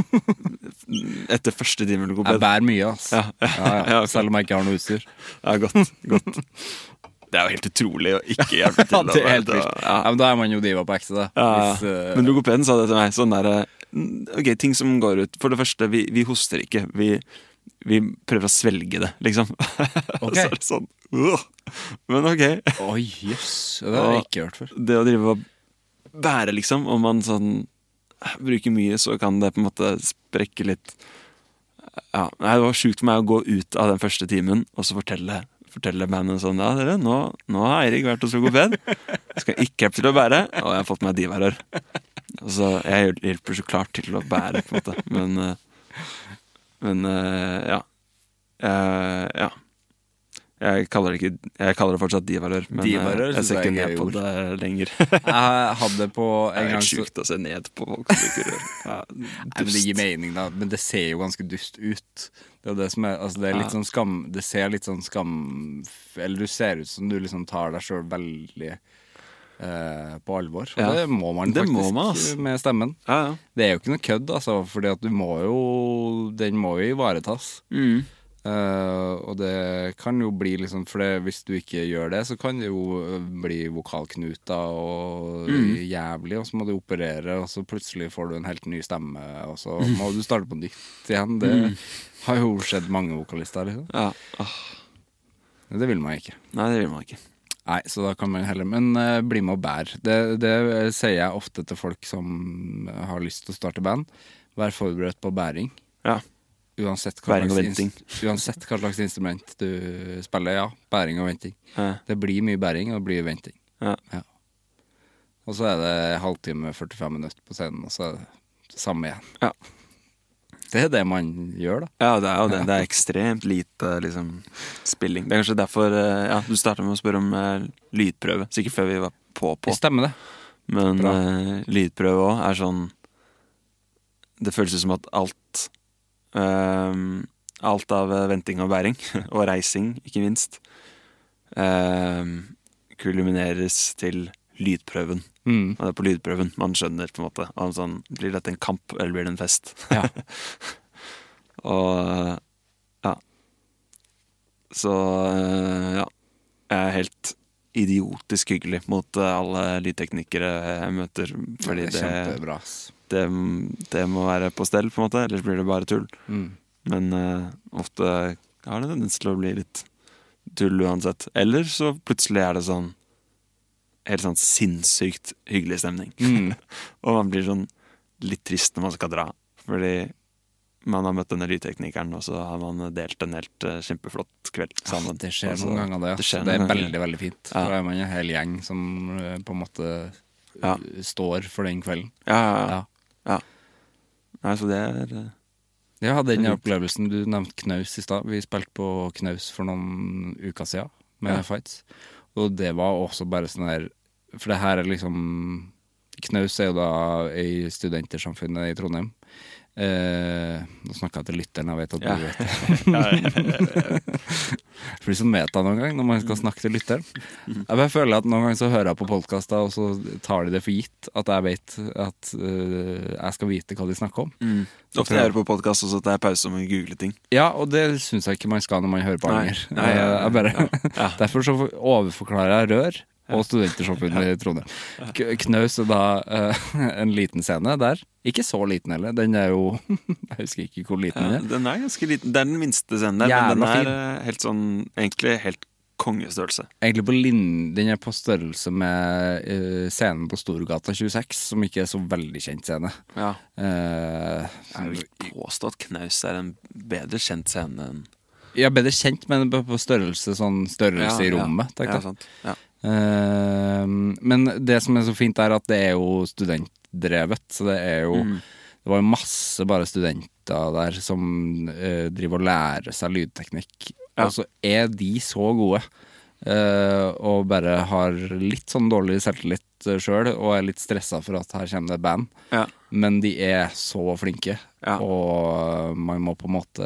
Speaker 3: etter første time med
Speaker 2: Jeg
Speaker 3: logoped
Speaker 2: bærer mye, ass.
Speaker 3: Ja.
Speaker 2: Ja, ja.
Speaker 3: Ja, ok.
Speaker 2: Selv om jeg ikke har noe utstyr.
Speaker 3: Ja, godt. godt. Det er jo helt utrolig å ikke hjelpe til.
Speaker 2: Ja, det er
Speaker 3: da.
Speaker 2: helt vilt.
Speaker 3: Ja.
Speaker 2: Ja, men da er man jo diva på ekte, da.
Speaker 3: Ja,
Speaker 2: Hvis, eh,
Speaker 3: Men logopeden sa det til meg. Sånn der, mm, ok, ting som går ut For det første, vi, vi hoster ikke. Vi, vi prøver å svelge det, liksom. Og
Speaker 2: Ok.
Speaker 3: Så er det sånn «Åh!» Men ok.
Speaker 2: Oi, jøss. Det har jeg ikke hørt før.
Speaker 3: Det å drive og bære, liksom, om man sånn bruker mye, så kan det på en måte sprekke litt. Ja, nei, Det var sjukt for meg å gå ut av den første timen og så fortelle Fortelle bandet sånn Ja, dere, nå, nå har Eirik vært hos logoped. Skal ikke hjelpe til å bære, og jeg har fått meg divarør. Og Så jeg hjel- hjelper så klart til å bære, på en måte. Men, eh, men eh, ja. Eh, ja. Jeg kaller det ikke Jeg kaller det fortsatt divarør, men eh,
Speaker 2: Divarør
Speaker 3: jeg
Speaker 2: synes
Speaker 3: ser
Speaker 2: jeg
Speaker 3: ikke
Speaker 2: er
Speaker 3: ned
Speaker 2: gøy
Speaker 3: på
Speaker 2: ord.
Speaker 3: det eh, lenger.
Speaker 2: Jeg hadde på en
Speaker 3: Det er
Speaker 2: gang
Speaker 3: helt
Speaker 2: så,
Speaker 3: sjukt å se ned på folk som bruker rør. Ja,
Speaker 2: Nei, men Det
Speaker 3: dust.
Speaker 2: gir mening, da. Men det ser jo ganske dust ut. Det er det som er Altså, det er litt sånn skam Det ser litt sånn skam Eller du ser ut som du liksom tar deg sjøl veldig eh, på alvor. Og
Speaker 3: Ja.
Speaker 2: det må man
Speaker 3: Det
Speaker 2: faktisk
Speaker 3: må man, ass.
Speaker 2: med stemmen.
Speaker 3: Ja, ja.
Speaker 2: Det er jo ikke noe kødd, altså, fordi at du må jo Den må jo ivaretas.
Speaker 3: Mm.
Speaker 2: Eh, og det kan jo bli liksom For det, hvis du ikke gjør det, så kan det jo eh, bli vokalknuter og
Speaker 3: Mm.
Speaker 2: jævlig, og så må du operere, og så plutselig får du en helt ny stemme, og så må du starte på nytt igjen. Det
Speaker 3: Mm.
Speaker 2: har jo skjedd mange vokalister, liksom.
Speaker 3: Ja. Åh,
Speaker 2: Men Det vil man ikke.
Speaker 3: Nei, det vil man ikke.
Speaker 2: Nei, så da kan man heller Men eh, bli med og bær. Det, det eh, sier jeg ofte til folk som har lyst til å starte band. Vær forberedt på bæring.
Speaker 3: Ja.
Speaker 2: Uansett hva,
Speaker 3: Bæring og
Speaker 2: slags,
Speaker 3: venting.
Speaker 2: ins- uansett hva slags instrument du spiller, ja. Bæring og venting.
Speaker 3: Ja.
Speaker 2: Det blir mye bæring, og det blir venting.
Speaker 3: Ja.
Speaker 2: Og så er det halvtime, 45 minutter på scenen, og så er det det samme igjen.
Speaker 3: Ja.
Speaker 2: Det er det man gjør, da.
Speaker 3: ja, det er jo det. Det er ekstremt lite liksom, spilling. Det er kanskje derfor eh, ja, du starta med å spørre om eh, lydprøve. Sikkert før vi var på på.
Speaker 2: Stemmer det.
Speaker 3: Men
Speaker 2: Bra.
Speaker 3: eh, lydprøve òg er sånn Det føles ut som at alt ehm, Alt av eh, venting og bæring, og reising, ikke minst, ehm, kulmineres til lydprøven.
Speaker 2: Mm.
Speaker 3: Og det er på lydprøven man skjønner på en måte om sånn, Blir dette en kamp, eller blir det en fest? og eh, ja. Så eh, ja. Jeg er helt idiotisk hyggelig mot eh, alle lydteknikere jeg møter. Fordi
Speaker 2: det er
Speaker 3: det, det,
Speaker 2: kjempebra. ass.
Speaker 3: det, må være på stell, på en måte, ellers blir det bare tull.
Speaker 2: Mm.
Speaker 3: Men eh, ofte har det tendens til å bli litt tull uansett. Eller så plutselig er det sånn helt sånn sinnssykt hyggelig stemning.
Speaker 2: Mm.
Speaker 3: og man blir sånn litt trist når man skal dra. Fordi man har møtt denne lydteknikeren, og så har man delt en helt eh, kjempeflott kveld sammen.
Speaker 2: Ah, Det skjer
Speaker 3: Altså,
Speaker 2: noen ganger, det. ass.
Speaker 3: det skjer
Speaker 2: det er
Speaker 3: noen ganger.
Speaker 2: veldig, veldig fint.
Speaker 3: Ja.
Speaker 2: For da er man en hel gjeng som eh, på en måte
Speaker 3: Ja.
Speaker 2: eh, står for den kvelden.
Speaker 3: Ja, ja, ja.
Speaker 2: Ja.
Speaker 3: Nei, så det er eh,
Speaker 2: Ja, den
Speaker 3: Fint.
Speaker 2: opplevelsen du nevnte Knaus i stad. Vi spilte på Knaus for noen uker siden med Fights. Og det var også bare sånn her For det her er liksom Knaus er jo da i studentersamfunnet i Trondheim. Eh, nå snakka jeg til lytteren, jeg vet at du vet det. Det blir så meta noen gang når man skal snakke til lytteren. Jeg bare føler at Noen ganger så hører jeg på podkaster, og så tar de det for gitt at jeg vet at eh, jeg skal vite hva de snakker om.
Speaker 3: Ofte jeg hører på podkast også at det er pause om å google ting.
Speaker 2: Ja, og det syns jeg ikke man skal når man hører på
Speaker 3: Nei.
Speaker 2: Anger.
Speaker 3: Nei, ja, ja,
Speaker 2: Jeg bare-
Speaker 3: ja, ja.
Speaker 2: Derfor så overforklarer jeg rør og Studentersamfunnet i Trondheim. K Knaus er da eh, en liten scene der. Ikke så liten heller. Den er jo Jeg husker ikke hvor liten den er.
Speaker 3: Ja, Eh, den er ganske liten. Det er den minste scenen der, men
Speaker 2: Jævla
Speaker 3: den
Speaker 2: fin.
Speaker 3: er eh, helt sånn, egentlig helt kongestørrelse.
Speaker 2: Egentlig på lin Den er på størrelse med eh, scenen på Storgata 26, som ikke er så veldig kjent scene.
Speaker 3: Ja.
Speaker 2: Eh,
Speaker 3: Jeg vil ikke påstå at Knaus er en bedre kjent scene enn
Speaker 2: ja, bedre kjent, men på på størrelse sånn størrelse i rommet.
Speaker 3: Ja,
Speaker 2: tenkte jeg.
Speaker 3: ja, sant. Ja.
Speaker 2: Eh, men det som er så fint, er at det er jo studentdrevet. Så det er jo Det var jo masse bare studenter der som eh, driver og lærer seg lydteknikk. Og så er de så gode, eh, og bare har litt sånn dårlig selvtillit eh, sjøl, og er litt stressa for at her kommer det et band.
Speaker 3: Ja.
Speaker 2: Men de er så flinke,
Speaker 3: Ja.
Speaker 2: og man må på en måte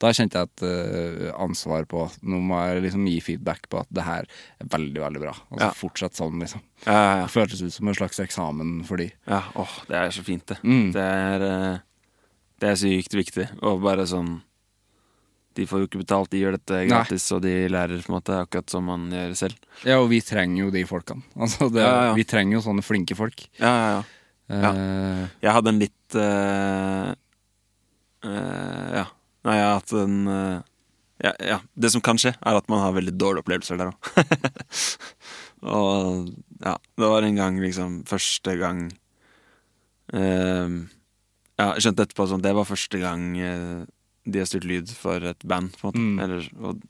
Speaker 2: Da kjente jeg et eh, ansvar på at Nå må jeg liksom gi feedback på at det her er veldig, veldig bra. Altså
Speaker 3: Ja.
Speaker 2: Fortsett sånn, liksom.
Speaker 3: Ja, ja,
Speaker 2: Det føltes ut som en slags eksamen for de.
Speaker 3: ja. ja. Åh, det er så fint, det.
Speaker 2: Mm.
Speaker 3: Det er eh, Det er sykt viktig. Og bare sånn De får jo ikke betalt, de gjør dette gratis, og de lærer på en måte akkurat som man gjør selv.
Speaker 2: Ja, og vi trenger jo de folkene. Altså, det,
Speaker 3: Ja, ja.
Speaker 2: Vi trenger jo sånne flinke folk.
Speaker 3: Ja, ja, ja. Ja.
Speaker 2: Eh,
Speaker 3: Jeg hadde en litt eh, eh, Ja. Nei, jeg har hatt en eh, ja, ja. Det som kan skje, er at man har veldig dårlige opplevelser der òg. og ja, det var en gang liksom Første gang eh, Ja, jeg skjønte etterpå sånn Det var første gang eh, de har styrt lyd for et band, på en måte.
Speaker 2: Mm.
Speaker 3: Eller, og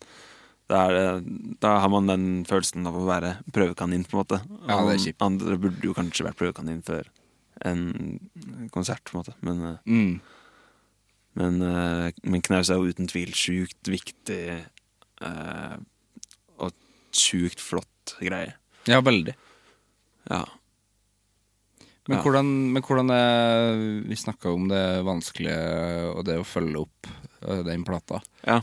Speaker 3: da, er det, da har man den følelsen av å være prøvekanin, på en måte.
Speaker 2: Ja, det er kjipt.
Speaker 3: Andre burde jo kanskje vært prøvekanin før en konsert, på en måte. Men, eh,
Speaker 2: mm.
Speaker 3: men, eh, men Knaus er jo uten tvil sjukt viktig eh, og sjukt flott greie.
Speaker 2: Ja, veldig.
Speaker 3: Ja.
Speaker 2: Men,
Speaker 3: Ja.
Speaker 2: hvordan, men hvordan er Vi snakka om det vanskelige og det å følge opp eh, den plata.
Speaker 3: Ja.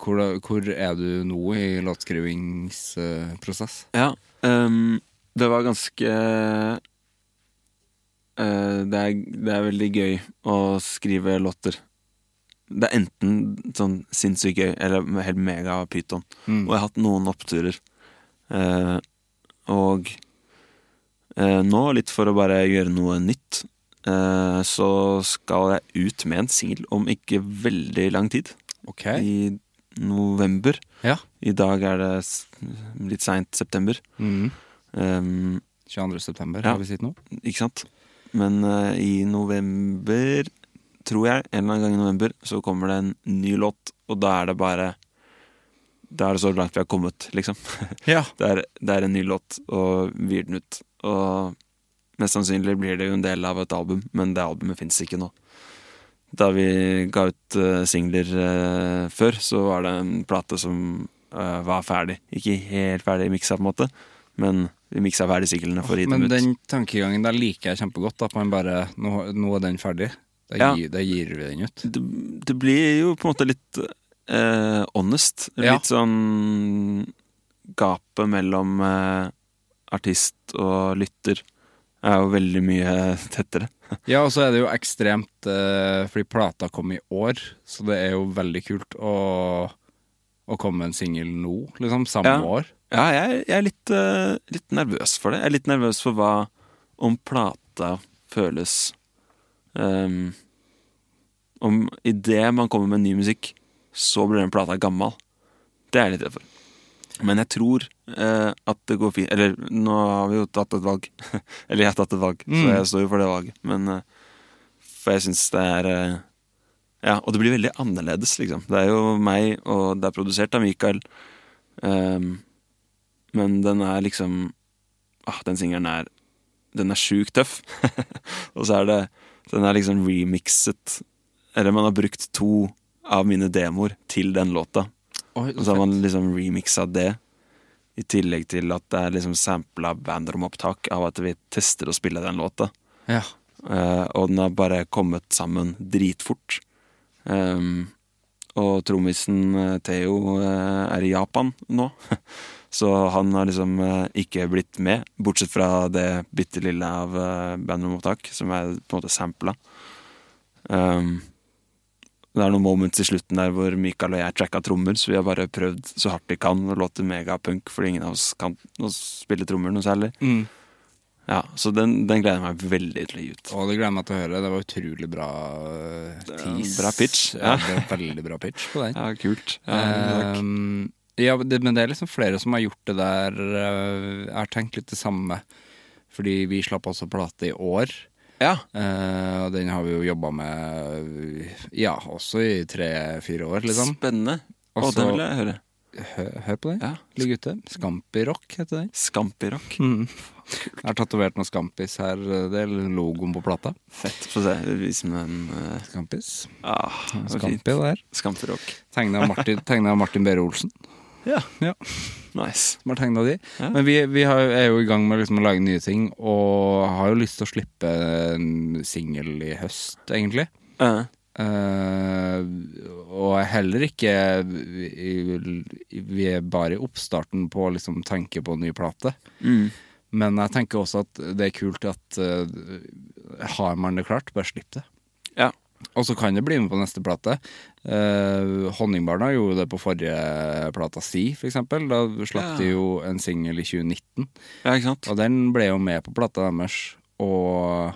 Speaker 2: Hvor, hvor er du nå i låtskrivingsprosess?
Speaker 3: ja. ehm, det var ganske eh, det, er, det er veldig gøy å skrive låter. Det er enten sånn sinnssykt gøy eller helt mega pyton. Og jeg har hatt noen oppturer. Eh, og eh, nå, litt for å bare gjøre noe nytt, eh, så skal jeg ut med en singel om ikke veldig lang tid.
Speaker 2: Ok.
Speaker 3: I november.
Speaker 2: Ja.
Speaker 3: I dag er det s- litt seint september.
Speaker 2: Mm.
Speaker 3: Um,
Speaker 2: 22. september,
Speaker 3: Ja.
Speaker 2: har vi sett nå?
Speaker 3: ikke sant? Men eh, i november, tror jeg, en eller annen gang i november, så kommer det en ny låt, og da er det bare Da er det så langt vi har kommet, liksom.
Speaker 2: Ja.
Speaker 3: det, er, det er en ny låt, og vi gir den ut. Og mest sannsynlig blir det jo en del av et album, men det albumet fins ikke nå. Da vi ga ut eh, singler eh, før, så var det en plate som eh, var ferdig. Ikke helt ferdig miksa, på en måte, men vi miksa ferdig singlene for å gi dem
Speaker 2: Men
Speaker 3: ut.
Speaker 2: den tankegangen der liker jeg kjempegodt. At man bare Nå, nå er den ferdig. Da,
Speaker 3: Ja.
Speaker 2: gir, da gir vi den ut.
Speaker 3: det, det blir jo på en måte litt eh, honest.
Speaker 2: Ja.
Speaker 3: Litt sånn Gapet mellom eh, artist og lytter er jo veldig mye tettere.
Speaker 2: Ja, og så er det jo ekstremt eh, Fordi plata kom i år, så det er jo veldig kult å, å komme med en singel nå, liksom. Samme
Speaker 3: Ja.
Speaker 2: år.
Speaker 3: Ja, jeg, jeg er litt, eh, litt nervøs for det. Jeg er litt nervøs for hva om plata føles ehm, Om idet man kommer med ny musikk, så blir den plata gammel. Det er jeg litt redd for. Men jeg tror eh, at det går fint Eller nå har vi jo tatt et valg. eller jeg har tatt et valg, så jeg står jo for det valget. Men eh, For jeg syns det er eh, Ja, og det blir veldig annerledes, liksom. Det er jo meg, og det er produsert av Mikael. Ehm, men den er liksom ah, Den singelen er Den er sjukt tøff. og så er det Den er liksom remixet Eller man har brukt to av mine demoer til den låta.
Speaker 2: Oi,
Speaker 3: Og så har man liksom remixa det. I tillegg til at det er liksom sampla bandromopptak av at vi tester å spille den låta.
Speaker 2: Ja.
Speaker 3: Eh, og den har bare kommet sammen dritfort. Ehm, og trommisen eh, Theo eh, er i Japan nå, så han har liksom eh, ikke blitt med. Bortsett fra det bitte lille av eh, bandromopptak, som er på en måte sampla. Ehm, Det er noen moments i slutten der hvor Mikael og jeg tracka trommer, så vi har bare prøvd så hardt vi kan å låte megapunk, fordi ingen av oss kan å spille trommer noe særlig. Ja, Så den, den gleder jeg meg veldig til å gi ut.
Speaker 2: Og det gleder jeg meg til å høre. Det var utrolig bra eh, tease.
Speaker 3: bra pitch,
Speaker 2: Ja.
Speaker 3: ja.
Speaker 2: det var veldig bra pitch på den.
Speaker 3: Ja, kult. Ja, takk.
Speaker 2: Ehm, ja, det, men det er liksom flere som har gjort det der. eh, Jeg har tenkt litt det samme, fordi vi slapp også plate i år.
Speaker 3: ja.
Speaker 2: eh, og den har vi jo jobba med eh, ja, også i tre-fire år, liksom.
Speaker 3: Spennende. Å,
Speaker 2: Også-
Speaker 3: det vil jeg høre.
Speaker 2: Hør, hør på den.
Speaker 3: Ja.
Speaker 2: Ligg ute. Scampi-rock heter den. Mm.
Speaker 3: Scampi-rock.
Speaker 2: Jeg har tatovert noen Scampis her. eh, Det er logoen på plata.
Speaker 3: Fett. Få se. Vis meg en eh,
Speaker 2: Scampis.
Speaker 3: ah, det var
Speaker 2: Scampi
Speaker 3: fint.
Speaker 2: der.
Speaker 3: Scampi-rock.
Speaker 2: Tegna av Martin, tegnet av Martin Behre Olsen.
Speaker 3: Ja.
Speaker 2: Ja.
Speaker 3: Nice.
Speaker 2: som har tegnet de.
Speaker 3: Ja.
Speaker 2: Men vi, vi har, er jo i gang med liksom å lage nye ting, og har jo lyst til å slippe en singel i høst, egentlig.
Speaker 3: Eh,
Speaker 2: Eh, og er heller ikke vi, vi er bare i oppstarten på å liksom tenke på en ny plate. Men jeg tenker også at det er kult at eh, har man det klart, bare slipp det.
Speaker 3: ja.
Speaker 2: Og så kan det bli med på neste plate. Eh, Honningbarna gjorde det på forrige plata si, for eksempel. Da slapp
Speaker 3: Ja.
Speaker 2: de jo en singel i 2019,
Speaker 3: ja, ikke sant?
Speaker 2: og den ble jo med på plata deres. Og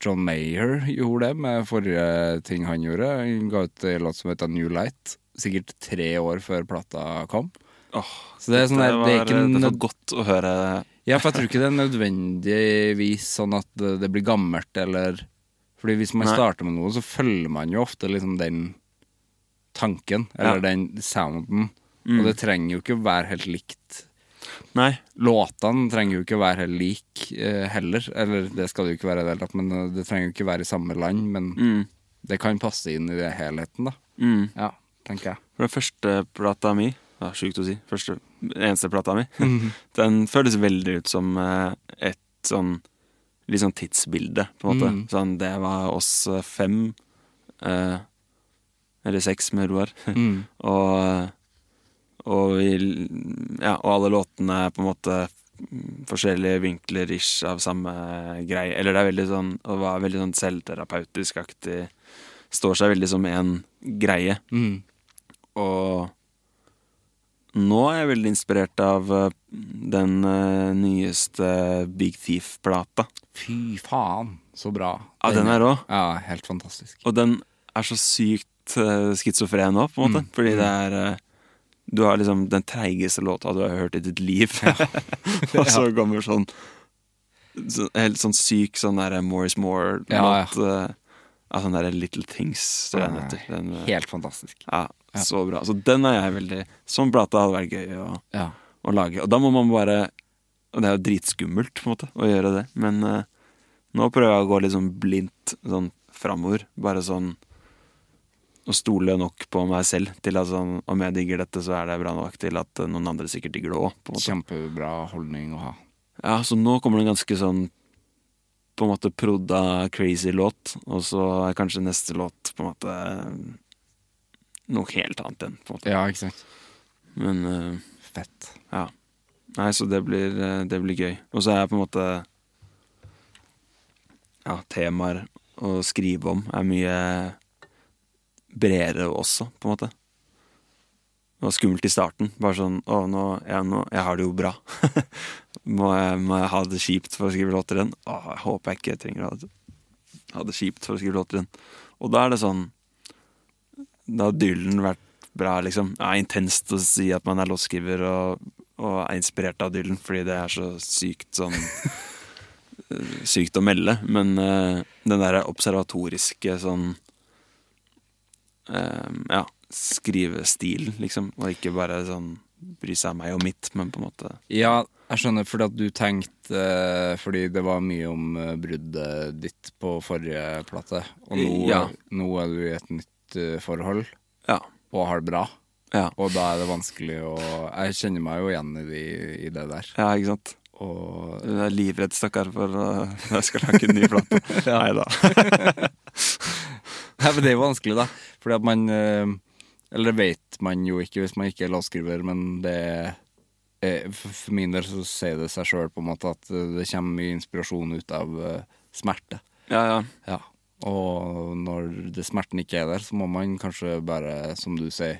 Speaker 2: John Mayer gjorde det med forrige ting han gjorde. Han ga ut en låt som heter New Light, sikkert tre år før plata kom.
Speaker 3: Åh,
Speaker 2: Så det er sånn
Speaker 3: dette
Speaker 2: der, det er
Speaker 3: var-
Speaker 2: ikke
Speaker 3: dette var
Speaker 2: nød-
Speaker 3: godt å høre.
Speaker 2: Ja, for jeg tror ikke det er nødvendigvis sånn at det, det blir gammelt, eller Fordi hvis man
Speaker 3: Nei.
Speaker 2: starter med noe, så følger man jo ofte liksom den tanken, eller
Speaker 3: Ja. Mm.
Speaker 2: den sounden. Og det trenger jo ikke å være helt likt.
Speaker 3: Nei.
Speaker 2: Låtene trenger jo ikke å være helt like eh, heller, eller det skal det jo ikke være i det hele tatt, men eh, det trenger jo ikke være i samme land, men
Speaker 3: Mm.
Speaker 2: det kan passe inn i det helheten, da.
Speaker 3: Mm.
Speaker 2: Ja, tenker jeg.
Speaker 3: For den første plata mi ja, Sjukt å si. Første, eneste plata mi. Den føles veldig ut som eh, et sånn litt sånn tidsbilde, på en måte.
Speaker 2: Mm.
Speaker 3: Sånn, det var oss eh, fem, eh, eller seks med Roar,
Speaker 2: Mm.
Speaker 3: og, og vi Ja, og alle låtene er på en måte mm, forskjellige vinkler ish av samme greie. Eller det er veldig sånn Og var veldig sånn selvterapeutisk aktig. Står seg veldig som én greie.
Speaker 2: Mm.
Speaker 3: Og nå er jeg veldig inspirert av eh, den eh, nyeste Big Thief-plata.
Speaker 2: Fy faen, så bra.
Speaker 3: Ja, den er rå.
Speaker 2: Ja, helt fantastisk.
Speaker 3: Og den er så sykt uh, schizofren nå, på en måte. Fordi det er eh, Du har liksom den treigeste låta du har hørt i ditt liv. og så kommer sånn så, helt sånn syk sånn derre Morris Moore-låt.
Speaker 2: Ja,
Speaker 3: eh, av sånn derre Little Things. tror jeg Den heter. Den, eh,
Speaker 2: Helt fantastisk.
Speaker 3: ja, så bra. Så den er jeg veldig Sånn plate hadde vært gøy å
Speaker 2: Ja.
Speaker 3: å lage. Og da må man bare Og det er jo dritskummelt, på en måte, å gjøre det. Men eh, nå prøver jeg å gå litt sånn blindt sånn framover. Bare sånn Å stole nok på meg selv til at sånn Om jeg digger dette, så er det bra nok til at eh, noen andre sikkert digger det òg.
Speaker 2: Kjempebra holdning å ha.
Speaker 3: Ja, så nå kommer det en ganske sånn på en måte prodda crazy låt, og så er kanskje neste låt på en måte eh, noe helt annet igjen, på en måte.
Speaker 2: Ja, ikke sant?
Speaker 3: Men eh,
Speaker 2: Fett.
Speaker 3: Ja. Nei, så det blir, eh, det blir gøy. Og så er jeg på en måte Ja, temaer å skrive om er mye bredere også, på en måte. Det var skummelt i starten. Bare sånn Å, nå, ja, nå Jeg har det jo bra. må, jeg, må jeg ha det kjipt for å skrive låter igjen? Å, jeg håper jeg ikke trenger å ha det, ha det kjipt for å skrive låter igjen. Og da er det sånn da har Dylan vært bra, liksom. Det er intenst å si at man er låtskriver og, og er inspirert av Dylan, fordi det er så sykt sånn eh, Sykt å melde. Men eh, den derre observatoriske sånn eh, Ja, skrivestilen, liksom. Og ikke bare sånn bry seg om meg og mitt, men på en måte
Speaker 2: Ja, jeg skjønner, fordi at du tenkte eh, Fordi det var mye om eh, bruddet ditt på forrige plate, og nå,
Speaker 3: Ja.
Speaker 2: nå er du i et nytt eh, forhold
Speaker 3: Ja.
Speaker 2: og har det bra.
Speaker 3: Ja,
Speaker 2: Og da er det vanskelig å Jeg kjenner meg jo igjen i, de- i det der.
Speaker 3: ja ikke sant?
Speaker 2: Og
Speaker 3: Du er livredd, stakkar, for eh, jeg skal lage en ny plate. Nei da.
Speaker 2: Nei, men det er jo vanskelig, da. Fordi at man eh, Eller det vet man jo ikke hvis man ikke er låtskriver, men det eh, For for min del så sier det seg sjøl på en måte at eh, det kommer mye inspirasjon ut av eh, smerte.
Speaker 3: Ja, ja.
Speaker 2: Ja. Og når det smerten ikke er der, så må man kanskje bare, som du sier,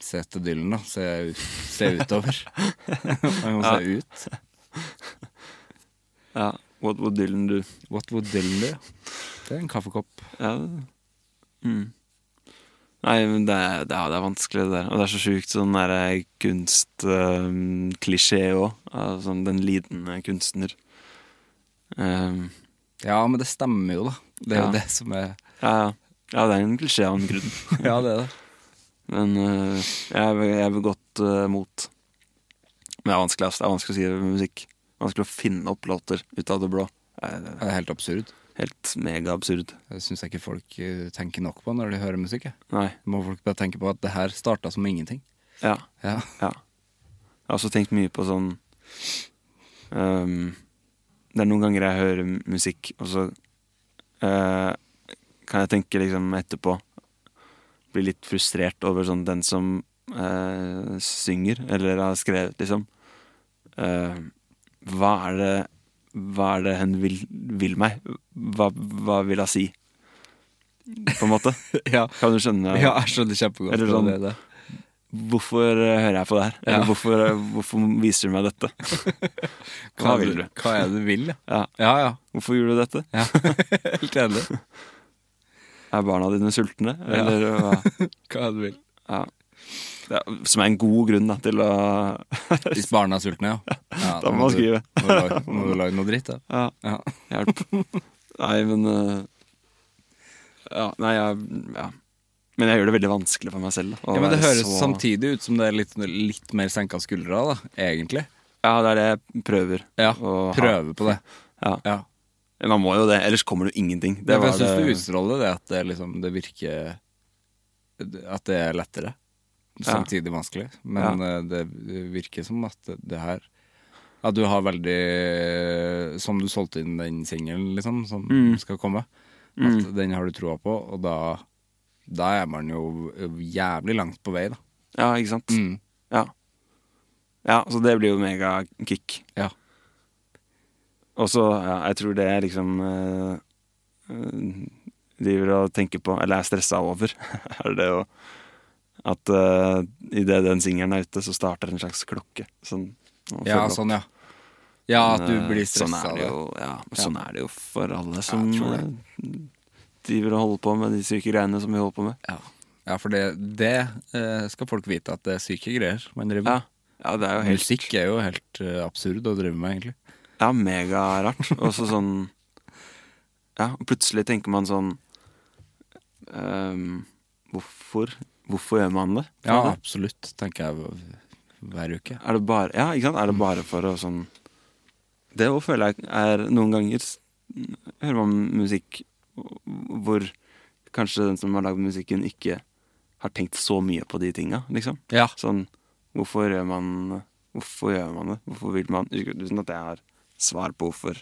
Speaker 2: se til Dylan, da. Se, ut- se utover. man må se ut.
Speaker 3: Ja, What would Dylan do?
Speaker 2: What would Dylan do? Det er en kaffekopp.
Speaker 3: Ja, det- mm. Nei, men det er, det, er, det er vanskelig, det der. Og det er så sjukt sånn der eh, kunstklisjé òg. av Sånn den lidende kunstner. Um,
Speaker 2: Ja, men det stemmer jo, da. Det er
Speaker 3: Ja.
Speaker 2: jo det som er
Speaker 3: ja, ja. ja, det er en klisjé av en grunn.
Speaker 2: Ja, det er det.
Speaker 3: Men eh, jeg, vil- jeg vil godt eh, mot. Men det er vanskelig, ass. Det er vanskelig å skrive musikk. Vanskelig å finne opp låter ut av det blå. Det er
Speaker 2: Det er helt absurd.
Speaker 3: helt megaabsurd.
Speaker 2: Det syns jeg ikke folk eh, tenker nok på når de hører musikk. jeg.
Speaker 3: Nei.
Speaker 2: Må folk bare tenke på at det her starta som ingenting.
Speaker 3: Ja.
Speaker 2: Ja.
Speaker 3: Ja. Jeg har også tenkt mye på sånn ehm, Det er noen ganger jeg hører musikk, og så eh, kan jeg tenke liksom etterpå Bli litt frustrert over sånn den som eh, synger, eller har skrevet, liksom. Eh, hva er det Hva er det hen vil, vil meg? Hva, hva vil hun si? På en måte.
Speaker 2: Ja.
Speaker 3: Kan du skjønne?
Speaker 2: Ja, jeg skjønner kjempegodt.
Speaker 3: Eller
Speaker 2: hva
Speaker 3: sånn-
Speaker 2: det er det.
Speaker 3: Hvorfor eh, hører jeg på det her? Eller
Speaker 2: Ja.
Speaker 3: hvorfor, eh, hvorfor viser du meg dette? Hva vil du?
Speaker 2: Hva er det du vil, ja.
Speaker 3: Ja.
Speaker 2: Ja, ja.
Speaker 3: Hvorfor gjorde du dette?
Speaker 2: Helt enig.
Speaker 3: Er barna dine sultne? Eller, eh, hva?
Speaker 2: Hva er det du vil?
Speaker 3: ja. Det er, som er en god grunn da, til å
Speaker 2: Hvis barna er sultne, ja. ja
Speaker 3: Da må man
Speaker 2: du-
Speaker 3: skrive.
Speaker 2: Må du lage, må du lage noe dritt, da.
Speaker 3: ja,
Speaker 2: Ja.
Speaker 3: Hjelp. Nei, men eh, Ja, nei, jeg ja. Men jeg gjør det veldig vanskelig for meg selv. Da, å
Speaker 2: ja, men det
Speaker 3: være
Speaker 2: høres samtidig ut som det er litt, litt mer senka skuldra, da, egentlig.
Speaker 3: Ja, det er det jeg prøver.
Speaker 2: Ja,
Speaker 3: å ha.
Speaker 2: prøve på det.
Speaker 3: Ja.
Speaker 2: Ja.
Speaker 3: Man må jo det, ellers kommer det jo ingenting.
Speaker 2: Det jeg
Speaker 3: var
Speaker 2: syns det utstråler det at det liksom Det virker At det er lettere. Samtidig vanskelig. Men eh, det virker som at det- det her At du har veldig Som du solgte inn den singelen, liksom, som skal komme. At den har du troa på, og da Da er man jo jævlig langt på vei, da.
Speaker 3: Ja, ikke sant?
Speaker 2: Mm.
Speaker 3: Ja. ja, så det blir jo megakick.
Speaker 2: Ja.
Speaker 3: Og så, ja, jeg tror det jeg liksom eh, eh, driver og tenker på, eller er stressa over, er det jo at uh, idet den singelen er ute, så starter en slags klokke. Sånn, man
Speaker 2: Ja,
Speaker 3: føler opp.
Speaker 2: sånn, ja. Ja, at du
Speaker 3: Men, eh,
Speaker 2: blir stressa
Speaker 3: sånn
Speaker 2: av
Speaker 3: er det
Speaker 2: det.
Speaker 3: jo, ja, men sånn er det jo for alle som
Speaker 2: jeg tror
Speaker 3: eh, driver og holder på med de syke greiene som vi holder på med.
Speaker 2: Ja. ja, for det, det eh, skal folk vite, at det er syke greier man driver med.
Speaker 3: Ja, ja det er jo helt
Speaker 2: Musikk er jo helt eh, absurd å drive med, egentlig.
Speaker 3: Ja, megarart. Og så sånn Ja, og plutselig tenker man sånn ehm, Hvorfor? Hvorfor gjør man det?
Speaker 2: Ja, absolutt, tenker jeg hver uke.
Speaker 3: Er det bare Ja, ikke sant? Er det bare for å sånn Det òg føler jeg er Noen ganger s- hører man musikk hvor kanskje den som har lagd musikken, ikke har tenkt så mye på de tinga, liksom.
Speaker 2: Ja.
Speaker 3: Sånn Hvorfor gjør man Hvorfor gjør man det? Hvorfor vil man Uten at jeg har svar på hvorfor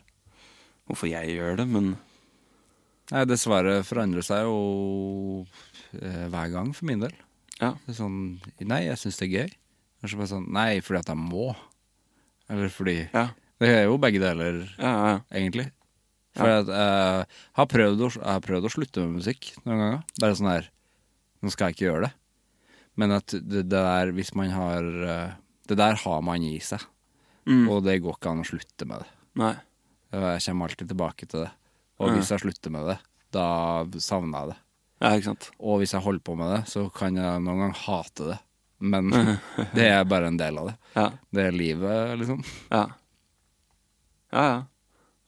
Speaker 3: Hvorfor jeg gjør det, men
Speaker 2: Nei, det svaret forandrer seg jo eh, hver gang, for min del.
Speaker 3: Ja.
Speaker 2: Det er sånn Nei, jeg syns det er gøy. Kanskje bare sånn Nei, fordi at jeg må. Eller fordi
Speaker 3: Ja,
Speaker 2: Det er jo begge deler,
Speaker 3: ja, ja.
Speaker 2: egentlig. For at, eh, jeg, har prøvd å, jeg har prøvd å slutte med musikk noen ganger. Bare sånn her Nå skal jeg ikke gjøre det. Men at det, det der, hvis man har eh, Det der har man i seg. Og det går ikke an å slutte med det.
Speaker 3: Nei.
Speaker 2: Jeg kommer alltid tilbake til det. Og hvis jeg slutter med det, da savner jeg det.
Speaker 3: Ja, ikke sant.
Speaker 2: Og hvis jeg holder på med det, så kan jeg noen gang hate det. Men det er bare en del av det.
Speaker 3: Ja,
Speaker 2: Det er livet, liksom.
Speaker 3: ja. Ja, ja.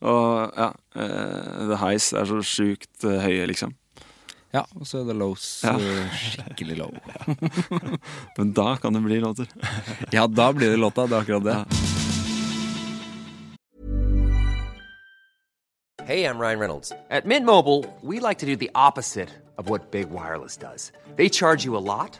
Speaker 3: Og ja, eh, the highs er så sjukt eh, høye, liksom.
Speaker 2: Ja, og så er det lows. eh, Skikkelig low.
Speaker 3: Men da kan det bli låter.
Speaker 2: Ja, da blir det låta. Det er akkurat det.
Speaker 6: Hey, I'm Ryan Reynolds. At Mint Mobile, we like to do the opposite of what Big Wireless does. They charge you a lot,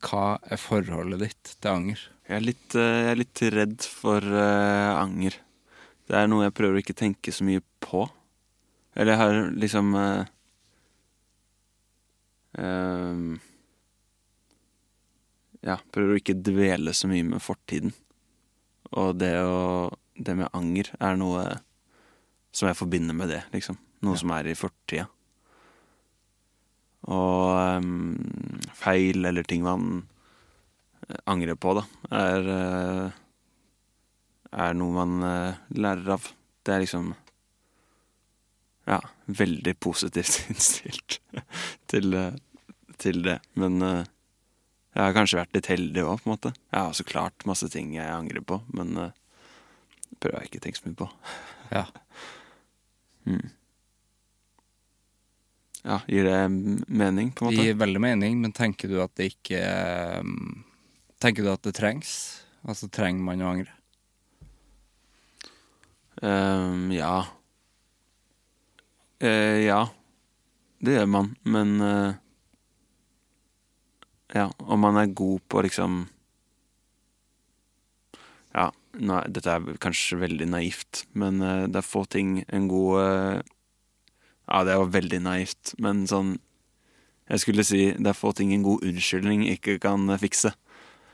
Speaker 2: Hva er forholdet ditt til anger?
Speaker 3: Jeg er litt, eh, jeg er litt redd for eh, anger. Det er noe jeg prøver å ikke tenke så mye på. Eller jeg har liksom eh, ehm, Ja, prøver å ikke dvele så mye med fortiden. Og det, å, det med anger er noe som jeg forbinder med det, liksom. Noe som er i fortida. Og ehm, feil eller ting man angre på, da, er, eh, er noe man eh, lærer av. Det er liksom Ja, veldig positivt innstilt til, eh, til det. Men eh, jeg har kanskje vært litt heldig òg, på en måte. Jeg har så klart masse ting jeg angrer på, men eh, prøver jeg ikke å tenke så mye på.
Speaker 2: Ja.
Speaker 3: Mm. Ja, gir det mening, på en
Speaker 2: Det
Speaker 3: måte?
Speaker 2: gir veldig mening, men tenker du at det ikke ehm, Tenker du at det trengs? Altså, trenger man å angre?
Speaker 3: Ehm, ja. Eh, ja. Det gjør man, men eh, Ja, om man er god på liksom Ja, nå er, dette er kanskje veldig naivt, men eh, det er få ting en god eh, Ja, det var veldig naivt, men sånn Jeg skulle si det er få ting en god unnskyldning ikke kan eh, fikse.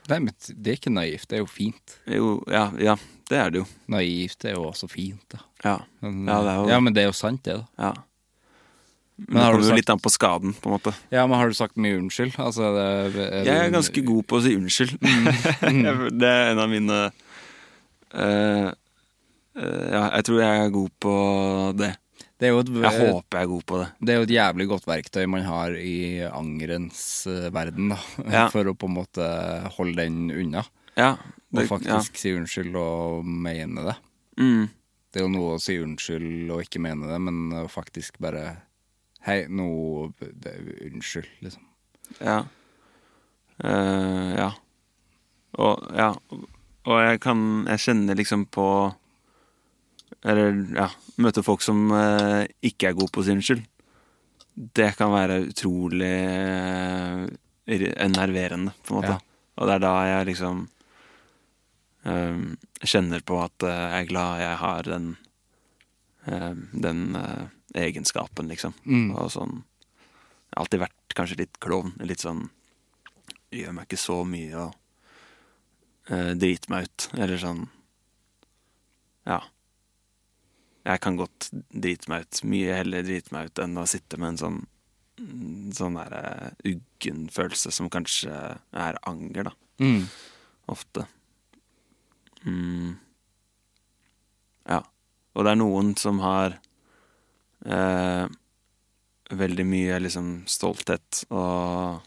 Speaker 2: Nei, men det er ikke naivt. Det er jo fint.
Speaker 3: Jo, ja, ja, det er det jo.
Speaker 2: Naivt er jo også fint, da.
Speaker 3: Ja.
Speaker 2: Men,
Speaker 3: Ja, det er jo-
Speaker 2: ja, men det er jo sant, det, da.
Speaker 3: ja. Men,
Speaker 2: har du
Speaker 3: det kommer jo
Speaker 2: sagt-
Speaker 3: litt an på skaden, på en måte.
Speaker 2: Ja, men har du sagt mye unnskyld? Altså, er det, Mm. er
Speaker 3: Jeg er
Speaker 2: du-
Speaker 3: ganske god på å si unnskyld. det er en av mine eh, eh, Ja, jeg tror jeg er god på det.
Speaker 2: Det er jo et,
Speaker 3: Jeg håper jeg er god på det.
Speaker 2: Det er jo et jævlig godt verktøy man har i angerens eh, verden, da.
Speaker 3: Ja.
Speaker 2: For å på en måte holde den unna.
Speaker 3: Ja,
Speaker 2: Og
Speaker 3: det,
Speaker 2: faktisk si unnskyld og mene det.
Speaker 3: Ja. Mm,
Speaker 2: Det er jo noe å si unnskyld og ikke mene det, men å faktisk bare Hei, nå det, Unnskyld, liksom.
Speaker 3: ja. Eh, ja. Og, ja. Og jeg kan Jeg kjenner liksom på Eller, ja Møter folk som eh, ikke er gode på å si unnskyld. Det kan være utrolig eh, ir- enerverende, på en måte.
Speaker 2: Ja.
Speaker 3: Og det er da jeg liksom eh, kjenner på at eh, jeg er glad jeg har den eh, den eh, egenskapen, liksom. Og sånn Jeg har alltid vært kanskje litt klovn. Litt sånn Gjør meg ikke så mye og eh, driter meg ut. Eller sånn Ja. Jeg kan godt drite meg ut. Mye heller drite meg ut enn å sitte med en sånn Sånn der eh, uggen følelse som kanskje er anger, da.
Speaker 2: Mm.
Speaker 3: Ofte. Mm. Ja. Og det er noen som har eh, veldig mye liksom stolthet og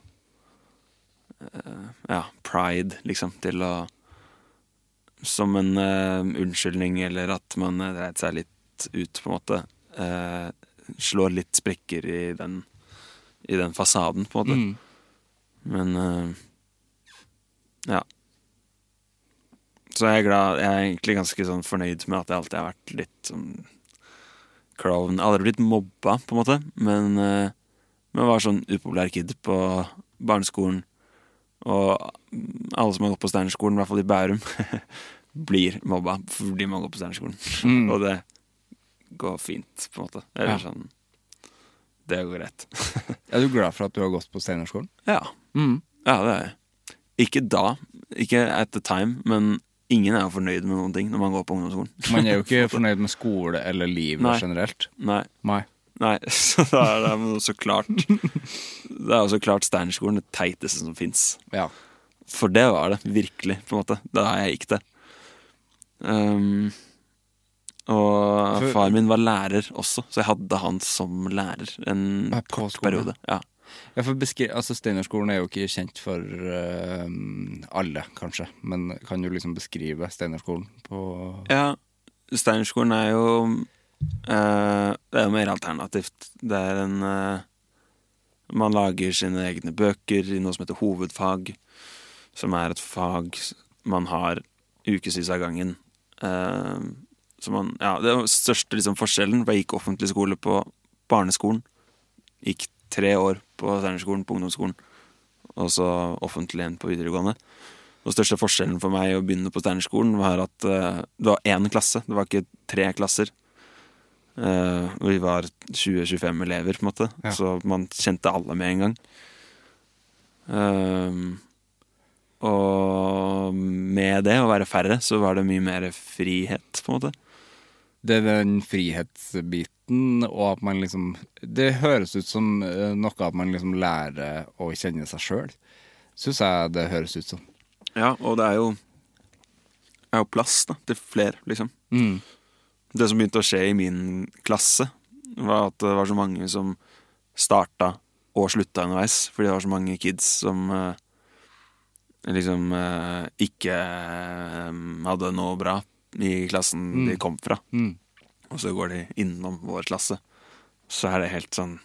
Speaker 3: eh, ja, pride, liksom, til å Som en eh, unnskyldning, eller at man eh, dreit seg litt ut, på en måte. Eh, slår litt sprekker i den, i den fasaden, på en måte. Men eh, ja. Så jeg er glad Jeg er egentlig ganske sånn fornøyd med at jeg alltid har vært litt sånn klovn. Jeg har Aldri blitt mobba, på en måte, men, eh, men jeg var sånn upopulær kid på barneskolen. Og alle som har gått på Steinerskolen, i hvert fall i Bærum, blir mobba fordi man går på Steinerskolen. Og det går fint, på en måte. Eller
Speaker 2: Ja.
Speaker 3: sånn Det går greit.
Speaker 2: Er du glad for at du har gått på Steinerskolen?
Speaker 3: Ja.
Speaker 2: Mm.
Speaker 3: ja, det er jeg. Ikke da, ikke at the time, men ingen er jo fornøyd med noen ting når man går på ungdomsskolen.
Speaker 2: Man er jo ikke fornøyd med skole eller livet
Speaker 3: Nei.
Speaker 2: generelt.
Speaker 3: Nei,
Speaker 2: Nei.
Speaker 3: nei, så da er det jo så klart Det er jo så klart Steinerskolen det teiteste som fins.
Speaker 2: Ja.
Speaker 3: For det var det, virkelig, på en måte. Da jeg gikk det. Um, Ehm, Og
Speaker 2: For-
Speaker 3: far min var lærer også, så jeg hadde han som lærer en
Speaker 2: Ja, på
Speaker 3: kort
Speaker 2: skolen.
Speaker 3: periode. Ja.
Speaker 2: Ja, for beskri- altså Steinerskolen er jo ikke kjent for eh, alle, kanskje. Men kan du liksom beskrive Steinerskolen på
Speaker 3: ja. Steinerskolen er jo eh, Det er jo mer alternativt. Det er en eh, Man lager sine egne bøker i noe som heter hovedfag, som er et fag s- man har ukevis av gangen. Eh, så man, ja, det er den største liksom, forskjellen, for jeg gikk offentlig skole på barneskolen. Gikk tre år på Steinerskolen, på ungdomsskolen, og så offentlig igjen på videregående. Den største forskjellen for meg å begynne på Steinerskolen var at eh, det var én klasse, det var ikke tre klasser. Eh, vi var 20-25 elever, på en måte,
Speaker 2: Ja.
Speaker 3: så man kjente alle med en gang. Eh, og med det, å være færre, så var det mye mer frihet, på en måte.
Speaker 2: Det er den frihetsbiten, og at man liksom Det høres ut som eh, noe at man liksom lærer å kjenne seg sjøl, syns jeg det høres ut som.
Speaker 3: Ja, og det er jo, er jo plass da, til flere, liksom.
Speaker 2: Mm.
Speaker 3: Det som begynte å skje i min klasse, var at det var så mange som starta og slutta underveis, fordi det var så mange kids som eh, liksom eh, ikke eh, hadde noe bra i klassen
Speaker 2: Mm.
Speaker 3: de kom fra.
Speaker 2: Mm.
Speaker 3: Og så går de innom vår klasse. Så er det helt sånn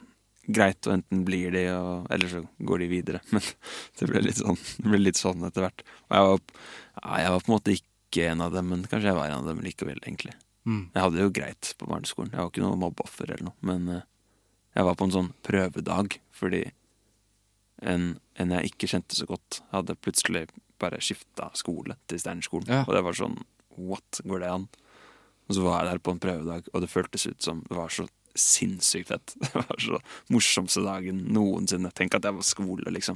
Speaker 3: greit, og enten blir de, og, eller så går de videre. Men det ble litt sånn, det ble litt sånn etter hvert. Og jeg var, ja, jeg var på en måte ikke en av dem, men kanskje jeg var en av dem likevel, egentlig.
Speaker 2: Mm.
Speaker 3: Jeg hadde det jo greit på barneskolen. Jeg var ikke noe mobbeoffer eller noe. Men eh, jeg var på en sånn prøvedag fordi en, en jeg ikke kjente så godt, hadde plutselig bare skifta skole til Steinerskolen.
Speaker 2: Ja.
Speaker 3: Og det var sånn What? Går det an? Og så var jeg der på en prøvedag, og det føltes ut som det var så sinnssykt fett. Det var så morsomste dagen noensinne. Tenk at jeg var skole, liksom.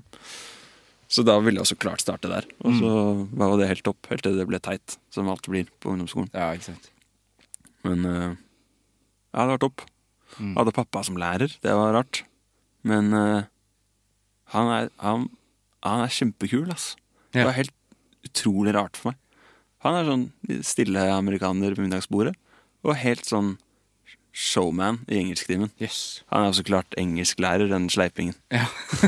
Speaker 3: Så da ville jeg så klart starte der. Og så var jo det helt topp, helt til det ble teit, som alt blir på ungdomsskolen.
Speaker 2: Ja, ikke sant.
Speaker 3: Men eh, ja, det var topp.
Speaker 2: Mm.
Speaker 3: Hadde pappa som lærer, det var rart. Men eh, han, er, han, han er kjempekul, ass.
Speaker 2: Ja.
Speaker 3: Det var helt utrolig rart for meg. Han er sånn stille amerikaner på middagsbordet, og helt sånn showman i engelsktimen.
Speaker 2: Yes.
Speaker 3: Han er jo så klart engelsklærer, den sleipingen.
Speaker 2: Ja.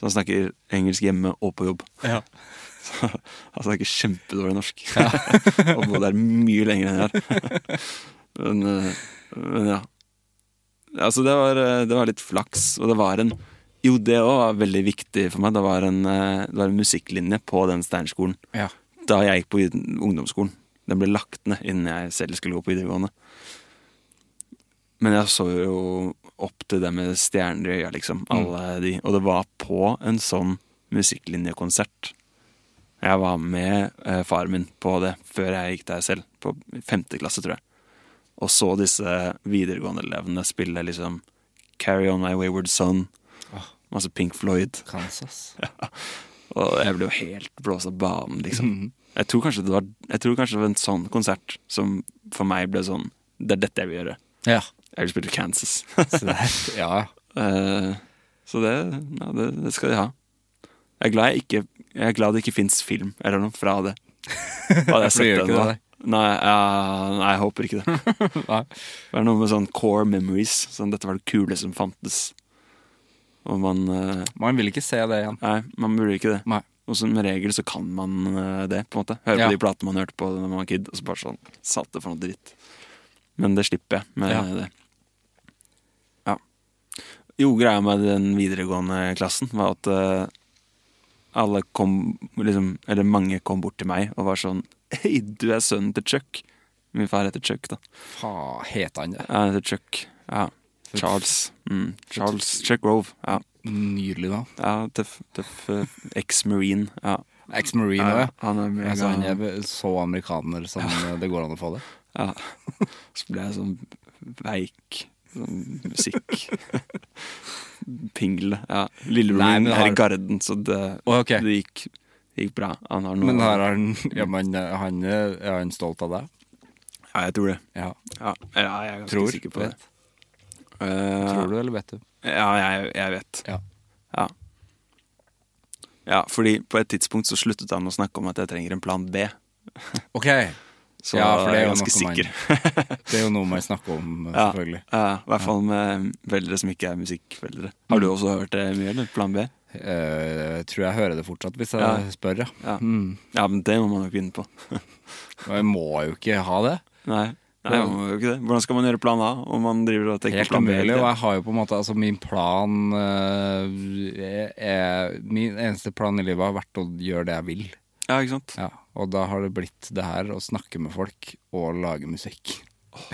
Speaker 3: så han snakker engelsk hjemme og på jobb.
Speaker 2: Ja.
Speaker 3: Så han snakker kjempedårlig norsk. og både er mye lenger enn jeg har. men, eh, men ja. Altså, det var, eh, det var litt flaks, og det var en Jo, det òg var veldig viktig for meg. Det var en, eh, det var en musikklinje på den Steinerskolen
Speaker 2: Ja.
Speaker 3: da jeg gikk på vid- ungdomsskolen. Den ble lagt ned innen jeg selv skulle gå på videregående. Men jeg så jo opp til det med stjerner i øya, liksom. Alle de. Og det var på en sånn musikklinjekonsert. Jeg var med eh, faren min på det før jeg gikk der selv, på femte klasse, tror jeg. Og så disse videregående-elevene spille liksom Carry On My Wayward Son, masse Pink Floyd.
Speaker 2: Kansas.
Speaker 3: Og jeg ble jo helt blåst av banen, liksom. Jeg tror kanskje det var Jeg tror kanskje det var en sånn konsert som for meg ble sånn Det er dette jeg vil gjøre.
Speaker 2: Ja.
Speaker 3: Jeg vil spille Kansas.
Speaker 2: Så det er, ja.
Speaker 3: Eh, så det, ja, det, det skal de ha. Jeg er glad, jeg ikke, jeg er glad det ikke fins film eller noe fra det. Hadde jeg
Speaker 2: For det
Speaker 3: sett
Speaker 2: gjør
Speaker 3: det
Speaker 2: ikke
Speaker 3: nå?
Speaker 2: det.
Speaker 3: Nei, ja, nei, jeg håper ikke det.
Speaker 2: Nei.
Speaker 3: Det er noe med sånn core memories. Sånn, dette var det kule som fantes. Og man eh,
Speaker 2: Man vil ikke se det igjen.
Speaker 3: Nei, man burde ikke det.
Speaker 2: Nei.
Speaker 3: Og som regel så kan man eh, det, på en måte. Høre
Speaker 2: Ja.
Speaker 3: på de platene man hørte på da man var kid, og så bare sånn Satt det for noe dritt. Men det slipper jeg med
Speaker 2: Ja.
Speaker 3: det. Ja. Jo, greia med den videregående klassen var at eh, alle kom liksom Eller mange kom bort til meg og var sånn Hei, du er sønnen til Chuck. Min far heter Chuck, da.
Speaker 2: Faen, heter han det?
Speaker 3: Ja, Han heter Chuck. Ja. Charles. Mm. Charles Chuck Rove. Ja,
Speaker 2: Nydelig navn.
Speaker 3: ja tøff, tøff eh, ex-marine. Ja.
Speaker 2: Ex-marine.
Speaker 3: Ja,
Speaker 2: Ja,
Speaker 3: han er mega-
Speaker 2: altså, han er så amerikaner som det går an å få det.
Speaker 3: Ja. Så ble jeg sånn veik sånn musikk. Pingle. Ja. Lillebror
Speaker 2: Nei,
Speaker 3: min
Speaker 2: men
Speaker 3: er
Speaker 2: har-
Speaker 3: i garden, så det,
Speaker 2: Å, ok.
Speaker 3: det gikk, gikk bra. Han har noe
Speaker 2: Men har han, ja, men han er er han stolt av deg?
Speaker 3: Ja, jeg tror det.
Speaker 2: Ja.
Speaker 3: Ja, ja jeg er ganske
Speaker 2: Tror,
Speaker 3: sikker på det.
Speaker 2: vet.
Speaker 3: Eh,
Speaker 2: Tror du, eller vet du?
Speaker 3: Ja, jeg, jeg vet.
Speaker 2: Ja.
Speaker 3: Ja. ja, fordi på et tidspunkt så sluttet han å snakke om at jeg trenger en plan B.
Speaker 2: Ok.
Speaker 3: Så
Speaker 2: ja, for det er
Speaker 3: jeg
Speaker 2: jo
Speaker 3: er ganske
Speaker 2: noe
Speaker 3: sikker.
Speaker 2: Man, det er jo noe man snakker om, eh,
Speaker 3: Ja,
Speaker 2: selvfølgelig.
Speaker 3: ja, Mm. I hvert fall med foreldre som ikke er musikkforeldre. Har du også hørt det mye, eller? Plan B?
Speaker 2: Eh, Jeg tror jeg hører det fortsatt, hvis jeg
Speaker 3: Ja.
Speaker 2: spør, ja.
Speaker 3: Ja.
Speaker 2: Mm.
Speaker 3: ja, men det må man jo ikke begynne på.
Speaker 2: Og jeg må jo ikke ha det.
Speaker 3: Nei, Nei man må jo ikke det. Hvordan skal man gjøre plan A om man driver og tenker
Speaker 2: Helt
Speaker 3: plan B?
Speaker 2: umulig. Og
Speaker 3: hele
Speaker 2: jeg har jo på en måte Altså, min plan eh, er, Min eneste plan i livet har vært å gjøre det jeg vil.
Speaker 3: Ja, ikke sant?
Speaker 2: Ja, og da har det blitt det her å snakke med folk og lage musikk.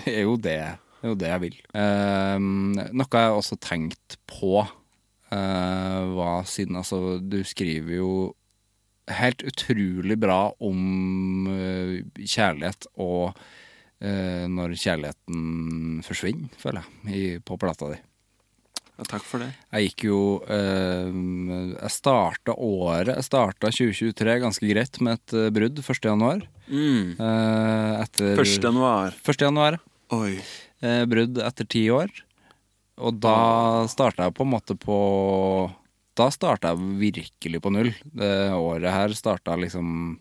Speaker 2: Det er jo det, det, er jo det jeg vil. Eh, noe jeg har også tenkt på eh, var siden Altså, du skriver jo helt utrolig bra om eh, kjærlighet og eh, når kjærligheten forsvinner, føler jeg, i, på plata di.
Speaker 3: tiden? Ja, takk for det.
Speaker 2: Jeg gikk jo eh, Jeg starta året Jeg starta 2023 ganske greit med et eh, brudd 1. januar.
Speaker 3: Mm.
Speaker 2: Eh, etter
Speaker 3: 1. januar.
Speaker 2: 1. januar.
Speaker 3: Oi.
Speaker 2: Eh, brudd etter ti år. Og da starta jeg på en måte på Da starta jeg virkelig på null. Det året her starta liksom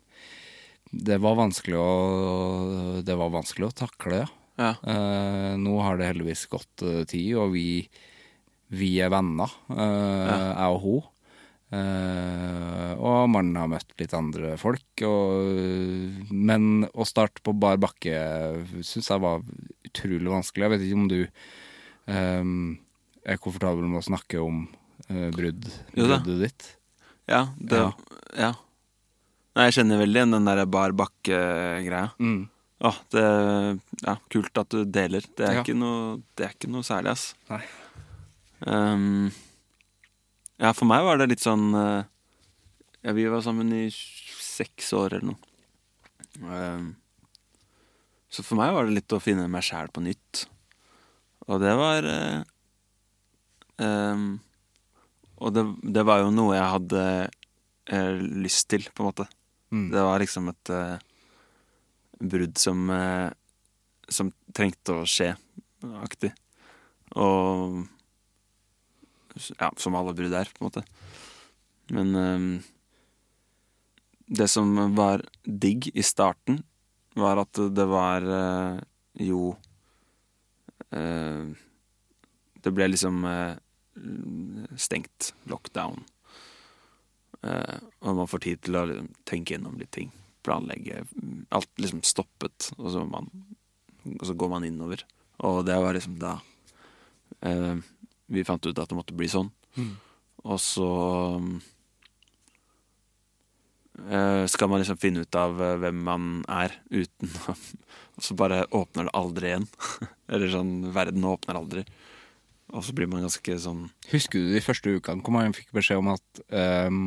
Speaker 2: Det var vanskelig å Det var vanskelig å takle, ja.
Speaker 3: Ja.
Speaker 2: Eh, nå har det heldigvis gått eh, tid, og vi, vi er venner, eh, jeg og hun. Eh, og mannen har møtt litt andre folk. Og, men å starte på bar bakke syns jeg var utrolig vanskelig. Jeg vet ikke om du eh, er komfortabel med å snakke om eh, brudd,
Speaker 3: Jo da.
Speaker 2: bruddet ditt.
Speaker 3: Ja, det,
Speaker 2: Ja.
Speaker 3: ja. Nei, jeg kjenner veldig igjen den der bar bakke-greia.
Speaker 2: Mm.
Speaker 3: Åh, det Ja, kult at du deler. Det er,
Speaker 2: Ja.
Speaker 3: ikke, noe, det er ikke noe særlig, ass.
Speaker 2: Nei.
Speaker 3: Ehm, ja, for meg var det litt sånn eh, Ja, vi var sammen i seks år eller noe. Ehm, så for meg var det litt å finne meg sjæl på nytt. Og det var eh, ehm, Og det, det var jo noe jeg hadde eh, lyst til, på en måte.
Speaker 2: Mm.
Speaker 3: Det var liksom et eh, brudd som eh, Som trengte å skje, aktig. Og ja, som alle brudd er, på en måte. Men ehm, det som var digg i starten, var at det var eh, jo eh, Det ble liksom eh, stengt. Lockdown. Eh, og man får tid til å liksom, tenke gjennom litt ting. Planlegge. Alt liksom stoppet, og så, man, og så går man innover. Og det var liksom da eh, vi fant ut at det måtte bli sånn. Og så eh, skal man liksom finne ut av eh, hvem man er uten å Og så bare åpner det aldri igjen. Eller sånn Verden åpner aldri. Og så blir man ganske sånn
Speaker 2: Husker du de første ukene hvor man fikk beskjed om at ehm,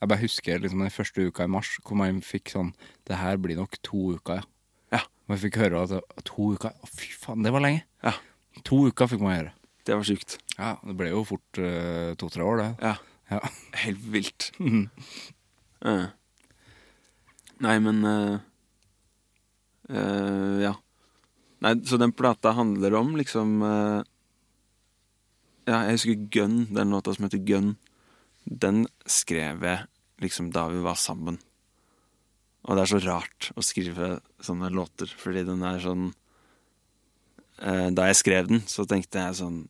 Speaker 2: Jeg bare husker liksom den første uka i mars hvor man fikk sånn Det her blir nok to uker, ja.
Speaker 3: Ja.
Speaker 2: Man fikk høre at det- to uker Å, fy faen, det var lenge!
Speaker 3: Ja.
Speaker 2: To uker fikk man gjøre.
Speaker 3: Det var sjukt.
Speaker 2: Ja, Det ble jo fort eh, to-tre år, det.
Speaker 3: Ja.
Speaker 2: Ja.
Speaker 3: Helt vilt. Eh. Nei, men eh, eh, Ja. Nei, så den plata handler om liksom eh, Ja, jeg husker Gun, den låta som heter Gun. Den skrev jeg liksom da vi var sammen. Og det er så rart å skrive sånne låter, fordi den er sånn eh, Da jeg skrev den, så tenkte jeg sånn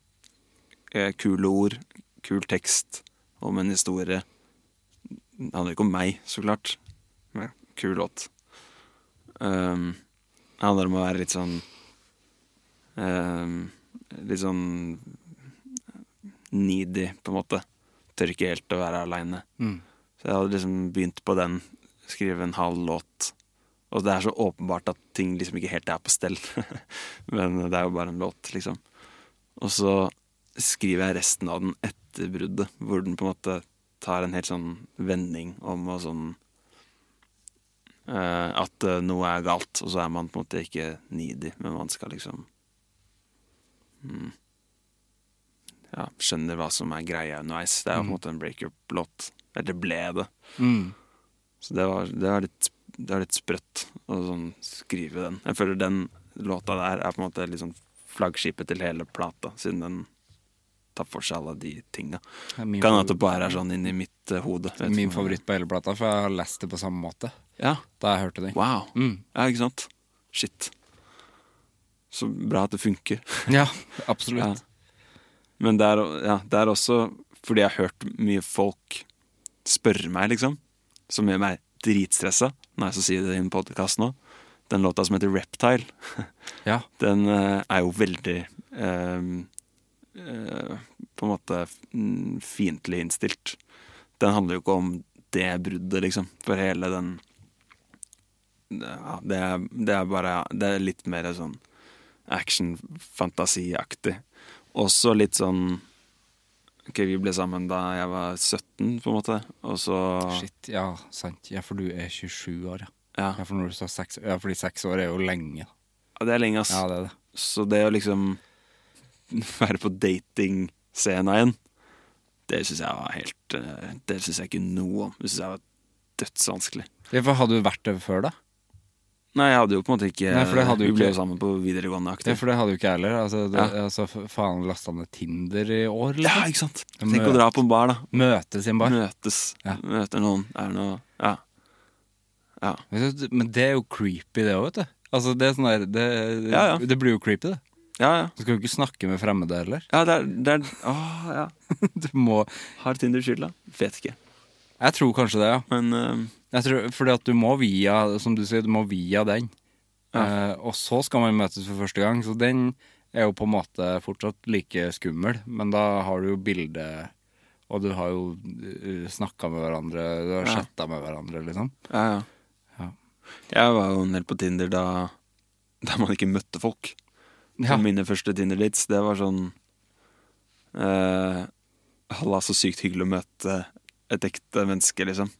Speaker 3: eh, Kule ord, kul tekst om en historie. Det handler ikke om meg, så klart. Men kul låt. Um, det handler om å være litt sånn um, Litt sånn needy, på en måte. Tør ikke helt å være aleine.
Speaker 2: Mm.
Speaker 3: Så jeg hadde liksom begynt på den, skrive en halv låt. Og det er så åpenbart at ting liksom ikke helt er på stell. Men det er jo bare en låt, liksom. Og så skriver jeg resten av den etter bruddet, hvor den på en måte tar en helt sånn vending om og sånn eh, At eh, noe er galt, og så er man på en måte ikke needy, men man skal liksom mm, Ja, skjønner hva som er greia underveis. Det er jo på en måte en breakup-låt. Eller det ble det.
Speaker 2: Mm.
Speaker 3: Så det var, det var, litt, det var litt sprøtt å sånn skrive den. Jeg føler den låta der er på en måte litt sånn flaggskipet til hele plata, siden den tar for seg alle de tinga.
Speaker 2: Det er min
Speaker 3: Kan
Speaker 2: favoritt-
Speaker 3: at det bare er sånn inni mitt eh, hode.
Speaker 2: det er Min favoritt på hele plata, for jeg har lest det på samme måte
Speaker 3: Ja,
Speaker 2: da jeg hørte den.
Speaker 3: wow.
Speaker 2: Mm.
Speaker 3: Ja, ikke sant? shit. Så bra at det funker.
Speaker 2: Ja, absolutt.
Speaker 3: Ja. Men det er, ja, det er også fordi jeg har hørt mye folk spørre meg, liksom, som gjør meg dritstressa når jeg så sier det i en podkast nå. Den låta som heter 'Reptile',
Speaker 2: Ja.
Speaker 3: den eh, er jo veldig eh, eh, På en måte mm, fiendtlig innstilt. Den handler jo ikke om det bruddet, liksom, for hele den ja, det, er, det er bare Det er litt mer sånn action-fantasiaktig. Også litt sånn Ok, vi ble sammen da jeg var 17, på en måte, og så
Speaker 2: Shit, ja, sant. Ja, for du er 27 år, ja.
Speaker 3: Ja.
Speaker 2: Ja, for når du sa seks, ja, fordi seks år er jo lenge.
Speaker 3: Ja, det er lenge, ass.
Speaker 2: Ja, det er det.
Speaker 3: Så det å liksom være på datingscena igjen, det syns jeg var helt eh, Det syns jeg ikke noe om. Det syns jeg var dødsvanskelig.
Speaker 2: Ja, for hadde du vært det før, da?
Speaker 3: Nei, jeg hadde jo på en måte ikke
Speaker 2: Nei, for det hadde jo
Speaker 3: Vi ble
Speaker 2: ikke-
Speaker 3: jo sammen på videregående aktig.
Speaker 2: Ja, for det hadde jo ikke jeg heller. Altså, det,
Speaker 3: Ja.
Speaker 2: altså, f- faen, lasta ned Tinder i år,
Speaker 3: Ja,
Speaker 2: liksom.
Speaker 3: ikke sant?
Speaker 2: Mø-
Speaker 3: Tenk å dra på en bar, da.
Speaker 2: Møtes i en bar.
Speaker 3: Møtes.
Speaker 2: Ja.
Speaker 3: Møter noen. Er det noe Ja. Ja.
Speaker 2: Vet du, Men det er jo creepy, det òg, vet du. Altså, det, er sånn der, det,
Speaker 3: Ja, ja.
Speaker 2: det blir jo creepy, det.
Speaker 3: Ja, ja.
Speaker 2: Du skal jo ikke snakke med fremmede heller.
Speaker 3: ja det er, det er Åh, ja.
Speaker 2: Du må
Speaker 3: Har Tinder skylda? Vet ikke.
Speaker 2: Jeg tror kanskje det, ja.
Speaker 3: Men eh,
Speaker 2: Jeg tror, fordi at du må via, som du sier, du må via den. Eh, og så skal man møtes for første gang, så den er jo på en måte fortsatt like skummel. Men da har du jo bilde, og du har jo snakka med hverandre, du har
Speaker 3: Ja.
Speaker 2: chatta med hverandre, liksom.
Speaker 3: Ja, ja.
Speaker 2: Ja.
Speaker 3: Jeg var jo en del på Tinder da, da man ikke møtte folk.
Speaker 2: Ja.
Speaker 3: Så Mine første Tinder-dates, det var sånn eh, Halla, så sykt hyggelig å møte et ekte menneske, liksom.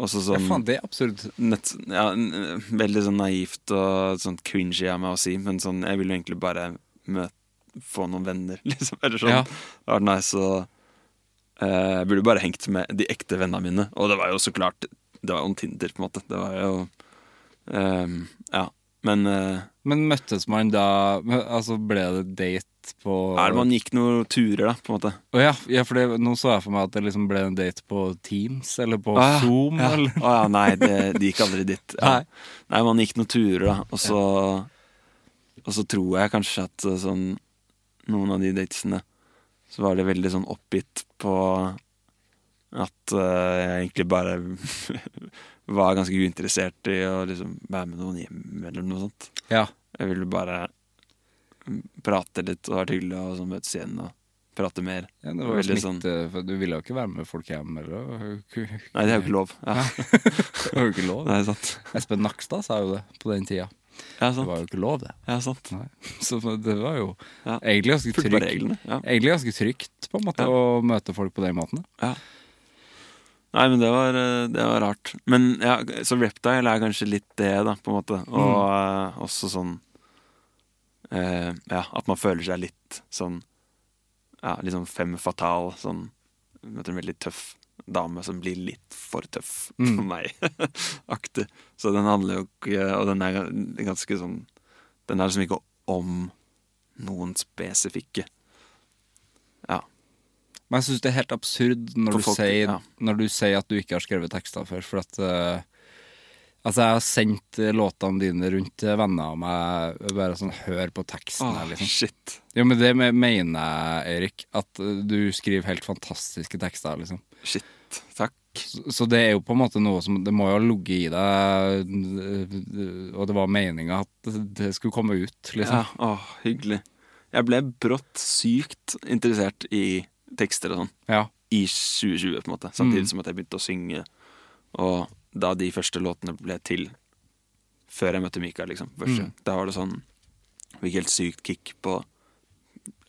Speaker 3: Og så
Speaker 2: Ja,
Speaker 3: sånn
Speaker 2: faen, det er absurd.
Speaker 3: nett, ja, n- Veldig sånn naivt og sånn cringy av meg å si, men sånn, jeg vil jo egentlig bare møte, få noen venner, liksom. Eller sånn.
Speaker 2: Ja.
Speaker 3: Det var nice å eh, Jeg burde bare hengt med de ekte vennene mine. Og det var jo så klart Det var jo en Tinder, på en måte. Det var jo ehm, Ja. Men eh,
Speaker 2: Men møttes man da Altså, ble det date på
Speaker 3: er det man gikk noen turer, da, på en måte?
Speaker 2: Å ja, ja, for det, nå så jeg for meg at det liksom ble en date på Teams, eller på
Speaker 3: Å, Ah, ja.
Speaker 2: Zoom,
Speaker 3: ja.
Speaker 2: eller
Speaker 3: Å, ja, nei, det, det gikk aldri dit. Ja.
Speaker 2: Nei.
Speaker 3: Nei, man gikk noen turer, da, og så Og så tror jeg kanskje at eh, sånn Noen av de datesene så var det veldig sånn oppgitt på at eh, jeg egentlig bare var ganske uinteressert i å liksom være med noen hjem eller noe sånt.
Speaker 2: Ja.
Speaker 3: Jeg ville bare prate litt og være hyggelig og sånn møtes igjen og prate mer.
Speaker 2: Ja, det var jo
Speaker 3: Veldig sånn-
Speaker 2: smitte, for du ville jo ikke være med folk hjem. Eller? Det var jo ikke-
Speaker 3: Nei, det er jo ikke lov. Ja,
Speaker 2: Det var jo ikke lov.
Speaker 3: det er sant.
Speaker 2: Espen Nakstad sa jo det på den tida.
Speaker 3: Ja,
Speaker 2: Det
Speaker 3: sant.
Speaker 2: var jo ikke lov, det.
Speaker 3: Ja, sant.
Speaker 2: Nei. Så det var jo
Speaker 3: Ja.
Speaker 2: egentlig ganske
Speaker 3: Fulgte bare reglene.
Speaker 2: trygt.
Speaker 3: Ja.
Speaker 2: Egentlig ganske trygt på en måte
Speaker 3: Ja.
Speaker 2: å møte folk på den måten.
Speaker 3: Ja. Nei, men det var, eh, det var rart. Men ja, så Reptile er kanskje litt det, da, på en måte. Og eh, også sånn eh, Ja, at man føler seg litt sånn Ja, litt sånn fem fatal. Sånn Møter en veldig tøff dame som blir litt for tøff for meg. Aktig. Så den handler jo ikke Og den er ganske sånn Den er liksom ikke om noen spesifikke. Ja.
Speaker 2: Men jeg syns det er helt absurd når
Speaker 3: For
Speaker 2: du,
Speaker 3: folk-
Speaker 2: sier,
Speaker 3: ja.
Speaker 2: når du sier at du ikke har skrevet tekster før. For at eh, Altså, jeg har sendt eh, låtene dine rundt til venner av meg, bare sånn hør på teksten
Speaker 3: Åh,
Speaker 2: her, liksom.
Speaker 3: shit.
Speaker 2: Jo, men det me- mener jeg, Erik, at eh, du skriver helt fantastiske tekster, liksom.
Speaker 3: Shit. Takk.
Speaker 2: Så, så det er jo på en måte noe som Det må jo ha ligget i deg, eh, og det var meninga at det skulle komme ut,
Speaker 3: Ja,
Speaker 2: liksom.
Speaker 3: åh, hyggelig. Jeg ble brått sykt interessert i tekster og sånn
Speaker 2: Ja.
Speaker 3: i 2020, på en måte. Samtidig
Speaker 2: Mm.
Speaker 3: som at jeg begynte å synge. Og da de første låtene ble til, før jeg møtte Mikael, liksom, første, da var det sånn Fikk helt sykt kick på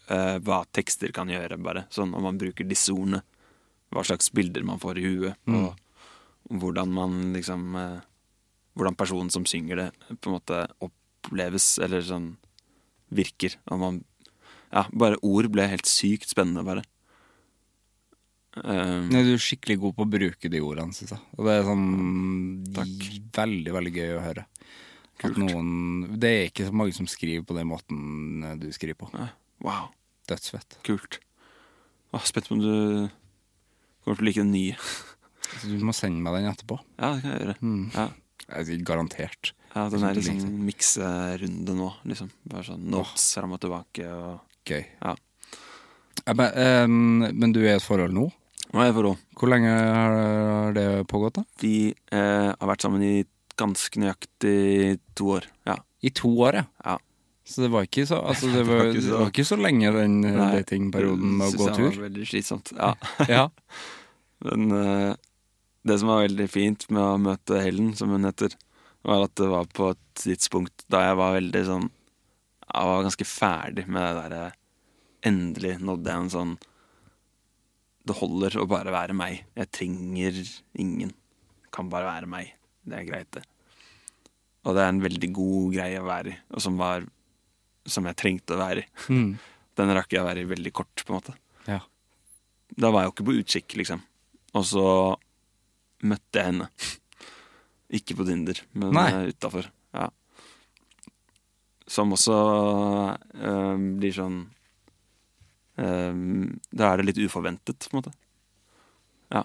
Speaker 3: eh, hva tekster kan gjøre, bare. Sånn om man bruker disse ordene. Hva slags bilder man får i huet. Og hvordan man liksom eh, Hvordan personen som synger det, på en måte oppleves, eller sånn virker. Og man Ja, bare ord ble helt sykt spennende, bare. Eh,
Speaker 2: Nei, Du er skikkelig god på å bruke de ordene, syns jeg. Og det er sånn veldig, veldig gøy å høre. At noen Det er ikke så mange som skriver på den måten eh, du skriver på.
Speaker 3: Nei. Wow,
Speaker 2: Dødsfett.
Speaker 3: kult. Åh, spent på om du kommer til å like den nye.
Speaker 2: Så Altså, du må sende meg den etterpå.
Speaker 3: Ja, det kan jeg gjøre.
Speaker 2: Mm.
Speaker 3: Ja.
Speaker 2: Jeg sier Garantert.
Speaker 3: Ja, den
Speaker 2: Sånn
Speaker 3: er liksom
Speaker 2: ting.
Speaker 3: en mikserunde nå, liksom. Bare sånn notes fram og tilbake og
Speaker 2: Gøy.
Speaker 3: Ja.
Speaker 2: Ja, men, ehm, men du er i et forhold nå?
Speaker 3: Nå er jeg i forhold.
Speaker 2: Hvor lenge har det pågått, da?
Speaker 3: Vi eh, har vært sammen i ganske nøyaktig to år. Ja.
Speaker 2: I to år, ja.
Speaker 3: ja.
Speaker 2: Så det var ikke så, altså, det
Speaker 3: Det var
Speaker 2: var,
Speaker 3: ikke så-
Speaker 2: det var ikke så lenge den eh,
Speaker 3: Nei,
Speaker 2: datingperioden med å
Speaker 3: synes
Speaker 2: gå
Speaker 3: jeg
Speaker 2: tur?
Speaker 3: var veldig slitsomt. Ja.
Speaker 2: Ja.
Speaker 3: Men eh, det som var veldig fint med å møte Helen, som hun heter, var at det var på et tidspunkt da jeg var veldig sånn Jeg var ganske ferdig med det derre Endelig nådde jeg en sånn Det holder å bare være meg. Jeg trenger ingen. Kan bare være meg. Det er greit, det. Og det er en veldig god greie å være i, og som var Som jeg trengte å være i.
Speaker 2: Mm.
Speaker 3: Den rakk jeg å være i veldig kort, på en måte
Speaker 2: Ja.
Speaker 3: da var jeg jo ikke på utkikk, liksom. Og så møtte jeg henne. Ikke på Tinder, men
Speaker 2: Nei.
Speaker 3: utafor. Ja. Som også eh, blir sånn eh, Da er det litt uforventet, på en måte. Ja.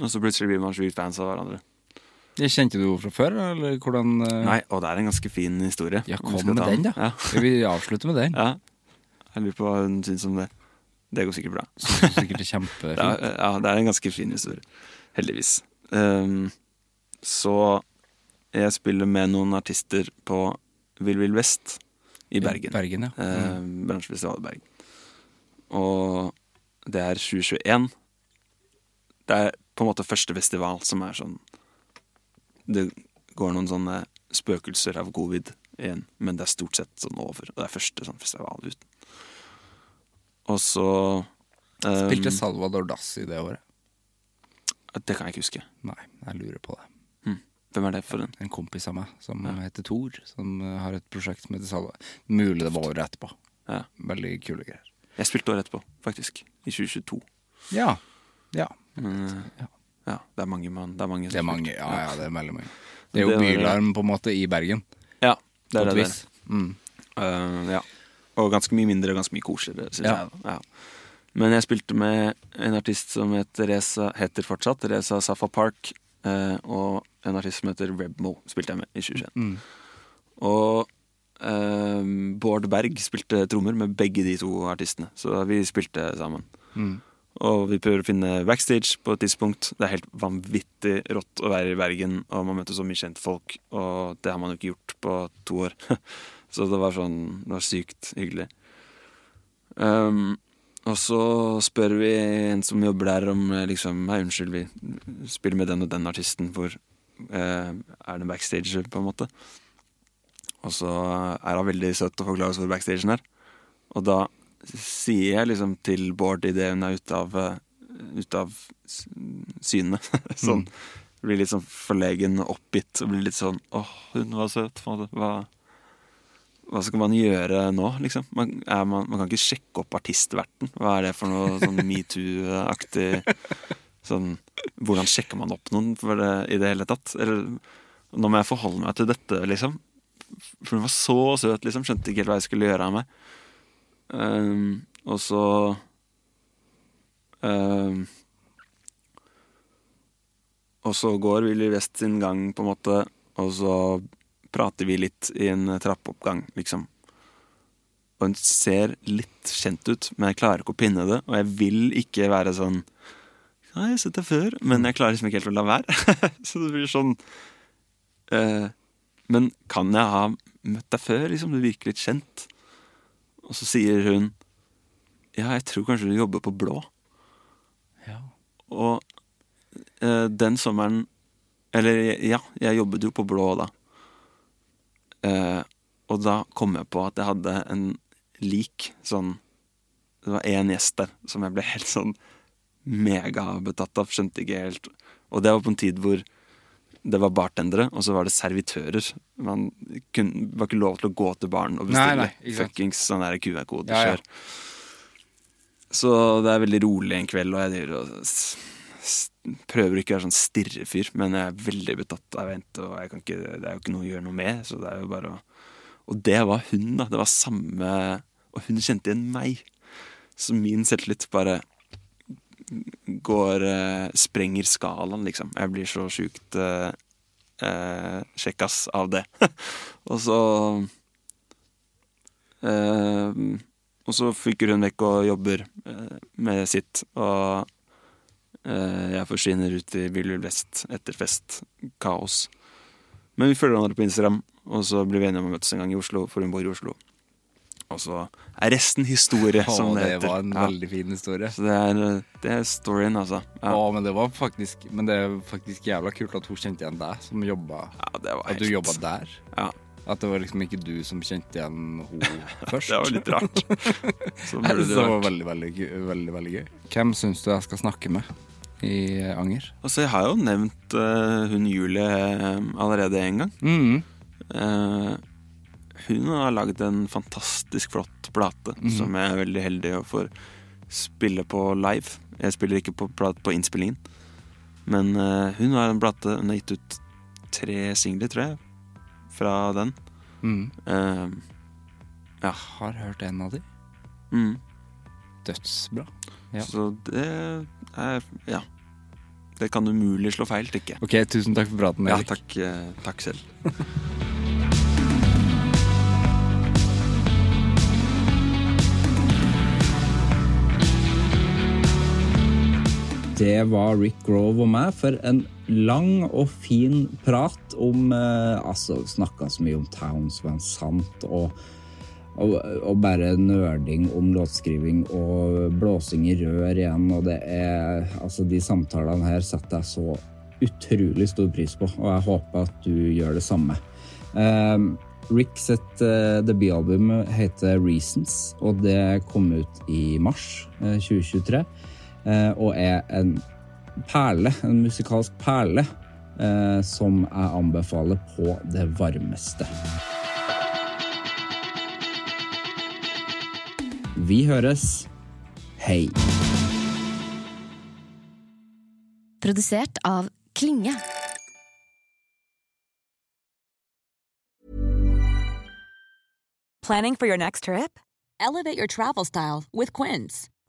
Speaker 3: Og så plutselig blir man sjukt fans av hverandre.
Speaker 2: Jeg kjente du henne fra før, eller hvordan eh,
Speaker 3: Nei, og det er en ganske fin historie.
Speaker 2: Ja,
Speaker 3: Om vi
Speaker 2: kom
Speaker 3: skal
Speaker 2: med
Speaker 3: ta
Speaker 2: den, da.
Speaker 3: Ja.
Speaker 2: Jeg vil avslutte med den.
Speaker 3: ja. Jeg lurer på hva hun syns om det. Det går sikkert bra.
Speaker 2: Så det er sikkert kjempefint.
Speaker 3: Ja, ja, det er en ganske fin historie. Heldigvis. Ehm, så jeg spiller med noen artister på Vill Vill Vest i Bergen.
Speaker 2: Bergen, ja.
Speaker 3: Ehm, bransjefestival i Bergen. Og det er 2021. Det er på en måte første festival som er sånn Det går noen sånne spøkelser av covid igjen, men det er stort sett sånn over. Og det er første sånn festival uten. Og så ehm,
Speaker 2: Spilte Salvador Dass i det året?
Speaker 3: det kan jeg ikke huske. Mm.
Speaker 2: Nei, jeg lurer på det.
Speaker 3: Hvem er det for en?
Speaker 2: En kompis av meg som heter Thor, som eh, har et prosjekt som heter Salva. Mulig det var året etterpå.
Speaker 3: Ja.
Speaker 2: Veldig kule greier.
Speaker 3: Jeg spilte året etterpå, faktisk. I 2022.
Speaker 2: Ja. ja.
Speaker 3: Men,
Speaker 2: Ja.
Speaker 3: ja, det er mange mann. Det er mange. som
Speaker 2: Det er mange.
Speaker 3: spilte.
Speaker 2: Ja, ja, det er veldig mange. Det er jo
Speaker 3: Det var det.
Speaker 2: bylarm, på en måte, i Bergen.
Speaker 3: Ja,
Speaker 2: På
Speaker 3: det er
Speaker 2: et
Speaker 3: det. det
Speaker 2: vis. Mm.
Speaker 3: er. Eh, ja. Og ganske mye mindre og ganske mye koseligere, syns
Speaker 2: Ja.
Speaker 3: jeg. da. Ja. Men jeg spilte med en artist som heter Reza, heter fortsatt Reza Safa Park, eh, og en artist som heter Rebmo, spilte jeg med i 2021.
Speaker 2: Mm.
Speaker 3: Og eh, Bård Berg spilte trommer med begge de to artistene, så vi spilte sammen.
Speaker 2: Mm.
Speaker 3: Og vi prøver å finne backstage på et tidspunkt. Det er helt vanvittig rått å være i Bergen, og man møter så mye kjentfolk, og det har man jo ikke gjort på to år. så det var sånn Det var sykt hyggelig. Ehm, og så spør vi en som jobber der, om eh, liksom Hei, unnskyld, vi spiller med den og den artisten, hvor eh, er det backstage, på en måte? Og så er han veldig søt og forklarer oss hvor backstagen er. Og da sier jeg liksom til Bård idet hun er ute av, eh, ut av s- syne. sånn. Blir litt sånn forlegen og oppgitt. Og blir litt sånn åh, hun var søt. på en måte. Hva, hva skal man gjøre nå, liksom? Man, er man, man kan ikke sjekke opp artistverten. Hva er det for noe sånn metoo-aktig sånn, Hvordan sjekker man opp noen for det, i det hele tatt? Eller, nå må jeg forholde meg til dette, liksom. For hun var så søt, liksom. Skjønte ikke helt hva jeg skulle gjøre av meg. Ehm, og så ehm, Og så går Willy West sin gang, på en måte, og så prater vi litt i en trappeoppgang, liksom. Og hun ser litt kjent ut, men jeg klarer ikke å pinne det. Og jeg vil ikke være sånn Nei, jeg har sett deg før, men jeg klarer liksom ikke helt å la være. så det blir sånn eh, Men kan jeg ha møtt deg før, liksom? Du virker litt kjent. Og så sier hun Ja, jeg tror kanskje du jobber på Blå.
Speaker 2: Ja.
Speaker 3: Og eh, den sommeren Eller ja, jeg jobbet jo på Blå da. Eh, og da kom jeg på at jeg hadde en lik sånn Det var én gjest der som jeg ble helt sånn megabetatt av. Skjønte ikke helt Og det var på en tid hvor det var bartendere, og så var det servitører. Man kunne, var ikke lov til å gå til baren og
Speaker 2: Nei,
Speaker 3: bestille
Speaker 2: nei, ikke sant.
Speaker 3: fuckings sånn der QR-kode.
Speaker 2: Ja, ja.
Speaker 3: kjør. Så det er veldig rolig en kveld, og jeg driver og s- s- prøver ikke å være sånn stirrefyr, men jeg er veldig betatt av jente, og jeg kan ikke, det er jo ikke noe å gjøre noe med, så det er jo bare å Og det var hun, da. Det var samme Og hun kjente igjen meg. Så min selvtillit bare går eh, Sprenger skalaen, liksom. Jeg blir så sjukt eh, eh, kjekkas av det. og så eh, Og så fyker hun vekk og jobber eh, med sitt, og eh, jeg forsvinner ut i Vill Vest etter fest. Kaos. Men vi følger hverandre på Instagram, og så blir vi enige om å møtes en gang i Oslo, for hun bor i Oslo. Og så er resten historie,
Speaker 2: Å,
Speaker 3: som det
Speaker 2: det
Speaker 3: heter.
Speaker 2: var en
Speaker 3: Ja.
Speaker 2: veldig fin historie.
Speaker 3: Så det er, det er storyen, altså. Ja.
Speaker 2: Å, men det var faktisk Men det er faktisk jævla kult at hun kjente igjen deg som jobba At du
Speaker 3: helt-
Speaker 2: jobba der.
Speaker 3: Ja.
Speaker 2: At det var liksom ikke du som kjente igjen hun først.
Speaker 3: Det var litt rart.
Speaker 2: Så
Speaker 3: Så
Speaker 2: det,
Speaker 3: burde det
Speaker 2: var
Speaker 3: vært.
Speaker 2: veldig, veldig, gøy- veldig, veldig gøy. Hvem syns du jeg skal snakke med i Anger?
Speaker 3: Altså, jeg har jo nevnt eh, hun Julie eh, allerede en gang.
Speaker 2: Mhm.
Speaker 3: Eh, hun har laget en fantastisk flott plate
Speaker 2: Mhm.
Speaker 3: som jeg er veldig heldig å få spille på live. Jeg spiller ikke på plate på innspillingen, men eh, hun har en plate Hun har gitt ut tre singler, tror jeg, fra den.
Speaker 2: Mhm.
Speaker 3: Eh, ja.
Speaker 2: Har hørt en av de.
Speaker 3: Mm.
Speaker 2: Dødsbra. Ja.
Speaker 3: Så det er Ja. Det kan umulig slå feil, tenker jeg.
Speaker 2: Ok, tusen takk for praten,
Speaker 3: Ja,
Speaker 2: Erik.
Speaker 3: takk, eh, takk selv.
Speaker 1: Det var Rick Grove og meg for en lang og fin prat om eh, Altså, snakka så mye om Towns Van Sant og, og, og bare nerding om låtskriving og blåsing i rør igjen, og det er Altså, de samtalene her setter jeg så utrolig stor pris på, og jeg håper at du gjør det samme. Um, Rick sitt eh, debutalbum heter Reasons, og det kom ut i mars eh, 2023. eh, og er en perle, en musikalsk perle, eh, som jeg anbefaler på det varmeste. Vi høres. Hei.
Speaker 7: Produsert av Klinge.
Speaker 8: Planning for your next trip? Elevate your travel style with Quince.